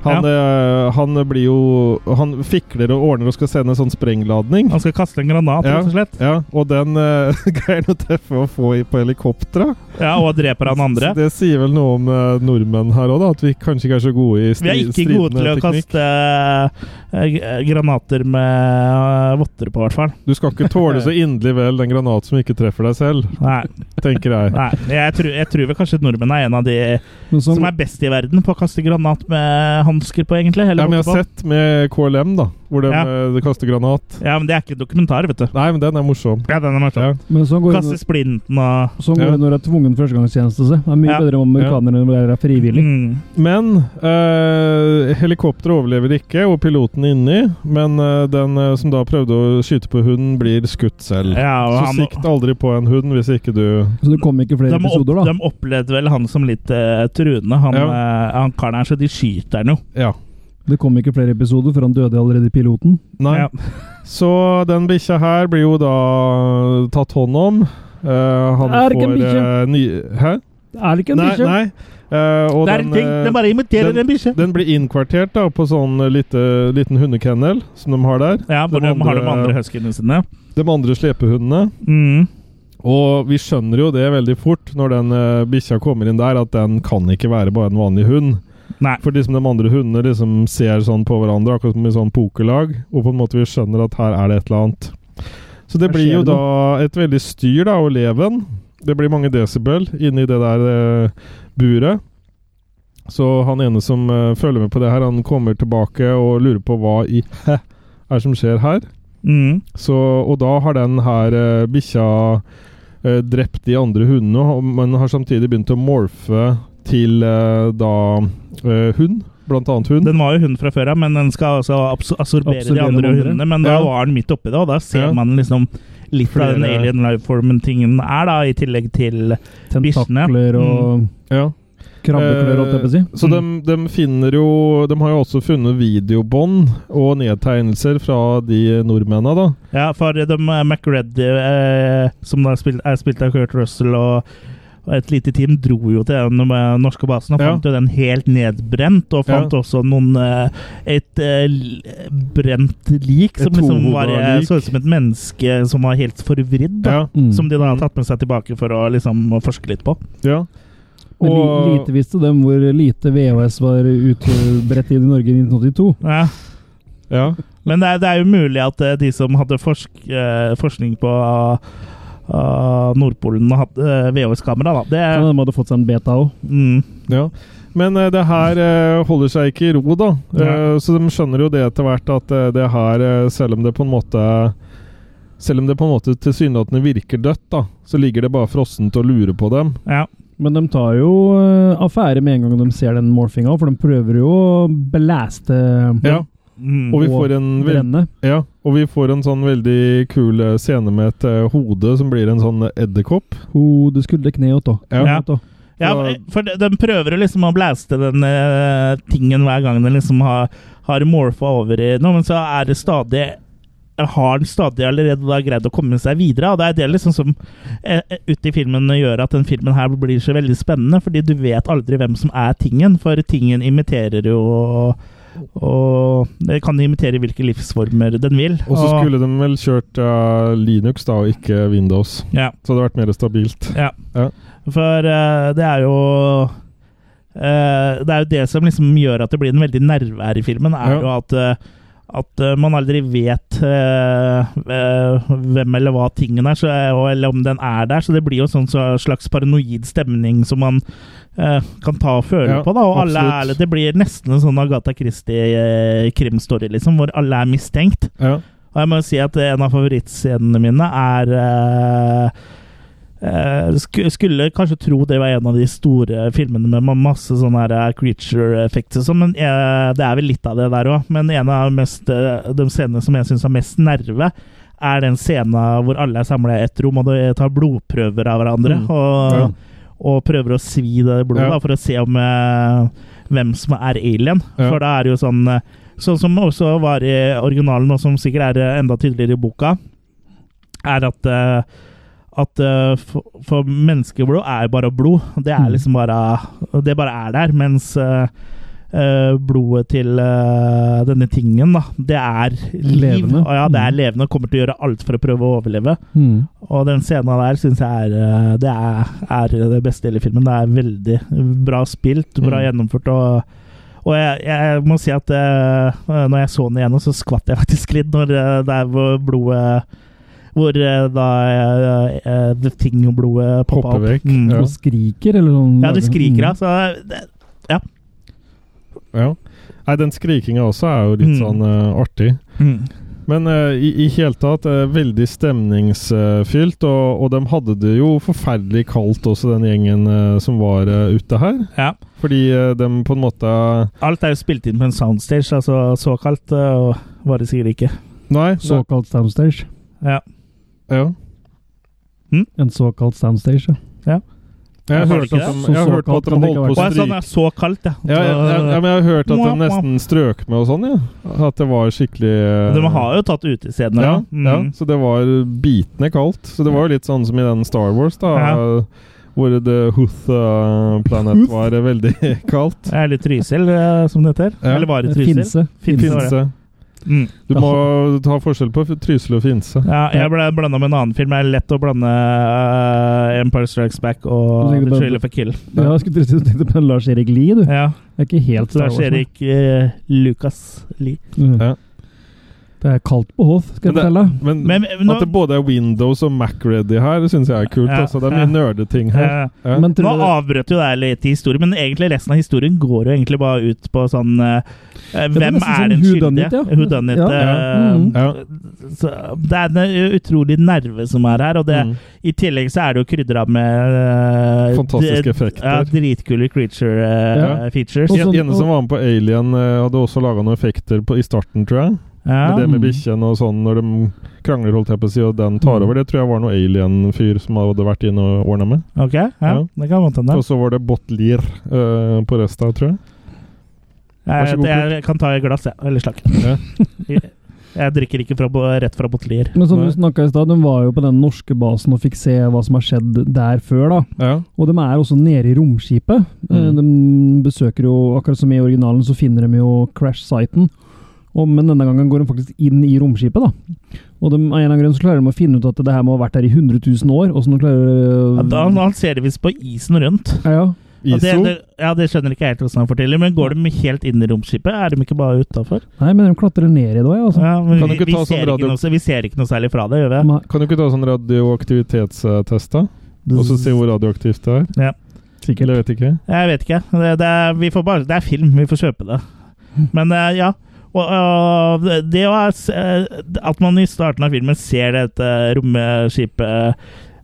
S3: han, eh, han blir jo Han fikler og ordner og skal sende en sånn sprengladning.
S2: Han skal kaste en granat,
S3: Ja.
S2: rett og slett.
S3: Ja, og den eh, *laughs* greier han å treffe og få i på helikopteret.
S2: Ja, Og dreper han andre.
S3: Så Det sier vel noe om eh, nordmenn her òg, da. At vi kanskje ikke er så gode i
S2: Vi
S3: stri
S2: er ikke gode til å kaste eh, g- granater med eh, votter på, i hvert fall.
S3: Du skal ikke tåle
S2: *laughs*
S3: så inderlig vel den granat som ikke treffer deg selv,
S2: Nei.
S3: tenker jeg.
S2: nei. Jeg, tror, jeg tror vel kanskje nordmenn er en av de
S4: Men som,
S2: som er best i verden på å kaste granat med hansker på, egentlig.
S3: Ja,
S2: Eller
S3: men jeg
S2: votter
S3: har
S2: på.
S3: sett med KLM, da, hvor de
S2: Ja.
S3: eh, kaster granat.
S2: Ja, men det er ikke dokumentar, vet du.
S3: Nei, men den er morsom.
S2: Ja, den er morsom.
S3: Ja.
S4: men sånn går det
S2: Kaste splinten og
S4: Sånn går
S3: Ja.
S4: det når du er tvungen førstegangstjeneste. Se. Det er mye
S2: Ja.
S4: bedre om amerikanerne enn det er frivillig.
S2: mm.
S3: Men eh, helikopteret overlever ikke, og piloten inni. Men eh, den eh, som da prøvde å skyte på hunden, blir skutt selv.
S2: Ja, og
S3: Så
S2: han,
S3: sikt aldri på en hund hvis ikke du
S4: Så det kom ikke flere
S2: de, opp,
S4: episoder, da.
S2: de opplevde vel han som litt eh, truende, han,
S3: Ja.
S2: eh, han karen her, så de skyter han jo.
S3: Ja.
S4: Det kom ikke flere episoder, for han døde allerede i piloten.
S3: Nei.
S2: Ja.
S3: Så den bikkja her blir jo da tatt hånd om. Eh, han
S4: Det er ikke
S3: får
S4: en bikkje.
S3: eh, ny... Hæ?
S4: Det er ikke en
S3: nei,
S4: bikkje!
S3: nei. Eh, og
S2: Det er
S3: den,
S2: en ting,
S3: eh,
S2: den bare imiterer
S3: den-
S2: en bikkje.
S3: den blir innkvartert da på sånn lite, liten hundekennel som de har der.
S2: Ja, hvor
S3: de
S2: de har de
S3: andre-
S2: andre huskyene sine.
S3: De andre slepehundene.
S2: Mm.
S3: Og vi skjønner jo det veldig fort når den eh, bikkja kommer inn der, at den kan ikke være bare en vanlig hund.
S2: Nei.
S3: For liksom de andre hundene liksom ser sånn på hverandre, akkurat som i sånn pokerlag. Og på en måte vi skjønner at her er det et eller annet. Så det
S4: Her
S3: blir
S4: skjer
S3: jo
S4: det
S3: da et veldig styr da, og leven. Det blir mange desibel inni det der eh, buret. Så han ene som eh, følger med på det her, han kommer tilbake og lurer på hva i hæ er som skjer her.
S2: Mm.
S3: Så, og da har den her eh, bikkja eh, drept de andre hundene, og- men har samtidig begynt å morfe til eh, da eh, hund, blant annet hund.
S2: Den var jo hund fra før av, men den skal altså abs absorbere,
S4: Absorbere
S2: de andre
S4: de andre.
S2: hundene. Men da
S3: Ja.
S2: var den midt oppi det, og da ser
S3: Ja.
S2: man liksom litt av den
S3: Flere-
S2: alien lifeformen-tingen er, da, i tillegg til
S4: Tentakler
S2: Bikkjene.
S4: og
S3: Ja. Eh,
S4: krabbeklør, holdt jeg på å si.
S3: Så
S2: Mm.
S3: de, finner jo De har jo også funnet videobånd og nedtegnelser fra de nordmennene, da.
S2: Ja, for de eh, McReady, eh, som da er spilt, er spilt av Kurt Russell og og et lite team dro jo til den eh, norske basen og
S3: Ja.
S2: fant jo den helt nedbrent. Og fant
S3: Ja.
S2: også noen eh, et eh, l- brent lik
S3: Et
S2: som liksom var,
S3: tohodet
S2: eh,
S3: lik.
S2: så ut som et menneske som var helt forvridd. Da,
S3: Ja,
S4: Mm.
S2: Som de da har tatt med seg tilbake for å liksom å forske litt på.
S3: ja.
S4: Men li,
S3: Og-
S4: lite visste dem hvor lite VHS var utbredt i Norge i 1982.
S2: Ja.
S3: ja.
S2: Men det er, det er jo mulig at eh, de som hadde forsk, eh, forskning på eh, Nordpolen, hadde eh, VHS-kamera. da. Det
S4: Kan hende de hadde fått seg en beta òg.
S2: mm,
S3: Ja. Men eh, det her eh, holder seg ikke i ro, da. Eh,
S2: Ja.
S3: så de skjønner jo det etter hvert at eh, det her, eh, selv om det på en måte Selv om det på en måte tilsynelatende virker dødt, da, så ligger det bare frossent og lurer på dem.
S2: ja.
S4: Men de tar jo eh, affære med en gang de ser den morfinga, for de prøver jo å blæste
S3: Ja.
S2: Mm.
S3: Og vi
S4: Og
S3: får en vel-
S4: brenne.
S3: Ja, og vi får en sånn veldig kul eh, scene med et eh, hode som blir en sånn edderkopp.
S4: Hode, skulder, kne og tå.
S3: Ja.
S2: Ja.
S4: Tå.
S2: Ja,
S3: Og-
S2: for de, de prøver å liksom å blæste den eh, tingen hver gang den liksom har, har morfa over i noe, men så er det stadig har den stadig allerede da greid å komme seg videre. Og det er det liksom som eh, ute i filmen gjør at den filmen her blir så veldig spennende, fordi du vet aldri hvem som er tingen, for tingen imiterer jo og det kan imitere hvilke livsformer den vil.
S3: Og så skulle de vel kjørt eh, Linux, da, og ikke Windows.
S2: ja.
S3: Så det hadde vært mer stabilt.
S2: Ja.
S3: Ja.
S2: For eh, det er jo eh, Det er jo det som liksom gjør at det blir en veldig nerve her i filmen, er
S3: Ja.
S2: jo at eh, at eh, man aldri vet eh, eh, hvem eller hva tingen er, så, eh, og- eller om den er der. Så det blir jo en sånn så- slags paranoid stemning som man eh, kan ta og føle
S3: Ja,
S2: på. da, og alle er,
S3: absolutt.
S2: Det blir nesten en sånn Agatha Christie-krimstory, liksom, hvor alle er mistenkt.
S3: Ja.
S2: Og jeg må jo si at en av favorittscenene mine er eh, eh, sk Skulle kanskje tro det var en av de store filmene med ma- masse sånne her, eh, creature effects og sånn, men eh, det er vel litt av det der òg. Men en av mest, eh, de scenene som jeg syns har mest nerve, er den scenen hvor alle er samla i ett rom og de eh, tar blodprøver av hverandre.
S3: Mm.
S2: Og,
S3: Ja.
S2: og prøver å svi det blodet
S3: Ja.
S2: da, for å se om eh, hvem som er alien.
S3: Ja.
S2: For da er det jo sånn eh, Sånn som også var i originalen, og som sikkert er eh, enda tydeligere i boka, er at eh, at eh, for, for menneskeblod er jo bare blod. Det er
S4: Mm.
S2: liksom bare Det bare er der. Mens eh, eh, blodet til eh, denne tingen, da, det er liv.
S4: Levende.
S2: Og ja, det er
S4: Mm.
S2: levende og kommer til å gjøre alt for å prøve å overleve.
S4: Mm.
S2: Og den scenen der syns jeg er, eh, det er, er det beste i hele filmen. Det er veldig bra spilt,
S3: Mm.
S2: bra gjennomført. og og jeg, jeg må si at eh, når jeg så den igjennom, så skvatt jeg faktisk litt når eh, det er hvor blodet Hvor eh, da eh, eh, The Thing-blodet poppa
S3: Popper
S2: opp.
S3: vekk,
S2: Mm.
S3: Ja.
S4: Og skriker, eller sånn.
S2: ja, de skriker,
S4: Mm.
S2: ja. Så det,
S3: Ja. Nei, den skrikinga også er jo litt
S2: Mm.
S3: sånn eh, artig.
S2: mm.
S3: Men eh, i, i hele tatt eh, veldig stemningsfylt, og, og de hadde det jo forferdelig kaldt også, den gjengen eh, som var eh, ute her.
S2: ja.
S3: Fordi eh, de på en måte
S2: Alt er jo spilt inn på en soundstage, altså såkalt. eh, Og var det sikkert ikke.
S3: Nei. nei,
S4: mm, Såkalt soundstage.
S2: Ja.
S3: ja.
S4: En såkalt soundstage, ja.
S2: Ja,
S3: Jeg har
S2: var det
S3: hørt
S2: ikke
S3: at
S2: det?
S3: de, jeg har
S4: Så
S3: hørt at
S4: såkalt
S3: de holdt
S4: kan
S3: på
S2: Og en
S3: å
S2: sånn
S3: stryke
S2: er så kaldt, ja.
S3: ja, jeg, jeg, ja, men jeg har hørt at de nesten strøk med og sånn, ja. At det var skikkelig eh,
S2: De har jo tatt utestedene.
S3: Ja,
S2: Mm.
S3: ja, så det var bitende kaldt. Så det var jo litt sånn som i den Star Wars, da.
S2: Ja.
S3: Hvor The Hooth eh, Planet var eh, veldig *laughs* kaldt.
S2: Det er litt Trysil, eh, som det heter.
S3: Ja.
S2: Eller bare Trysil.
S4: Finse.
S2: Finse var det.
S3: Finse.
S2: Mm.
S3: Du må ta forskjell på Trysil og Finse.
S2: Ja, jeg ble blanda med en annen film. Det er lett å blande eh, Empire Strikes Back og
S4: Du tenker
S2: The
S4: på-
S2: Trailer for Kill.
S4: Ja, jeg skulle tro du tenkte på en Lars-Erik Lie, du.
S2: Ja,
S4: Det er ikke helt
S2: Lars-Erik eh, Lucas Lie.
S4: Mm.
S3: Ja.
S4: Det er kaldt på Hoth, skal jeg
S3: Men
S4: fortelle.
S3: Men,
S2: Men- men nå-
S3: at det både er Windows og Mac-ready her, det syns jeg er kult.
S2: Ja,
S3: altså. Det er
S2: ja.
S3: mye nerdeting her.
S2: Eh,
S3: Ja.
S4: Men
S2: Nå
S4: tror du det,
S2: avbrøt jo det litt i historien, men egentlig resten av historien går jo egentlig bare ut på sånn eh, Hvem
S4: nesten
S2: er
S4: sånn
S2: den
S4: whodunit,
S2: skyldige?
S4: ja.
S2: Whodunit,
S4: Ja.
S2: eh,
S4: Mm.
S3: Ja.
S2: så Det er en utrolig nerve som er her, og det,
S3: Mm.
S2: i tillegg så er det jo krydra med eh,
S3: Fantastiske
S2: d-
S3: effekter.
S2: Ja, dritkule creature eh,
S4: Ja.
S2: features.
S4: Og så-
S3: En, ene som var med på Alien, eh, hadde også laga noen effekter på, i starten, tror jeg.
S2: Ja.
S3: Med det med bikkjen og sånn, når de krangler, holdt jeg på å si, og den
S2: Mm.
S3: tar over. Det tror jeg var noe alien-fyr som hadde vært inne og ordna med.
S2: Ok, ja,
S3: Ja.
S2: det kan godt hende.
S3: Og så var det Botlir eh, på resten, tror jeg. vær så
S2: Jeg,
S3: god,
S2: jeg kan ta et glass, jeg. Eller slakk.
S3: Ja.
S2: Jeg, jeg drikker ikke fra, bo- rett fra bottelier.
S4: men som
S3: Nei.
S4: du snakka i stad, de var jo på den norske basen og fikk se hva som har skjedd der før, da.
S3: Ja.
S4: Og de er også nede i romskipet. Eh,
S3: Mm.
S4: De besøker jo, akkurat som i originalen, så finner de jo crash-siten. Og- Men denne gangen går de faktisk inn i romskipet, da. Og de, av en eller annen grunn så klarer de å finne ut at det her må ha vært her i 100 000 år. Og så de klarer
S2: Da, han ser det visst på isen rundt.
S4: ja, ja.
S3: Mm. ISO.
S2: Og Det, det, *laughs* ja, det skjønner ikke jeg helt hvordan han forteller, men går de helt inn i romskipet? Er de ikke bare utafor?
S4: Nei, men de klatrer ned i det òg, ja. Altså.
S2: Ja, men
S3: Kan du
S2: vi,
S3: ikke
S2: vi,
S3: ta sånn
S2: ser
S3: radio-
S2: ikke noe så- vi ser ikke noe særlig fra det, gjør vi?
S4: Nei.
S3: Kan du ikke ta sånn radioaktivitetstest, da? Og så se hvor radioaktivt det er?
S2: Ja.
S3: Eller jeg vet ikke.
S2: Jeg vet ikke. Det, det, er, vi får bare, det er film, vi får kjøpe det.
S4: Mm.
S2: Men eh, ja. Og, og det å ha s- eh, At man i starten av filmen ser dette romskipet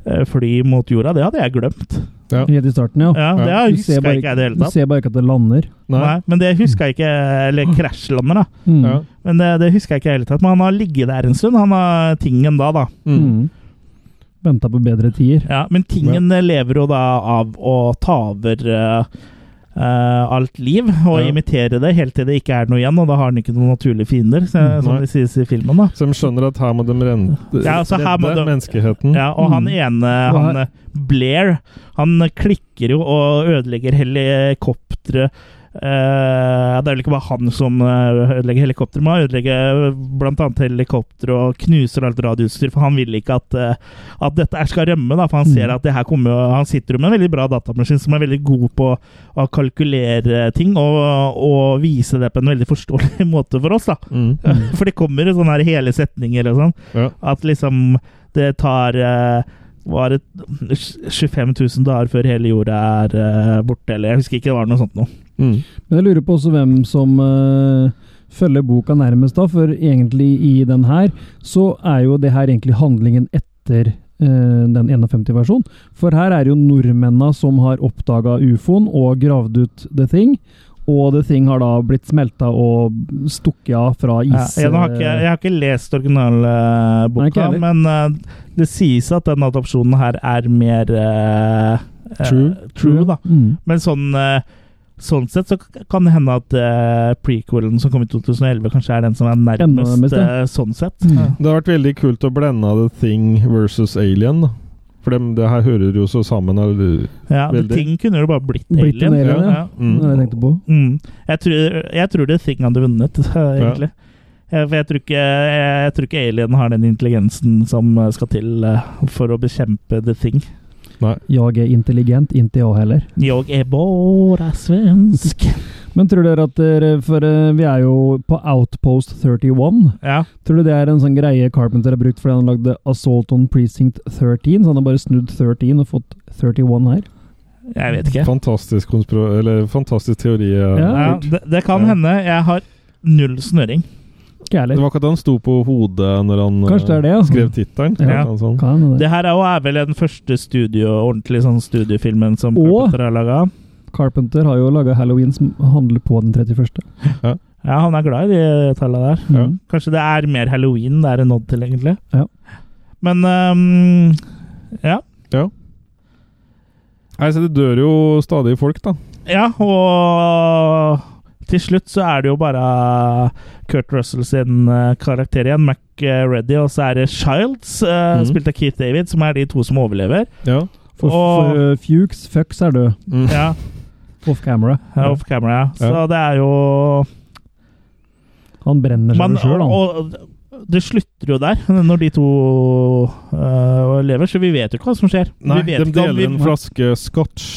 S2: eh, fly mot jorda, det hadde jeg glemt.
S4: Helt i starten, ja.
S2: Ja, Det
S3: Ja.
S4: Du
S2: huska
S4: ser bare
S2: jeg ikke jeg i det hele
S4: Du
S2: tatt.
S4: ser bare ikke at det lander.
S3: Nei.
S2: Nei, men det huska jeg ikke Eller krasjlander, da.
S4: Mm.
S3: Ja.
S2: Men det, det husker jeg ikke i det hele tatt. Men han har ligget der en stund, han har tingen da, da.
S3: Mm.
S4: Mm. Venta på bedre tider.
S2: Ja, men tingen eh, lever jo da av å ta over eh, eh, alt liv og
S3: Ja.
S2: imitere det helt til det ikke er noe igjen, og da har den ikke noen naturlige fiender, så, som
S3: Mm, Nei.
S2: det sies i filmen. da.
S3: Så de skjønner at her må de rente,
S2: Ja, altså, her må
S3: redde
S2: de-
S3: menneskeheten.
S2: Ja, og han
S4: Mm.
S2: ene,
S4: Og
S2: han
S4: her-
S2: eh, Blair, han klikker jo og ødelegger helikopteret. Eh, det er vel ikke bare han som eh, ødelegger helikopteret, men han ødelegger blant annet helikopteret og knuser alt radioutstyr, for han vil ikke at, eh, at dette her skal rømme. Da, for han ser
S4: Mm.
S2: at det her kommer jo- Han sitter jo med en veldig bra datamaskin som er veldig god på å kalkulere ting og, og vise det på en veldig forståelig *laughs* måte for oss. da
S3: Mm.
S2: For det kommer jo sånne her hele setninger og sånn.
S3: Ja.
S2: At liksom det tar eh, Var det 25 000 dager før hele jorda er eh, borte, eller jeg husker ikke det var noe sånt noe.
S3: Mm.
S4: Men jeg lurer på også hvem som eh, følger boka nærmest, da. For egentlig i den her, så er jo det her egentlig handlingen etter eh, den 51-versjonen. For her er det jo nordmennene som har oppdaga ufoen og gravd ut The Thing. Og The Thing har da blitt smelta og stukket av fra
S2: Ja,
S4: is... eh,
S2: jeg, nå har ikke, jeg har ikke lest originalboka,
S4: Nei, ikke heller.
S2: men eh, det sies at den adopsjonen her er mer eh, eh,
S3: True.
S2: true, da.
S4: Mm.
S2: Men sånn eh, Sånn sett så kan det hende at eh, prequelen som kom i 2011, kanskje er den som er nærmest,
S4: nærmest, ja.
S2: eh, sånn sett.
S4: Mm.
S3: Det har vært veldig kult å blende The Thing versus Alien. da. For dem, det her hører jo så sammen. eller-
S2: Ja,
S3: Veldig.
S2: Ting kunne jo bare blitt,
S4: Blitt en alien, ja.
S2: Ja.
S4: Det var det jeg
S3: Mm.
S4: tenkte på.
S2: Mm. Jeg, tror, jeg tror det er Thing hadde vunnet, *laughs* egentlig. Eh, For jeg tror, ikke, jeg, jeg tror ikke Alien har den intelligensen som eh, skal til eh, for å bekjempe The Thing.
S4: Jeg er intelligent, inte jeg heller.
S2: Jeg er bare svensk.
S4: Men tror dere at dere, for eh, vi er jo på Outpost 31.
S2: Ja.
S4: Tror du det er en sånn greie Carpenter har brukt fordi han lagde Assault on Precinct 13? Så han har bare snudd 13 og fått 31 her?
S2: Jeg vet ikke.
S3: Fantastisk, konspiro- eller, fantastisk teori. eh.
S4: Ja.
S2: Ja, det, det kan
S3: Ja.
S2: hende. Jeg har null snøring.
S4: Ikke
S3: Det
S4: ærlig.
S3: var ikke at han sto på hodet når han eh,
S4: Kanskje det er det, ja.
S3: skrev tittelen.
S4: Ja.
S3: At han Sånn.
S4: Kan hende det.
S2: Det her er, jo, er vel den første studio, ordentlig sånn studiofilmen som
S4: Og-
S2: Carpenter har laga.
S4: Carpenter har jo laga Halloween som handler på den 31.
S2: Ja, han er glad i de tallene der.
S4: Mm.
S3: Ja.
S2: Kanskje det er mer halloween det er en odd til, egentlig.
S4: Ja.
S2: Men ehm, ja.
S3: Nei, så Det dør jo stadig folk, da.
S2: ja. Og til slutt så er det jo bare Kurt Russell sin eh, karakter igjen, MacReady, og så er det Childs, eh,
S3: Mhm.
S2: spilt av Keith David, som er de to som overlever.
S3: Ja.
S4: For,
S2: Og-
S4: for eh, Fuchs, Fucks er død.
S3: Mm.
S2: Ja,
S4: Off camera.
S2: ja, off camera. ja. Så det er jo
S4: Han brenner
S2: Man,
S4: seg sjøl, han.
S2: og, og det slutter jo der, *laughs* når de to eh, lever, så vi vet jo ikke hva som skjer.
S3: Nei,
S2: vi
S3: de
S2: vet ikke om
S3: deler
S2: vi-
S3: en flaske scotch.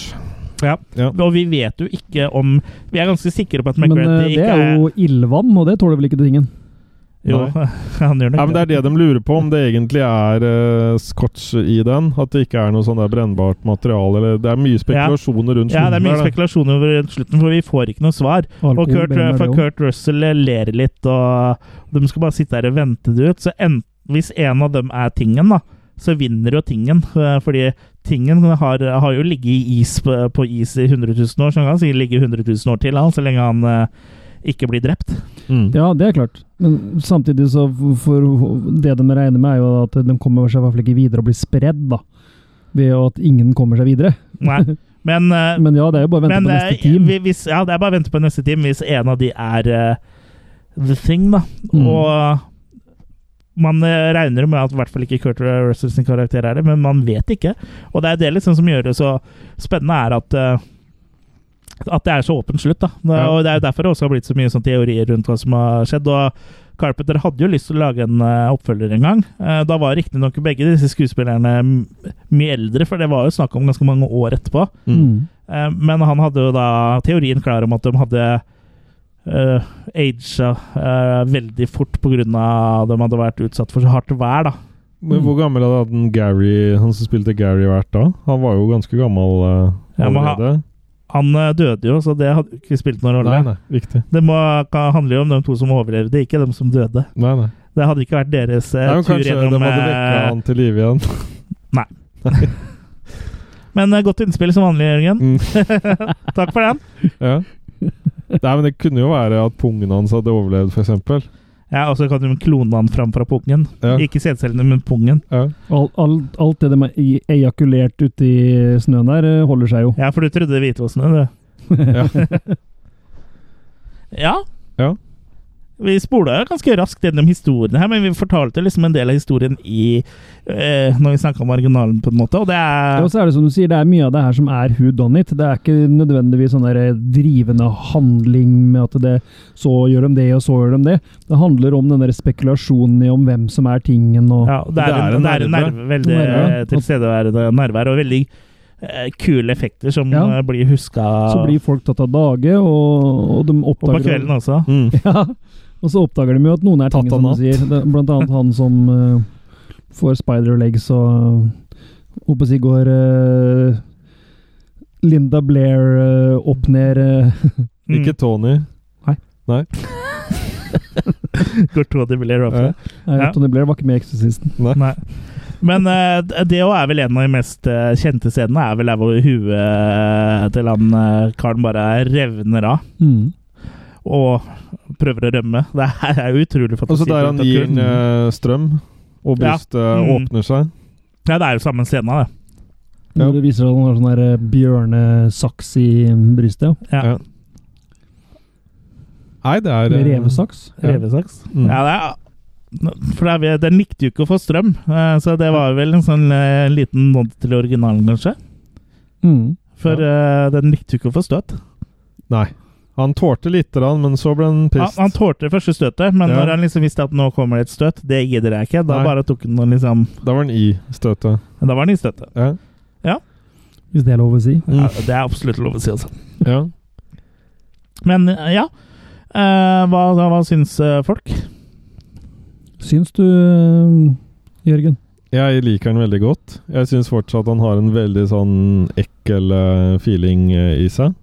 S2: Ja.
S3: Ja.
S2: Og vi vet jo ikke om Vi er ganske sikre på at
S4: Men eh,
S2: McReady
S4: det
S2: ikke
S4: er
S2: er
S4: jo ildvann, og det tåler vel ikke tingen?
S2: Jo,
S3: Nei.
S2: *laughs* han gjør nok
S3: Ja, men Det er det de lurer på, om det egentlig er eh, scotch i den. At det ikke er noe sånn der brennbart materiale. Eller, det er mye spekulasjoner rundt
S2: Ja, det er mye
S3: slutten der, da.
S2: spekulasjoner over slutten, for vi får ikke noe svar.
S4: Alkohol
S2: og Kurt, eh,
S4: brenner
S2: for
S4: jo.
S2: Kurt Russell ler litt, og de skal bare sitte her og vente det ut. Så en, hvis en av dem er tingen, da, så vinner jo tingen. eh, Fordi tingen har, har jo ligget i is på, på is i 100 000 år, så han kan sikkert ligge i 100 000 år til, han, så lenge han eh, ikke blir drept.
S3: Mm.
S4: Ja, det er klart. Men samtidig så for Det de regner med, er jo at de kommer seg i hvert fall ikke videre og blir spredd, da. Ved at ingen kommer seg videre.
S2: Nei. *laughs* Men, eh,
S4: Men ja, det er jo bare å vente på
S2: eh,
S4: neste team.
S2: vi- Hvis, ja, det er bare å vente på neste team hvis en av de er eh, the thing, da.
S4: Mm.
S2: Og man eh, regner med at i hvert fall ikke Kurt Russell sin karakter er det, men man vet ikke. Og det er det liksom som gjør det så spennende, er at eh, at det er så åpent slutt. da. Nå-
S3: Ja.
S2: Og Det er jo derfor det også har blitt så mye sånn teorier rundt hva som har skjedd. og Carpenter hadde jo lyst til å lage en eh, oppfølger en gang. Eh, da var riktignok begge disse skuespillerne m- mye eldre, for det var jo snakk om ganske mange år etterpå.
S4: Mm.
S2: Eh, Men han hadde jo da teorien klar om at de hadde uh, aga eh, veldig fort pga. at de hadde vært utsatt for så hardt vær, da.
S3: Men hvor gammel hadde han Gary, han som spilte Gary, vært da? Han var jo ganske gammel eh,
S2: Ja, men han-
S3: allerede.
S2: Han eh, døde jo, så det hadde jo ikke spilt noen rolle.
S3: Nei, nei, riktig.
S2: Det må, kan, handler jo om de to som overlevde, ikke de som døde.
S3: Nei, nei.
S2: Det hadde ikke vært deres eh,
S3: Nei, men
S2: tur
S3: kanskje de
S2: gjennom
S3: hadde vekka
S2: eh,
S3: han til live
S2: *laughs*
S3: igjen.
S2: Men eh, godt innspill som vanlig, Jørgen.
S3: Mm.
S2: *laughs* Takk for den.
S3: Ja. Nei, men det kunne jo være at pungen hans hadde overlevd, f.eks.
S2: Ja, Og så kan du klone han fram fra pungen.
S3: Ja.
S2: Ikke sædcellene, men pungen.
S3: Ja.
S4: Al- al- alt det de har i- ejakulert ute i snøen der, eh, holder seg jo.
S2: Ja, for du trodde hvitvossene, du.
S3: *laughs* Ja.
S2: *laughs* Ja.
S3: Ja.
S2: Vi spola ganske raskt gjennom historien her, men vi fortalte liksom en del av historien i eh, Når vi snakka om originalen, på en måte, og det
S4: Ja,
S2: er
S4: og så er det som du sier, det er mye av det her som er who done it. Det er ikke nødvendigvis sånn der eh, drivende handling med at det, så gjør de det, og så gjør de det. Det handler om den der spekulasjonen i om hvem som er tingen, og
S2: ja, det er, en, det er en nerve, veldig
S4: Nerve.
S2: eh, tilstedeværende nærvær, og veldig eh, kule effekter som
S4: Ja.
S2: eh, blir huska
S4: så blir folk tatt av dage, og, og de
S2: og på
S4: oppdager
S2: kvelden også.
S3: Mm.
S4: Ja, og så oppdager de jo at noen er
S3: Tatt
S4: tingen,
S3: av natt.
S4: som du sier. Det, er blant annet han som eh, får spider legs og Håper å si går eh, Linda Blair eh, opp ned eh, *laughs*
S2: Mm.
S3: Ikke Tony.
S2: *laughs* Går to av de blir oppe.
S3: Ja.
S4: Nei,
S2: Ja.
S4: Tony Blair var ikke med i Exorcisten.
S2: Nei. Men eh, d- det òg er vel en av de mest eh, kjente scenene, er vel der hvor huet til han eh, karen bare revner av. og prøver å rømme. Det her er jo utrolig
S3: Og så
S2: fantasifullt.
S3: der han
S2: at
S3: gir
S2: Kurt-
S3: den eh, strøm, og
S2: Ja.
S3: brystet
S2: Mm.
S3: åpner seg.
S2: Ja, det er jo samme scenen, det.
S4: Når det viser seg at han har sånn der eh, bjørnesaks i mm, brystet. ja.
S2: Ja.
S3: Ja. Nei, det er eh,
S4: Med revesaks.
S3: Ja.
S2: Revesaks.
S3: Mm.
S2: Ja, det er for det er, vi- den likte jo ikke å få strøm, eh, så det var vel en sånn eh, liten nod til originalen, kanskje.
S4: Mm.
S2: For eh, den likte jo ikke å få støt.
S3: Nei. Han tålte lite grann, men så ble han
S2: Han,
S3: pissed.
S2: han tålte det første støtet, men
S3: Ja.
S2: når han liksom visste at nå kommer det et støt, det gidder jeg ikke, da
S3: Nei.
S2: bare tok han noe liksom
S3: Da var han i støtet.
S2: Da var han i støtet.
S3: Ja.
S4: Hvis det er lov å si.
S3: Mm.
S2: Ja, det er absolutt lov å si, altså.
S3: ja.
S2: Men eh, ja. Eh, hva, hva syns eh, folk?
S4: Syns du, eh, Jørgen?
S3: Jeg liker han veldig godt. Jeg syns fortsatt han har en veldig sånn ekkel eh, feeling eh, i seg.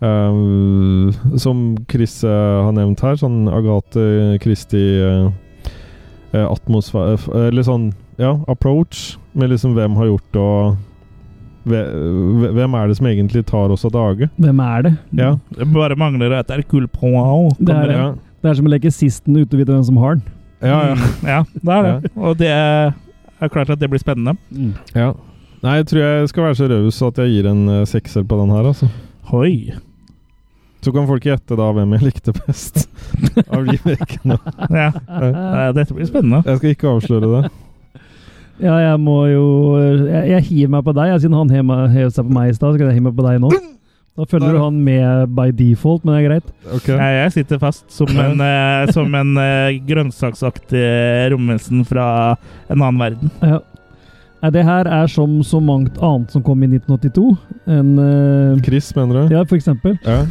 S3: Um, som Chris eh, har nevnt her, sånn Agathe eh, Christie-atmosfære Eller sånn, ja, approach med liksom hvem har gjort det, og hve- hvem er det som egentlig tar oss av dage?
S4: Hvem er det?
S3: Ja,
S2: Det bare mangler at det er kulpon.
S4: Det Mm. er det.
S3: ja,
S4: Det er som å leke sisten ute og vite hvem som har den.
S3: ja. ja.
S2: Mm, *laughs* ja, det er det. Og det er klart at det blir spennende.
S3: Ja. Nei, jeg tror jeg skal være så raus at jeg gir en eh, sekser på den her, altså.
S2: Hoi!
S3: Så kan folk gjette da hvem jeg likte
S4: *laughs*
S3: best. av de vekkene.
S2: Ja, eh, dette blir spennende.
S3: Jeg skal ikke avsløre det.
S4: Ja, jeg må jo Jeg, jeg hiver meg på deg. Jeg, siden han hev meg- hev seg på meg i stad, så kan jeg hive meg på deg nå. Da følger du han med by default, men det er greit.
S3: Ok.
S2: Ja, jeg sitter fast som en, eh, som en eh, grønnsaksaktig romvesen fra en annen verden.
S4: Ja. Nei, Det her er som så mangt annet som kom i 1982. En eh,
S3: Chris, mener du?
S4: Ja, for eksempel.
S3: Ja.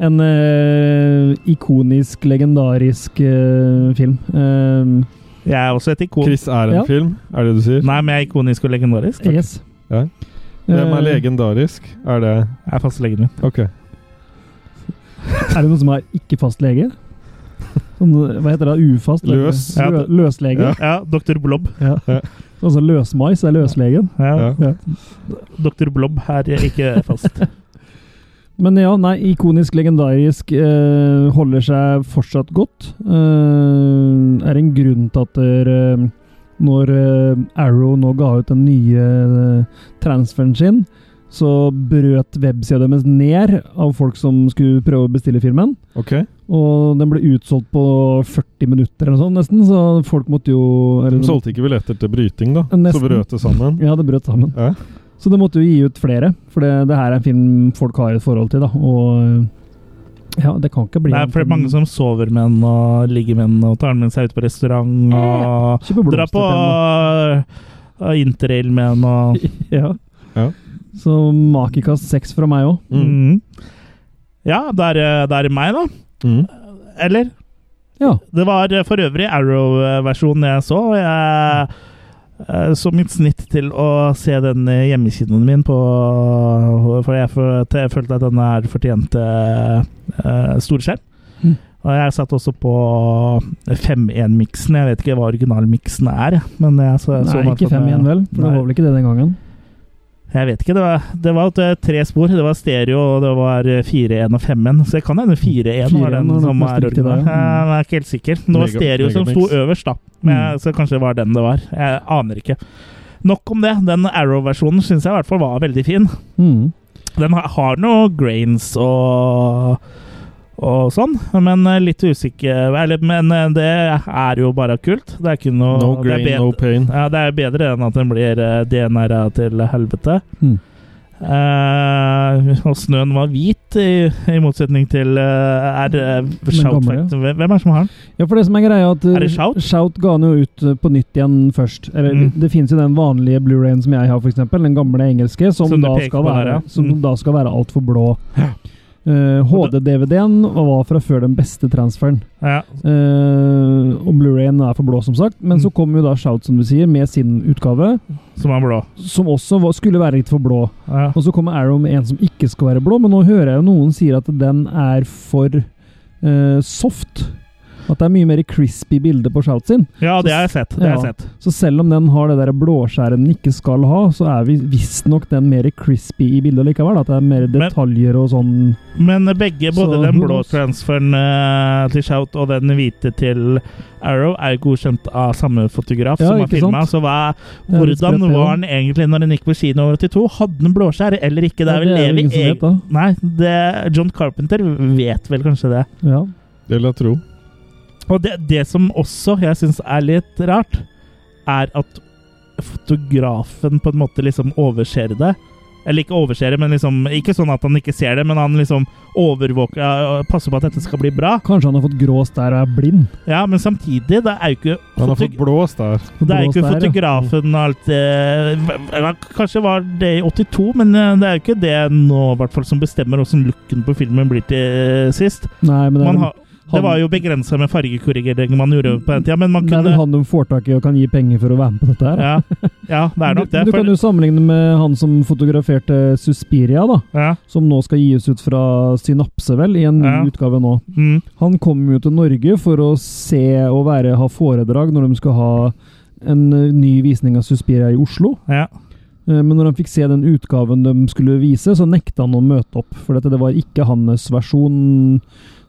S4: En eh, ikonisk, legendarisk eh, film. Eh,
S2: Jeg er også et ikon.
S3: Chris er en
S4: Ja.
S3: film, er det det du sier?
S2: Nei, men jeg er ikonisk og legendarisk. Takk.
S4: yes.
S3: Ja. Hvem
S4: Eh,
S3: er legendarisk? Er det
S2: Jeg er fastlegen min.
S3: Ok.
S4: Er det noen som er ikke fast lege? Sånn, hva heter det? Ufast? lege?
S3: Løs.
S4: Lø-
S2: Ja.
S4: Løslege?
S2: Ja, Dr. Blob.
S4: Ja.
S3: Ja.
S4: Altså løsmais er løslegen.
S2: Ja.
S3: Ja.
S4: Ja.
S2: Dr. Blob er ikke
S3: *laughs*
S2: fast.
S4: Men ja, nei, ikonisk, legendarisk, eh, holder seg fortsatt godt. Eh, er en grunn til at eh, når eh, Arrow nå ga ut den nye eh, transferen sin, så brøt websida deres ned av folk som skulle prøve å bestille filmen.
S3: Ok.
S4: Og den ble utsolgt på 40 minutter eller noe sånt, nesten, så folk måtte jo
S3: De
S4: eller,
S3: solgte ikke billetter til bryting, da. Så
S4: Nesten.
S3: brøt det sammen.
S4: Ja, det brøt sammen.
S3: Ja.
S4: Så det måtte jo gi ut flere, for det, det her er en film folk har et forhold til, da. Og eh, ja, det kan ikke bli
S2: Nei, for det er mange som sover med den, og ligger med den, og tar den med seg ut på restaurant, og
S4: Kjøper blomster
S2: drar på
S4: til den, da.
S2: uh, interrail med den, og
S4: ja.
S3: Ja.
S4: Så makikast seks fra meg òg.
S3: Mm.
S2: Mhm. Ja, det er, eh, det er meg, da.
S3: Mm.
S2: Eller?
S4: Ja.
S2: Det var eh, for øvrig Arrow-versjonen jeg så. og Jeg eh, så mitt snitt til å se den i hjemmekinoen min på For jeg, fø- jeg følte at den her fortjente eh, storskjerm.
S4: Mm.
S2: Og jeg satt også på 5.1-miksen. Jeg vet ikke hva originalmiksen er, men jeg så, så
S4: Nei,
S2: den
S4: ikke
S2: for
S4: fem
S2: meg.
S4: igjen, vel? For det
S2: Nei.
S4: var vel ikke det den gangen?
S2: Jeg vet ikke. Det var, det var at det er tre spor. Det var stereo, og det var 4-1 og 5-1. Så det kan hende 4-1 var
S4: 4-1
S2: den
S4: var nok
S2: som
S4: mest
S2: er
S4: riktig
S2: original.
S4: der, ja.
S2: Jeg er ikke helt sikker. Det var
S3: Mega-
S2: stereo som sto
S3: megamix.
S2: øverst, da. Men,
S4: Mm.
S2: Så kanskje det var den det var. Jeg aner ikke. Nok om det. Den Arrow-versjonen syns jeg i hvert fall var veldig fin.
S4: Mm.
S2: Den har, har noe grains og og sånn, men eh, litt usikker eller, Men eh, det er jo bare kult. Det er ikke noe
S3: No
S2: det er
S3: grain,
S2: bed-
S3: no pain.
S2: ja, det er bedre enn at den blir eh, DNR-a til helvete.
S4: Mm.
S2: Eh, og snøen var hvit, i, i motsetning til eh, er, det Shout
S4: gamle, ja.
S2: Factory. Hvem hvem er det som har den?
S4: Ja, for det som er greia, er at
S2: Er det Shout?
S4: Shout ga den jo ut eh, på nytt igjen først. Eller,
S2: Mm.
S4: Det fins jo den vanlige Blu-rayen som jeg har, for eksempel, Den gamle engelske, som,
S2: Som du
S4: da,
S2: peker
S4: skal
S2: på
S4: være,
S2: der, ja.
S4: som
S2: Mm.
S4: da skal være altfor blå. Eh, HD-DVD-en var fra før den beste transferen.
S2: Ja,
S4: Eh, og Blu-rayen er for blå, som sagt. Men
S2: Mm.
S4: så kom jo da Shout, som du sier, med sin utgave,
S2: som er blå.
S4: som også var, skulle være litt for blå.
S2: Ja.
S4: Og så kommer Arrow med en som ikke skal være blå, men nå hører jeg jo noen sier at den er for eh, soft. At det er mye mer crispy bilde på Shout sin.
S2: ja, det har jeg sett. Det har jeg
S4: Ja.
S2: sett.
S4: Så selv om den har det der blåskjæret den ikke skal ha, så er vi visstnok den mer crispy i bildet likevel. At det er mer detaljer og sånn.
S2: Men begge, både
S4: Så,
S2: den
S4: who
S2: blå
S4: knows?
S2: transferen eh, til Shout og den hvite til Arrow, er godkjent av samme fotograf
S4: Ja,
S2: som har
S4: ikke
S2: filma.
S4: sant?
S2: Så hva,
S4: Det er
S2: hvordan
S4: litt sprøtt, det
S2: var
S4: også.
S2: den egentlig når den gikk på kino i 82? Hadde den blåskjær eller ikke? Det
S4: Ja,
S2: er vel
S4: det er vel
S2: evig
S4: ingen som vet,
S2: eg-
S4: da.
S2: Nei, det, John Carpenter vet vel kanskje det.
S4: Ja.
S3: Det vil jeg tro.
S2: Og det, det som også jeg syns er litt rart, er at fotografen på en måte liksom overser det. Eller ikke overser det, men liksom Ikke sånn at han ikke ser det, men han liksom overvåker ja, Passer på at dette skal bli bra.
S4: Kanskje han har fått grå stær og er blind.
S2: Ja, men samtidig, det er jo ikke
S3: Han har
S2: foto-
S3: fått blåst der.
S2: det er jo ikke
S4: Blå stær, ja.
S2: fotografen og alt eh, hva- hva- Kanskje var det i 82, men eh, det er jo ikke det nå, i hvert fall, som bestemmer åssen looken på filmen blir til eh, sist.
S4: Nei, men det er,
S2: Man
S4: vel-
S2: har, det var jo begrensa med fargekorrigering man gjorde på den tida, men man
S4: det er
S2: kunne
S4: vel han de får tak i og kan gi penger for å være med på dette her.
S2: ja. ja, det er nok det.
S4: Du, du
S2: For,
S4: kan jo sammenligne med han som fotograferte Suspiria, da,
S2: ja,
S4: som nå skal gis ut fra Synapse, vel, i en ny
S2: Ja.
S4: utgave nå.
S2: mm,
S4: Han kom jo til Norge for å se og være, ha foredrag når de skal ha en eh, ny visning av Suspiria i Oslo.
S2: ja.
S4: Eh, Men når han fikk se den utgaven de skulle vise, så nekta han å møte opp. For dette, det var ikke hans versjon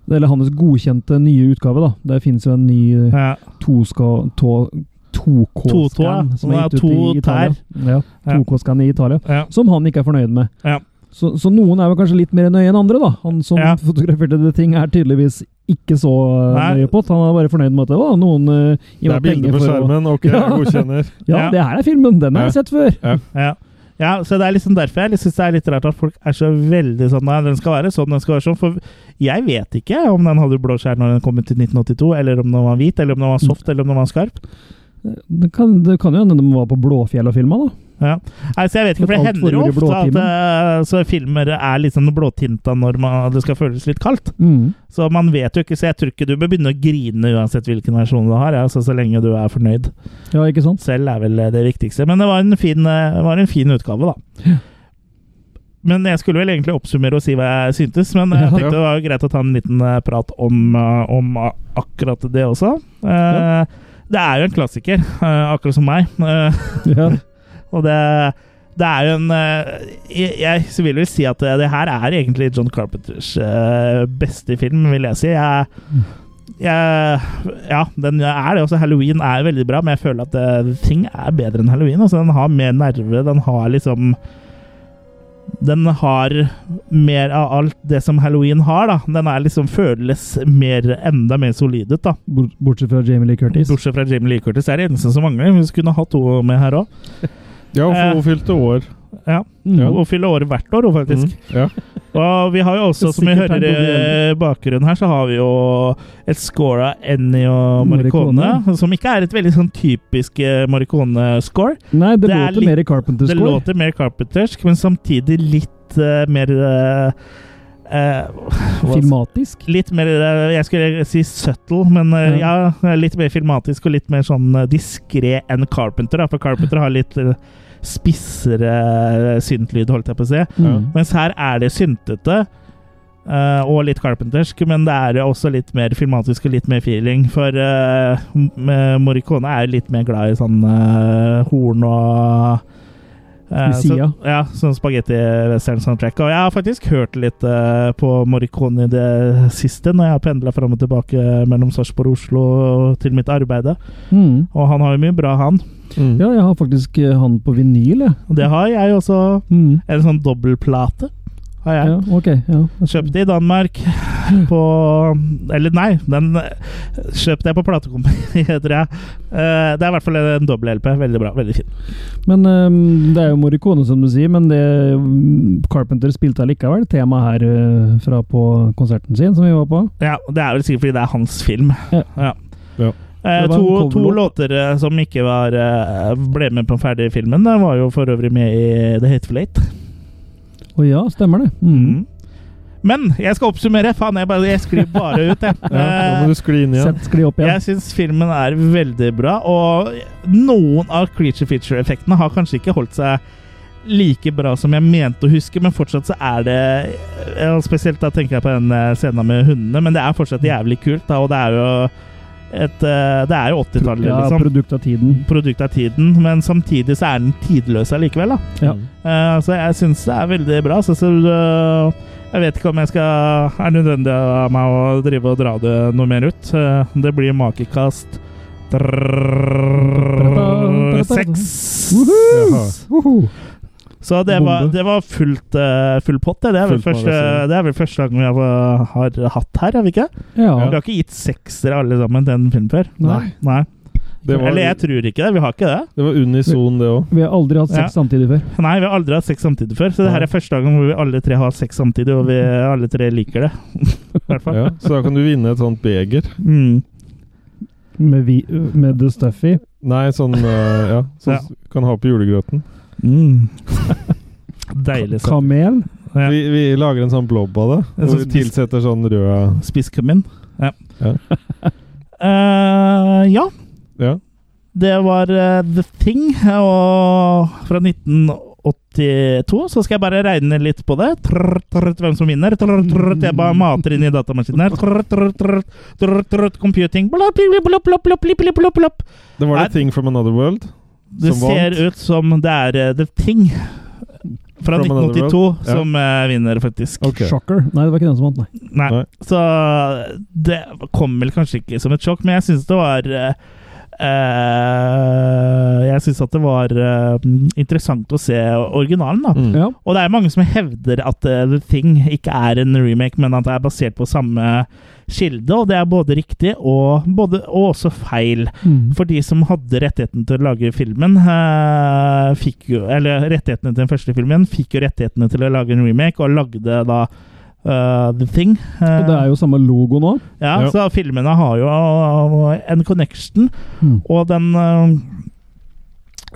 S4: Eller hans godkjente nye utgave, da. Der finnes jo en ny eh,
S2: ja.
S4: toska- tå-
S2: To-tå,
S4: 2K-skan
S2: ja.
S4: som er
S2: Sånn er
S4: gitt ut i
S2: to
S4: Italia. Ja,
S2: Ja.
S4: 2K-skan i Italia.
S2: Ja.
S4: Som han ikke er fornøyd med.
S2: Ja.
S4: Så, så noen er vel kanskje litt mer nøye enn andre, da. Han som
S2: Ja.
S4: fotograferte det ting, er tydeligvis ikke så eh,
S2: Nei.
S4: nøye på det. Han er bare fornøyd med at å, noen eh, gir
S3: Det er
S4: meg
S3: bilde på
S4: penger for å
S3: skjermen. Ok, jeg godkjenner.
S4: Ja,
S2: Ja.
S4: det her er filmen! Den har jeg
S3: Ja.
S4: sett før!
S2: ja. ja, så det er liksom derfor jeg syns det er litt rart at folk er så veldig sånn Nei, den skal være sånn, den skal være sånn. For jeg vet ikke om den hadde blå skjær når den kom ut i 1982, eller om den var hvit, eller om den var soft, eller om den var skarp.
S4: Det kan, det kan jo hende de var på Blåfjell og filma, da.
S2: Ja. Nei, så jeg vet ikke, for det
S4: Alt
S2: hender
S4: for
S2: jo
S4: ord i
S2: ofte at eh, så filmer er liksom blåtinta når man, det skal føles litt kaldt.
S4: Mm.
S2: Så man vet jo ikke, så jeg tror ikke du bør begynne å grine uansett hvilken versjon du har, ja, så, så lenge du er fornøyd
S4: Ja, ikke
S2: *laughs*
S4: sant?
S2: selv er vel eh, det viktigste. Men det var en fin, eh, var en fin utgave, da. Men jeg skulle vel egentlig oppsummere og si hva jeg syntes, men eh, jeg
S4: Ja.
S2: tenkte det var jo greit å ta en liten eh, prat om, eh, om a- akkurat det også. Eh, Det er jo en klassiker, eh, akkurat som meg. Eh,
S4: Ja.
S2: og det, det er jo en eh, Jeg, jeg vil vel si at det, det her er egentlig John Carpenters eh, beste film, vil jeg si. Jeg, jeg, ja, den er det. Også Halloween er veldig bra, men jeg føler at eh, ting er bedre enn Halloween. Altså, den har mer nerve, den har liksom den har mer av alt det som Halloween har, da. Den er liksom føles mer, enda mer solid ut, da.
S4: Bort- Bortsett fra Jamie Lee Curtis.
S2: Bortsett fra Jamie Lee Curtis. Det er det eneste som mangler. Vi skulle hatt henne med her òg.
S3: Ja,
S2: Eh.
S4: *laughs*
S3: for hun fylte år.
S2: Ja.
S3: Ja.
S4: Mm.
S2: Hun fyller året hvert år, hun, faktisk.
S3: Mm. Ja.
S2: Og vi har jo også,
S4: Det er
S2: som vi
S4: sikkert
S2: hører i bakgrunnen her, så har vi jo et score av Ennio Morricone,
S4: Morricone.
S2: som ikke er et veldig sånn typisk eh, Morricone-score.
S4: Nei, det,
S2: Det er
S4: låter
S2: litt-
S4: mer i Carpenters
S2: Det
S4: score.
S2: låter mer carpentersk, men samtidig litt eh, mer eh, eh, hva-
S4: Filmatisk.
S2: Litt mer eh, Jeg skulle si subtle, men eh, ja. litt mer filmatisk og litt mer sånn diskré enn Carpenter, da, for Carpenter har litt eh, spissere syntlyd, holdt jeg på å si.
S4: Mm.
S2: Mens her er det syntete. eh, og litt carpentersk, men det er jo også litt mer filmatisk og litt mer feeling. For eh, M- eh, Morricone er jo litt mer glad i sånn eh, horn og eh, så,
S4: Messia.
S2: ja, sånn spagetti-western-soundtrack. Og jeg har faktisk hørt litt eh, på Morricone i det siste, når jeg har pendla fram og tilbake mellom Sarpsborg og Oslo til mitt arbeide.
S4: Mm.
S2: Og han har jo mye bra, han.
S3: Mm.
S4: Ja, jeg har faktisk eh, han på vinyl, jeg.
S2: Og det har jeg også.
S4: Mm.
S2: En sånn dobbeltplate har jeg.
S4: Ja, ok. Ja.
S2: Kjøpte i Danmark
S4: Mm.
S2: på Eller nei, den kjøpte jeg på platekompaniet, *laughs* tror jeg. Eh, Det er i hvert fall en dobbel-LP. Veldig bra. Veldig fin.
S4: Men ehm, det er jo Morricone, som du sier, men det mm, Carpenter spilte allikevel temaet her eh, fra på konserten sin, som vi var på.
S2: Ja, og Det er vel sikkert fordi det er hans film.
S4: Ja.
S3: Ja.
S2: Eh,
S4: Det var
S2: to,
S4: en
S2: to
S4: coverlåt.
S2: låter eh, som ikke var, eh, ble med på den ferdige filmen, det var jo for øvrig med i The Hateful Eight.
S4: Å ja, stemmer det. Mm.
S2: Men jeg skal oppsummere! Faen, jeg, bare, jeg skriver bare
S4: *laughs*
S2: ut, jeg.
S3: Ja, nå må du skli inn igjen.
S4: Sett skli opp igjen.
S2: Jeg syns filmen er veldig bra, og noen av creature feature-effektene har kanskje ikke holdt seg like bra som jeg mente å huske, men fortsatt så er det ja, Spesielt da tenker jeg på den eh, scenen med hundene, men det er fortsatt jævlig kult, da, og det er jo et eh, Det er jo 80-tallet,
S4: Ja,
S2: liksom.
S4: produkt av tiden.
S2: Produkt av tiden, men samtidig så er den tidløs allikevel, da.
S4: Ja.
S2: Eh, så jeg syns det er veldig bra. Så, så eh, jeg vet ikke om jeg skal Er det nødvendig av meg å drive og dra det noe mer ut? Eh, det blir makekast trrrr, seks.
S3: Jaha.
S4: Woho!
S2: Så det var,
S4: Bombe.
S2: det var fullt, eh, full pott, det. Det er, vel
S3: Fullt magasin.
S2: første, det er vel første gang vi har, har hatt her, har vi ikke? Vi
S4: Ja.
S2: har ikke gitt seksere alle sammen til en film før.
S4: Nei.
S2: Nei.
S3: Det var,
S2: Eller jeg tror ikke det. Vi har ikke det.
S3: det var unison, det òg.
S4: Vi har aldri hatt sex samtidig før.
S2: Nei, vi har aldri hatt sex samtidig før, så det her er første gangen hvor vi alle tre har sex samtidig, og vi alle tre liker det. *laughs* I hvert fall.
S3: Mm. Ja. Så da kan du vinne et sånt beger.
S2: Mm.
S4: Med, vi, med The Stuffy.
S3: Nei, sånn eh, Ja, sånn
S2: Ja.
S3: s- kan ha på julegrøten.
S2: Mm. *laughs* Deilig sånn.
S4: Kamel.
S2: Ja.
S3: Vi, vi lager en sånn blob av det.
S2: En
S3: Og
S2: sånn
S3: vi tilsetter sånn rød
S2: Spisskamin. Ja.
S3: Ja.
S2: *laughs* Eh, ja,
S3: Ja.
S2: det var eh, The Thing, og fra 1982 så skal jeg bare regne litt på det. Trrrt, trrrt, hvem som vinner. Trrrt, trrrt, jeg bare mater inn i datamaskinen her. Trrrt, trrrt, trrrt, trrrt, trrrt, computing. Blopp, blopp, blopp, blopp, blopp, blopp, blopp.
S3: Det var
S2: Nei.
S3: det Thing from Another World.
S2: Det
S3: som vant.
S2: ser ut som det er eh, The Thing fra
S3: From another
S2: 1982
S3: world? Ja.
S2: som eh, vinner, faktisk.
S3: Ok.
S4: Shocker. Nei, det var ikke den som vant, nei.
S2: Nei.
S3: Nei.
S2: Så det kom vel kanskje ikke som et sjokk, men jeg syns det var eh, eh, Jeg syns at det var eh, interessant å se originalen, da.
S3: Mm.
S4: Ja.
S2: Og det er mange som hevder at eh, The Thing ikke er en remake, men at det er basert på samme kilde, og det er både riktig og, både, og også feil.
S4: Mm.
S2: For de som hadde rettigheten til å lage filmen, eh, fikk jo, eller rettighetene til den første filmen, fikk jo rettighetene til å lage en remake, og lagde da eh, The Thing. Eh,
S4: Og det er jo samme logo nå.
S2: ja,
S3: Ja.
S2: Så eh, filmene har jo eh, en connection,
S4: Mm.
S2: og den eh,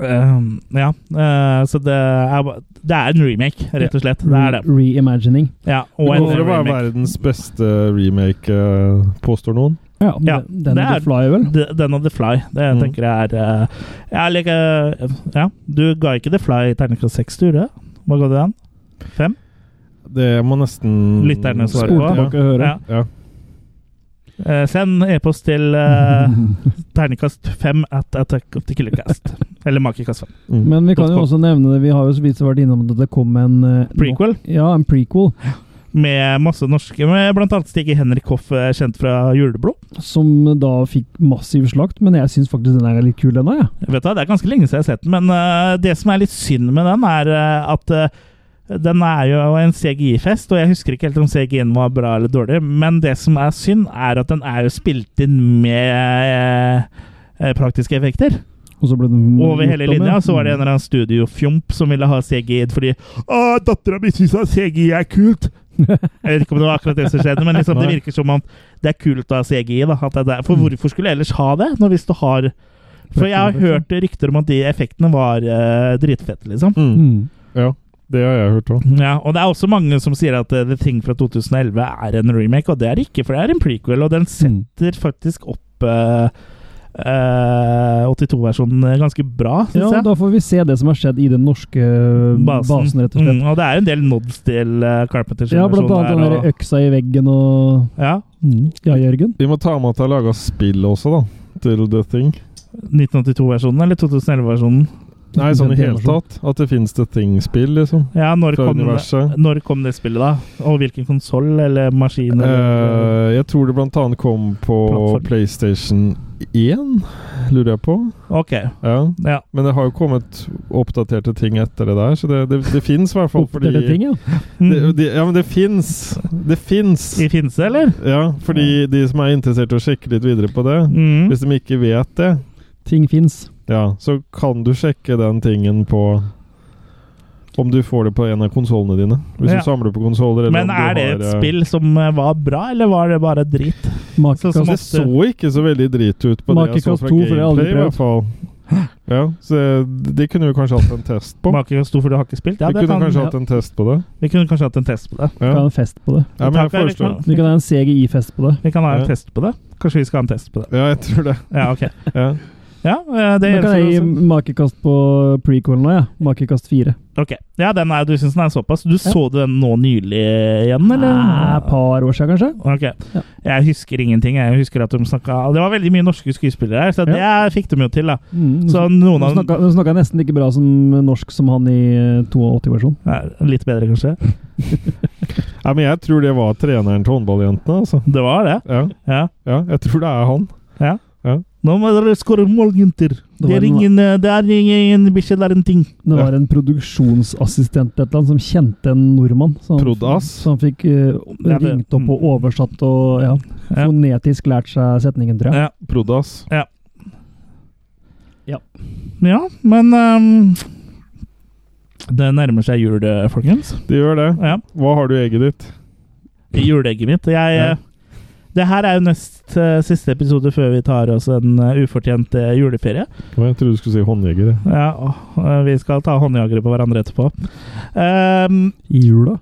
S2: Ehm, ja, eh, så det er, ba- det er en remake, rett og slett. Det er det.
S4: Reimagining.
S2: Ja,
S3: Det
S2: og en
S3: må vel være
S2: remake.
S3: verdens beste remake, eh, påstår noen.
S4: Ja,
S2: Ja,
S4: det- Den
S2: det
S4: er
S2: er-
S4: The Fly, vel?
S2: The- Den og The Fly. Det
S3: Mm.
S2: tenker jeg er eh, jeg liker, Ja, du ga ikke The Fly terningkast seks, du gjorde det? Hva ga du den? Fem?
S3: Det må nesten
S2: Lytterne svare
S4: Spol
S2: på.
S4: tilbake og høre.
S2: Ja.
S3: Ja.
S2: Eh, send e-post til eh, terningkast fem at Attack of the Killer Cast. Eller Makekast 5.
S3: Mm.
S4: Men vi kan jo
S3: .com.
S4: også nevne det, vi har jo så vidt vært innom at det kom en eh, nå-
S2: Prequel
S4: Ja, en prequel
S2: med masse norske, med blant annet Stig Henrik Hoff, eh, kjent fra Juleblod.
S4: som da fikk massiv slakt, men jeg syns faktisk den er litt kul ennå, jeg. Ja.
S2: Vet du, hva, Det er ganske lenge siden jeg har sett den, men eh, det som er litt synd med den, er eh, at eh, den er jo en CGI-fest, og jeg husker ikke helt om CGI-en var bra eller dårlig, men det som er synd, er at den er jo spilt inn med eh, praktiske effekter.
S4: Og så ble den
S2: Over hele
S4: Mm, gjort om,
S2: linja
S4: ja.
S2: så var det en eller annen studiofjomp som ville ha CGI fordi Å, dattera mi syns at CGI er
S4: *laughs*
S2: kult! Jeg vet ikke om det var akkurat det som skjedde, men liksom, det
S3: Nei.
S2: virker som om det er kult å ha CGI. Da, at det er der.
S4: Mm.
S2: For hvorfor skulle jeg ellers ha det? Når hvis du har For jeg har hørt rykter om at de effektene var eh, dritfette, liksom.
S3: Mm.
S4: Mm.
S3: Ja, det har jeg hørt òg.
S2: Ja, og det er også mange som sier at eh, The Thing fra 2011 er en remake, og det er det ikke, for det er en prequel, og den
S4: Mm.
S2: setter faktisk opp eh, eh, 82-versjonen ganske bra, syns
S4: Ja,
S2: jeg.
S4: da får vi se det som har skjedd i den norske eh, basen, rett og slett.
S2: Mm, og det er jo en del nods til uh, Carpenters
S4: Ja, blant
S2: versjon
S4: annet den
S2: der,
S4: der øksa i veggen og
S2: og, ja,
S4: mm. Ja, Jørgen?
S3: Vi må ta med at det er laga spill også, da. Til The Thing.
S2: 1982-versjonen eller 2011-versjonen.
S3: Nei, sånn i
S4: Den
S3: hele
S4: versjonen.
S3: tatt. At det finnes The Thing-spill, liksom.
S2: Ja, når
S3: Fra
S2: kom,
S3: universet.
S2: når kom det spillet, da? Og hvilken konsoll eller maskin? Eller,
S3: Eh, jeg tror det blant annet kom på
S2: Plattform.
S3: PlayStation 1, lurer jeg på.
S2: ok,
S3: Ja.
S2: ja.
S3: Men det har jo kommet oppdaterte ting etter det der, så det, det, det fins i hvert fall.
S4: Oppdatere ting, ja.
S3: det, det, ja, men det fins! Det fins!
S2: Mm. I Finse, eller?
S3: Ja, fordi de som er interessert i å sjekke litt videre på det
S2: Mm.
S3: Hvis de ikke vet det,
S4: Ting fins.
S3: ja, så kan du sjekke den tingen på Om du får det på en av konsollene dine. Hvis
S2: Ja.
S3: du samler på konsoller.
S2: Men er det et spill som eh, var bra, eller var det bare dritt? Sånn som
S4: Makekast
S3: Det så ikke så veldig drit ut på det jeg så
S4: Makekast
S3: fra
S4: 2, for det har jeg aldri
S3: Gameplay, i hvert fall. Ja, så det, det kunne vi kanskje hatt en test
S2: *laughs*
S3: på.
S2: Maker stor for du har ikke spilt? Ja,
S3: vi
S2: det
S3: kunne
S2: kan,
S3: kanskje
S2: ja.
S3: hatt en test på det.
S2: Vi kunne kanskje hatt en test på det.
S3: Ja,
S4: kan ha en fest på det.
S3: ja men jeg
S2: Takk, Erik,
S3: forstår
S2: men-
S3: det.
S4: Vi kan ha en CGI-fest på det.
S2: Vi kan ha en
S3: Ja.
S2: test på det. Kanskje vi skal ha en test på det.
S3: Ja, jeg tror det.
S2: Ja, ok.
S3: Ja.
S2: Ja, eh, det
S4: Da
S2: gjør
S4: kan
S2: vi
S4: jeg gi
S2: sånn.
S4: makekast på prequelen nå, ja. Makekast fire.
S2: Ok. Ja, den er, du syns den er såpass. Du så du den nå nylig igjen,
S4: Et
S2: eller?
S4: par år siden, kanskje?
S2: Ok. Jeg husker ingenting. Jeg husker at de snakket Det var veldig mye norske skuespillere her, så det fikk de jo til, da.
S4: Mm,
S2: Så
S4: nå
S2: noen av
S4: snakka- nå snakka jeg nesten like bra som norsk som han i eh, 82-versjonen.
S2: ja, Litt bedre, kanskje.
S3: ja, men jeg tror det var treneren til håndballjentene, altså.
S2: Det var det.
S3: Ja,
S2: Ja.
S3: ja, jeg tror det er han.
S2: Nå må dere skåre mål, jenter.
S4: Det
S2: Det
S4: var
S2: er
S4: en-
S2: ingen eh, Det er ingen bikkje, det er en ting.
S4: Det var en produksjonsassistent eller et eller annet, som kjente en nordmann. Så han,
S3: Prodass.
S4: så han fikk eh,
S2: Ja, det- mm.
S4: ringt opp og oversatt og ja,
S2: Ja.
S4: fonetisk lært seg setningen, tror jeg.
S2: Ja.
S3: Prodass.
S2: ja men ehm, Det nærmer seg jul, eh, folkens.
S3: Det gjør det.
S2: Ja.
S3: Hva har du i egget ditt?
S2: juleegget mitt. Jeg, eh,
S3: Ja.
S2: Det her er jo nest eh, siste episode før vi tar oss en eh, ufortjent eh, juleferie.
S3: Å, Jeg trodde du skulle si håndjeger. jeg.
S2: Ja, åh, eh, vi skal ta håndjagere på hverandre etterpå. Ehm,
S4: I jula.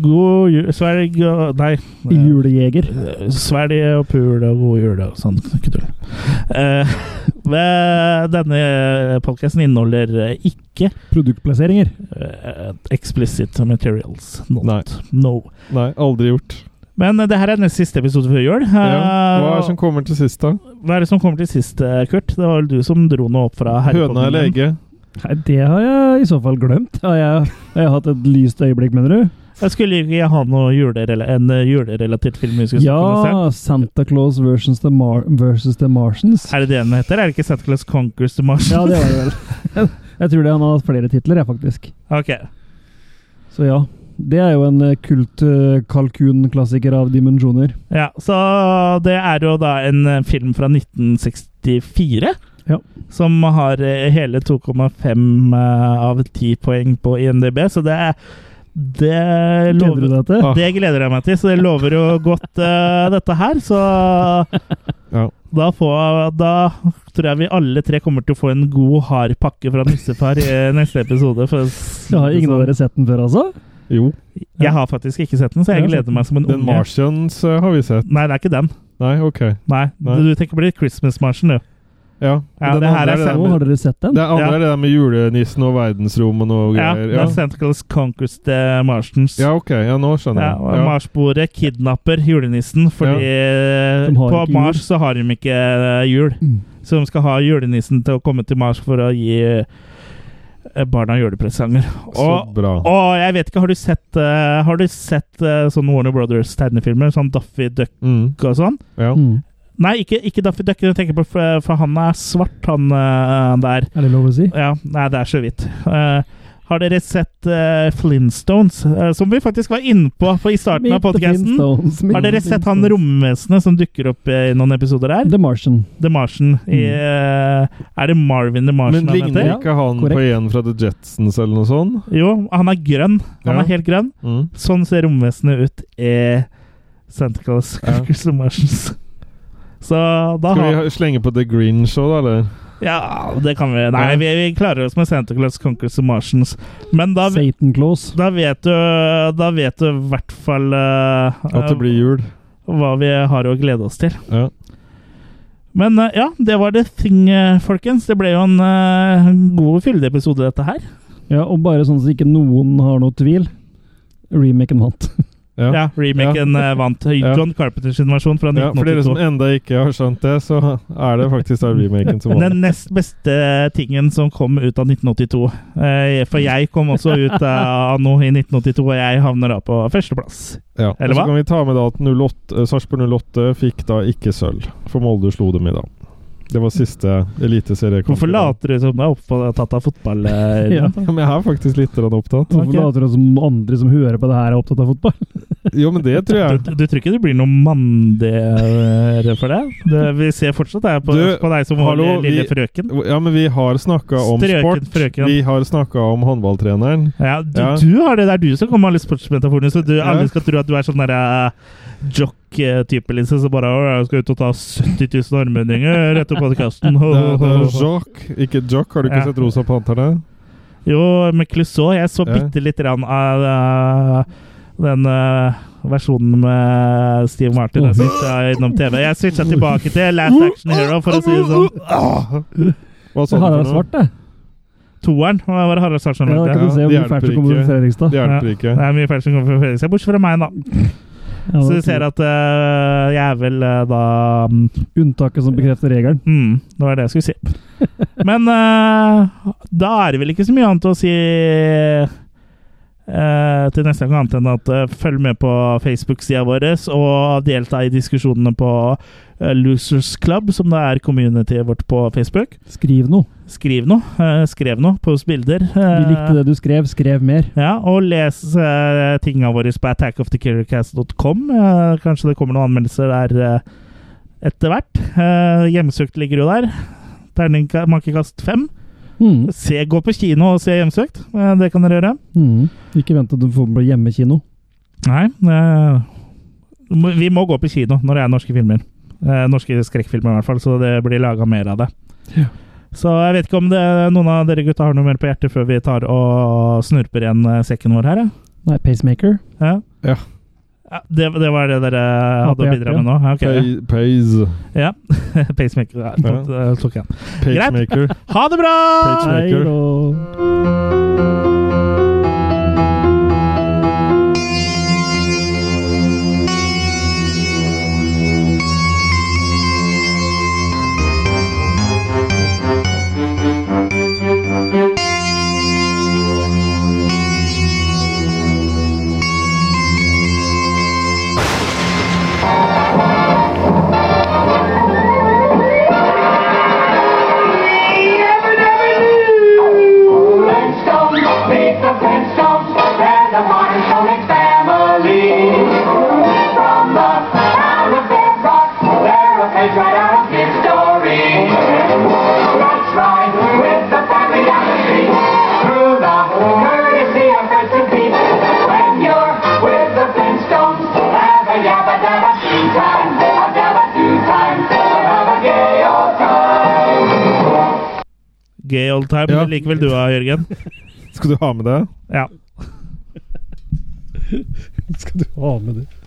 S2: god jul Sverg og Nei.
S4: I julejeger.
S2: Eh, Svelg og pul og god jul og sånn kutull. Eh, *laughs* men denne podkasten inneholder eh, ikke
S4: Produktplasseringer.
S2: eh, explicit materials. Not.
S3: Nei.
S2: No.
S3: Nei, aldri gjort.
S2: Men eh, det her er nest siste episode før jul.
S3: Ja. Hva er
S2: Eh,
S3: det som kommer til sist, da?
S2: Hva er det som kommer til sist, eh, Kurt? Det var vel du som dro noe opp fra
S3: Høna eller
S2: herrepodden?
S3: egget?
S4: Nei, det har jeg i så fall glemt. Har jeg, har jeg hatt et lyst øyeblikk, mener du?
S2: Jeg skulle ikke ha noe julerela en eh, julerelatert film vi skulle kunne se.
S4: Ja, Santa Claus versus the, Mar versus the Martians.
S2: Er det det den heter? Er det ikke Santa Claus Conquers the Mars?
S4: *laughs* Ja, det var det vel. Jeg tror det han har hatt flere titler, jeg, faktisk.
S2: *laughs* Ok.
S4: Så ja. Det er jo en eh, kult eh, kalkunklassiker av dimensjoner.
S2: Ja, så det er jo da en eh, film fra 1964.
S4: Ja.
S2: Som har eh, hele 2,5 eh, av 10 poeng på INDb, så det er det
S4: Gleder du
S2: lover,
S4: deg til?
S2: det gleder jeg meg til, så det lover jo godt eh, dette her. Så
S3: Ja.
S2: Da, får, da tror jeg vi alle tre kommer til å få en god hard pakke fra nissefar i neste episode. For
S4: Ja, har ingen av dere sett den før, altså?
S3: Jo.
S2: Jeg har faktisk ikke sett den, så jeg
S4: Jeg har
S2: gleder meg som en
S3: Den
S2: unge.
S3: Martians eh, har vi sett.
S2: Nei, det er ikke den.
S3: Nei, OK.
S2: Nei,
S3: Nei.
S2: Du tenker på Christmas-marsjen, du.
S3: Ja.
S2: Ja,
S3: Den
S2: det her
S3: andre
S2: er
S3: det der
S4: Nå
S2: Selma.
S3: med-
S4: har dere sett den?
S3: Det andre
S2: Ja.
S3: er det der med julenissen og verdensrommet og
S2: Ja,
S3: greier.
S2: det
S3: Ja,
S2: er Santa's Conquest eh, Martians.
S3: ja ok. Ja, nå skjønner
S2: Ja,
S3: jeg.
S2: og Marsboere kidnapper julenissen, fordi
S4: De har
S2: på
S4: ikke jul.
S2: Mars så har de ikke eh, jul. Så de skal ha julenissen til å komme til Mars for å gi eh, barna julepresanger.
S3: Så
S2: Og,
S3: bra.
S2: og jeg vet ikke, har du sett, eh, har du sett eh, sånne Warner Brothers tegnefilmer? Sånn Daffy Duck
S3: Mm,
S2: og sånn?
S3: ja.
S4: Mm.
S2: Nei, ikke, ikke Daffy Duck, jeg tenker på, for, for han er svart, han eh, der.
S4: Er det lov å si?
S2: Ja, nei, det er så vidt. Eh, har dere sett eh, Flintstones, Eh, som vi faktisk var inne på for i starten av
S4: Meet the
S2: podkasten?
S4: Flintstones, meet
S2: Har dere
S4: the
S2: sett han
S4: Flintstones.
S2: romvesenet som dukker opp eh, i noen episoder her?
S4: The Martian.
S2: The Martian. I, eh, er det Marvin the Martian
S3: Men
S2: han heter?
S3: ligner ikke han på
S4: korrekt.
S3: en fra The Jetsons eller noe sånt?
S2: Jo, han er grønn. Han
S3: Ja.
S2: er helt grønn.
S3: Mm.
S2: Sånn ser romvesenet ut i Santa Claus
S3: Ja.
S2: Circus of Martians. Så da
S3: Skal vi
S2: har
S3: ha- slenge på The Grinch òg, da? Eller?
S2: Ja, det kan vi. Nei,
S3: Ja.
S2: vi, vi klarer oss med Santa Claus Conquers of Martians. Men da,
S4: Satan Claus.
S2: da vet du Da vet du i hvert fall eh,
S3: At det blir jul.
S2: hva vi har å glede oss til.
S3: Ja.
S2: Men eh, ja, det var det thing, eh, folkens. Det ble jo en eh, god fylleepisode, dette her.
S4: Ja, og bare sånn at ikke noen har noe tvil. Remaken vant. *laughs*
S2: Ja,
S3: Ja. Ja.
S2: Remaken eh, vant.
S3: *laughs* Ja.
S2: John Carpenters versjon fra
S3: For dere som
S2: 1982.
S3: enda ikke har skjønt det, så er det faktisk da
S2: *laughs*
S3: remaken som
S2: Den
S3: vant.
S2: nest beste tingen som kom ut av 1982. Eh, For jeg kom også ut
S3: *laughs*
S2: av anno i 1982, og jeg havner da på førsteplass.
S3: Ja. Og
S2: Eller hva?
S3: så kan vi ta med da at 08 eh, Sarpsborg 08 fikk da ikke sølv, for Molde slo dem i dag. Det var siste eliteseriekamp.
S2: Hvorfor later du som du er opptatt av fotball?
S3: *laughs*
S2: eh,
S4: Ja.
S2: Ida?
S3: Ja, men jeg er faktisk litt grann opptatt.
S4: Hvorfor
S2: Ok.
S4: later du som andre som hører på det her, er opptatt av fotball?
S3: Jo, men det tror jeg.
S2: Du, du tror ikke du blir noe mandigere for det? det? Vi ser fortsatt her på,
S3: Du,
S2: på deg som vår
S3: hallo,
S2: lille
S3: vi-
S2: frøken.
S3: Ja, men vi har snakka om
S2: Strøken
S3: sport.
S2: frøken.
S3: Vi har snakka om håndballtreneren.
S2: Ja, du,
S3: Ja.
S2: du har det. Det er du som kommer med alle sportsmetaforene. Så du,
S3: Ja.
S2: alle skal tro at du er sånn derre jock-type, liksom. Så bare «Å, 'Jeg skal ut og ta 70 000 armhendinger etter podkasten'.
S3: Det er,
S2: *laughs*
S3: sånn det er Jock, ikke Jock. Har du ikke
S2: Ja.
S3: sett Rosa Panterne?
S2: Jo, med Clouseau. Jeg så
S3: Ja.
S2: bitte lite grann av eh, den eh, versjonen med Steve Martin. Jeg switcha innom TV. Jeg switcha tilbake til Last Action Hero, for å si det sånn.
S3: Hva sa du
S4: Det her
S3: for
S4: er
S3: noe?
S4: svart, det.
S2: Toeren. Hva var det Harald Sarsen
S4: Ja, da
S2: mente?
S3: Ja,
S4: kan du
S3: det
S4: se hvor mye
S3: hjelper
S4: fælt som kommer
S3: ikke.
S4: fra Fredrikstad.
S3: Det
S4: Ja,
S3: hjelper ikke.
S2: Det er mye feil som kommer fra Fredrikstad, bortsett fra meg, da. Så
S4: det
S2: du ser at eh, jeg er vel eh, da
S4: Unntaket som bekrefter regelen.
S2: mm, Det var det jeg skulle si. *laughs* Men eh, da er det vel ikke så mye annet å si eh, til neste gang, annet enn at eh, følg med på Facebook-sida vår og delta i diskusjonene på eh, Losers Club, som det er communityet vårt på Facebook.
S4: Skriv noe.
S2: Skriv noe. eh, skrev noe. Post bilder. eh,
S4: Vi likte det du skrev. Skrev mer.
S2: Ja, og les uh, tinga våre på attackofthekillercast.com. Eh, kanskje det kommer noen anmeldelser der eh, etter hvert. Eh, hjemsøkt ligger jo der. Terningka- Makekast fem.
S4: Mm.
S2: Se, gå på kino og se Hjemsøkt. Eh, det kan dere gjøre.
S4: Mm. Ikke vent til du får bli hjemmekino.
S2: Nei eh, må- Vi må gå på kino når det er norske filmer. Eh, norske skrekkfilmer, i hvert fall, så det blir laga mer av det. Så jeg vet ikke om det, noen av dere gutta har noe mer på hjertet før vi tar og snurper igjen eh, sekken vår her. Ja?
S4: Nei, pacemaker.
S2: Ja.
S3: Ja.
S2: Ja, det, det var det dere hadde å
S4: på
S2: bidra
S4: hjertet,
S2: med nå? Ja, ok.
S3: Pay- Pays.
S2: ja. *laughs* Pacemaker. Ja,
S3: Ja.
S2: tatt- eh, tok jeg.
S3: Pacemaker.
S2: Ha det bra!
S3: Pacemaker.
S4: Hei, og...
S8: Flintstones, meet the Flintstones, and the modern Sonic family. From the town of Big Rock, they're a page right out of his story. Let's ride with the family down the street, through the courtesy of friends and beat. When you're with the Flintstones, have a yabba dabba two times, a dabba two times, a
S2: gay all the time,
S3: Ja.
S2: men det liker vel du da, Jørgen?
S3: Skal du ha med det?
S2: Ja.
S4: Skal du ha med det?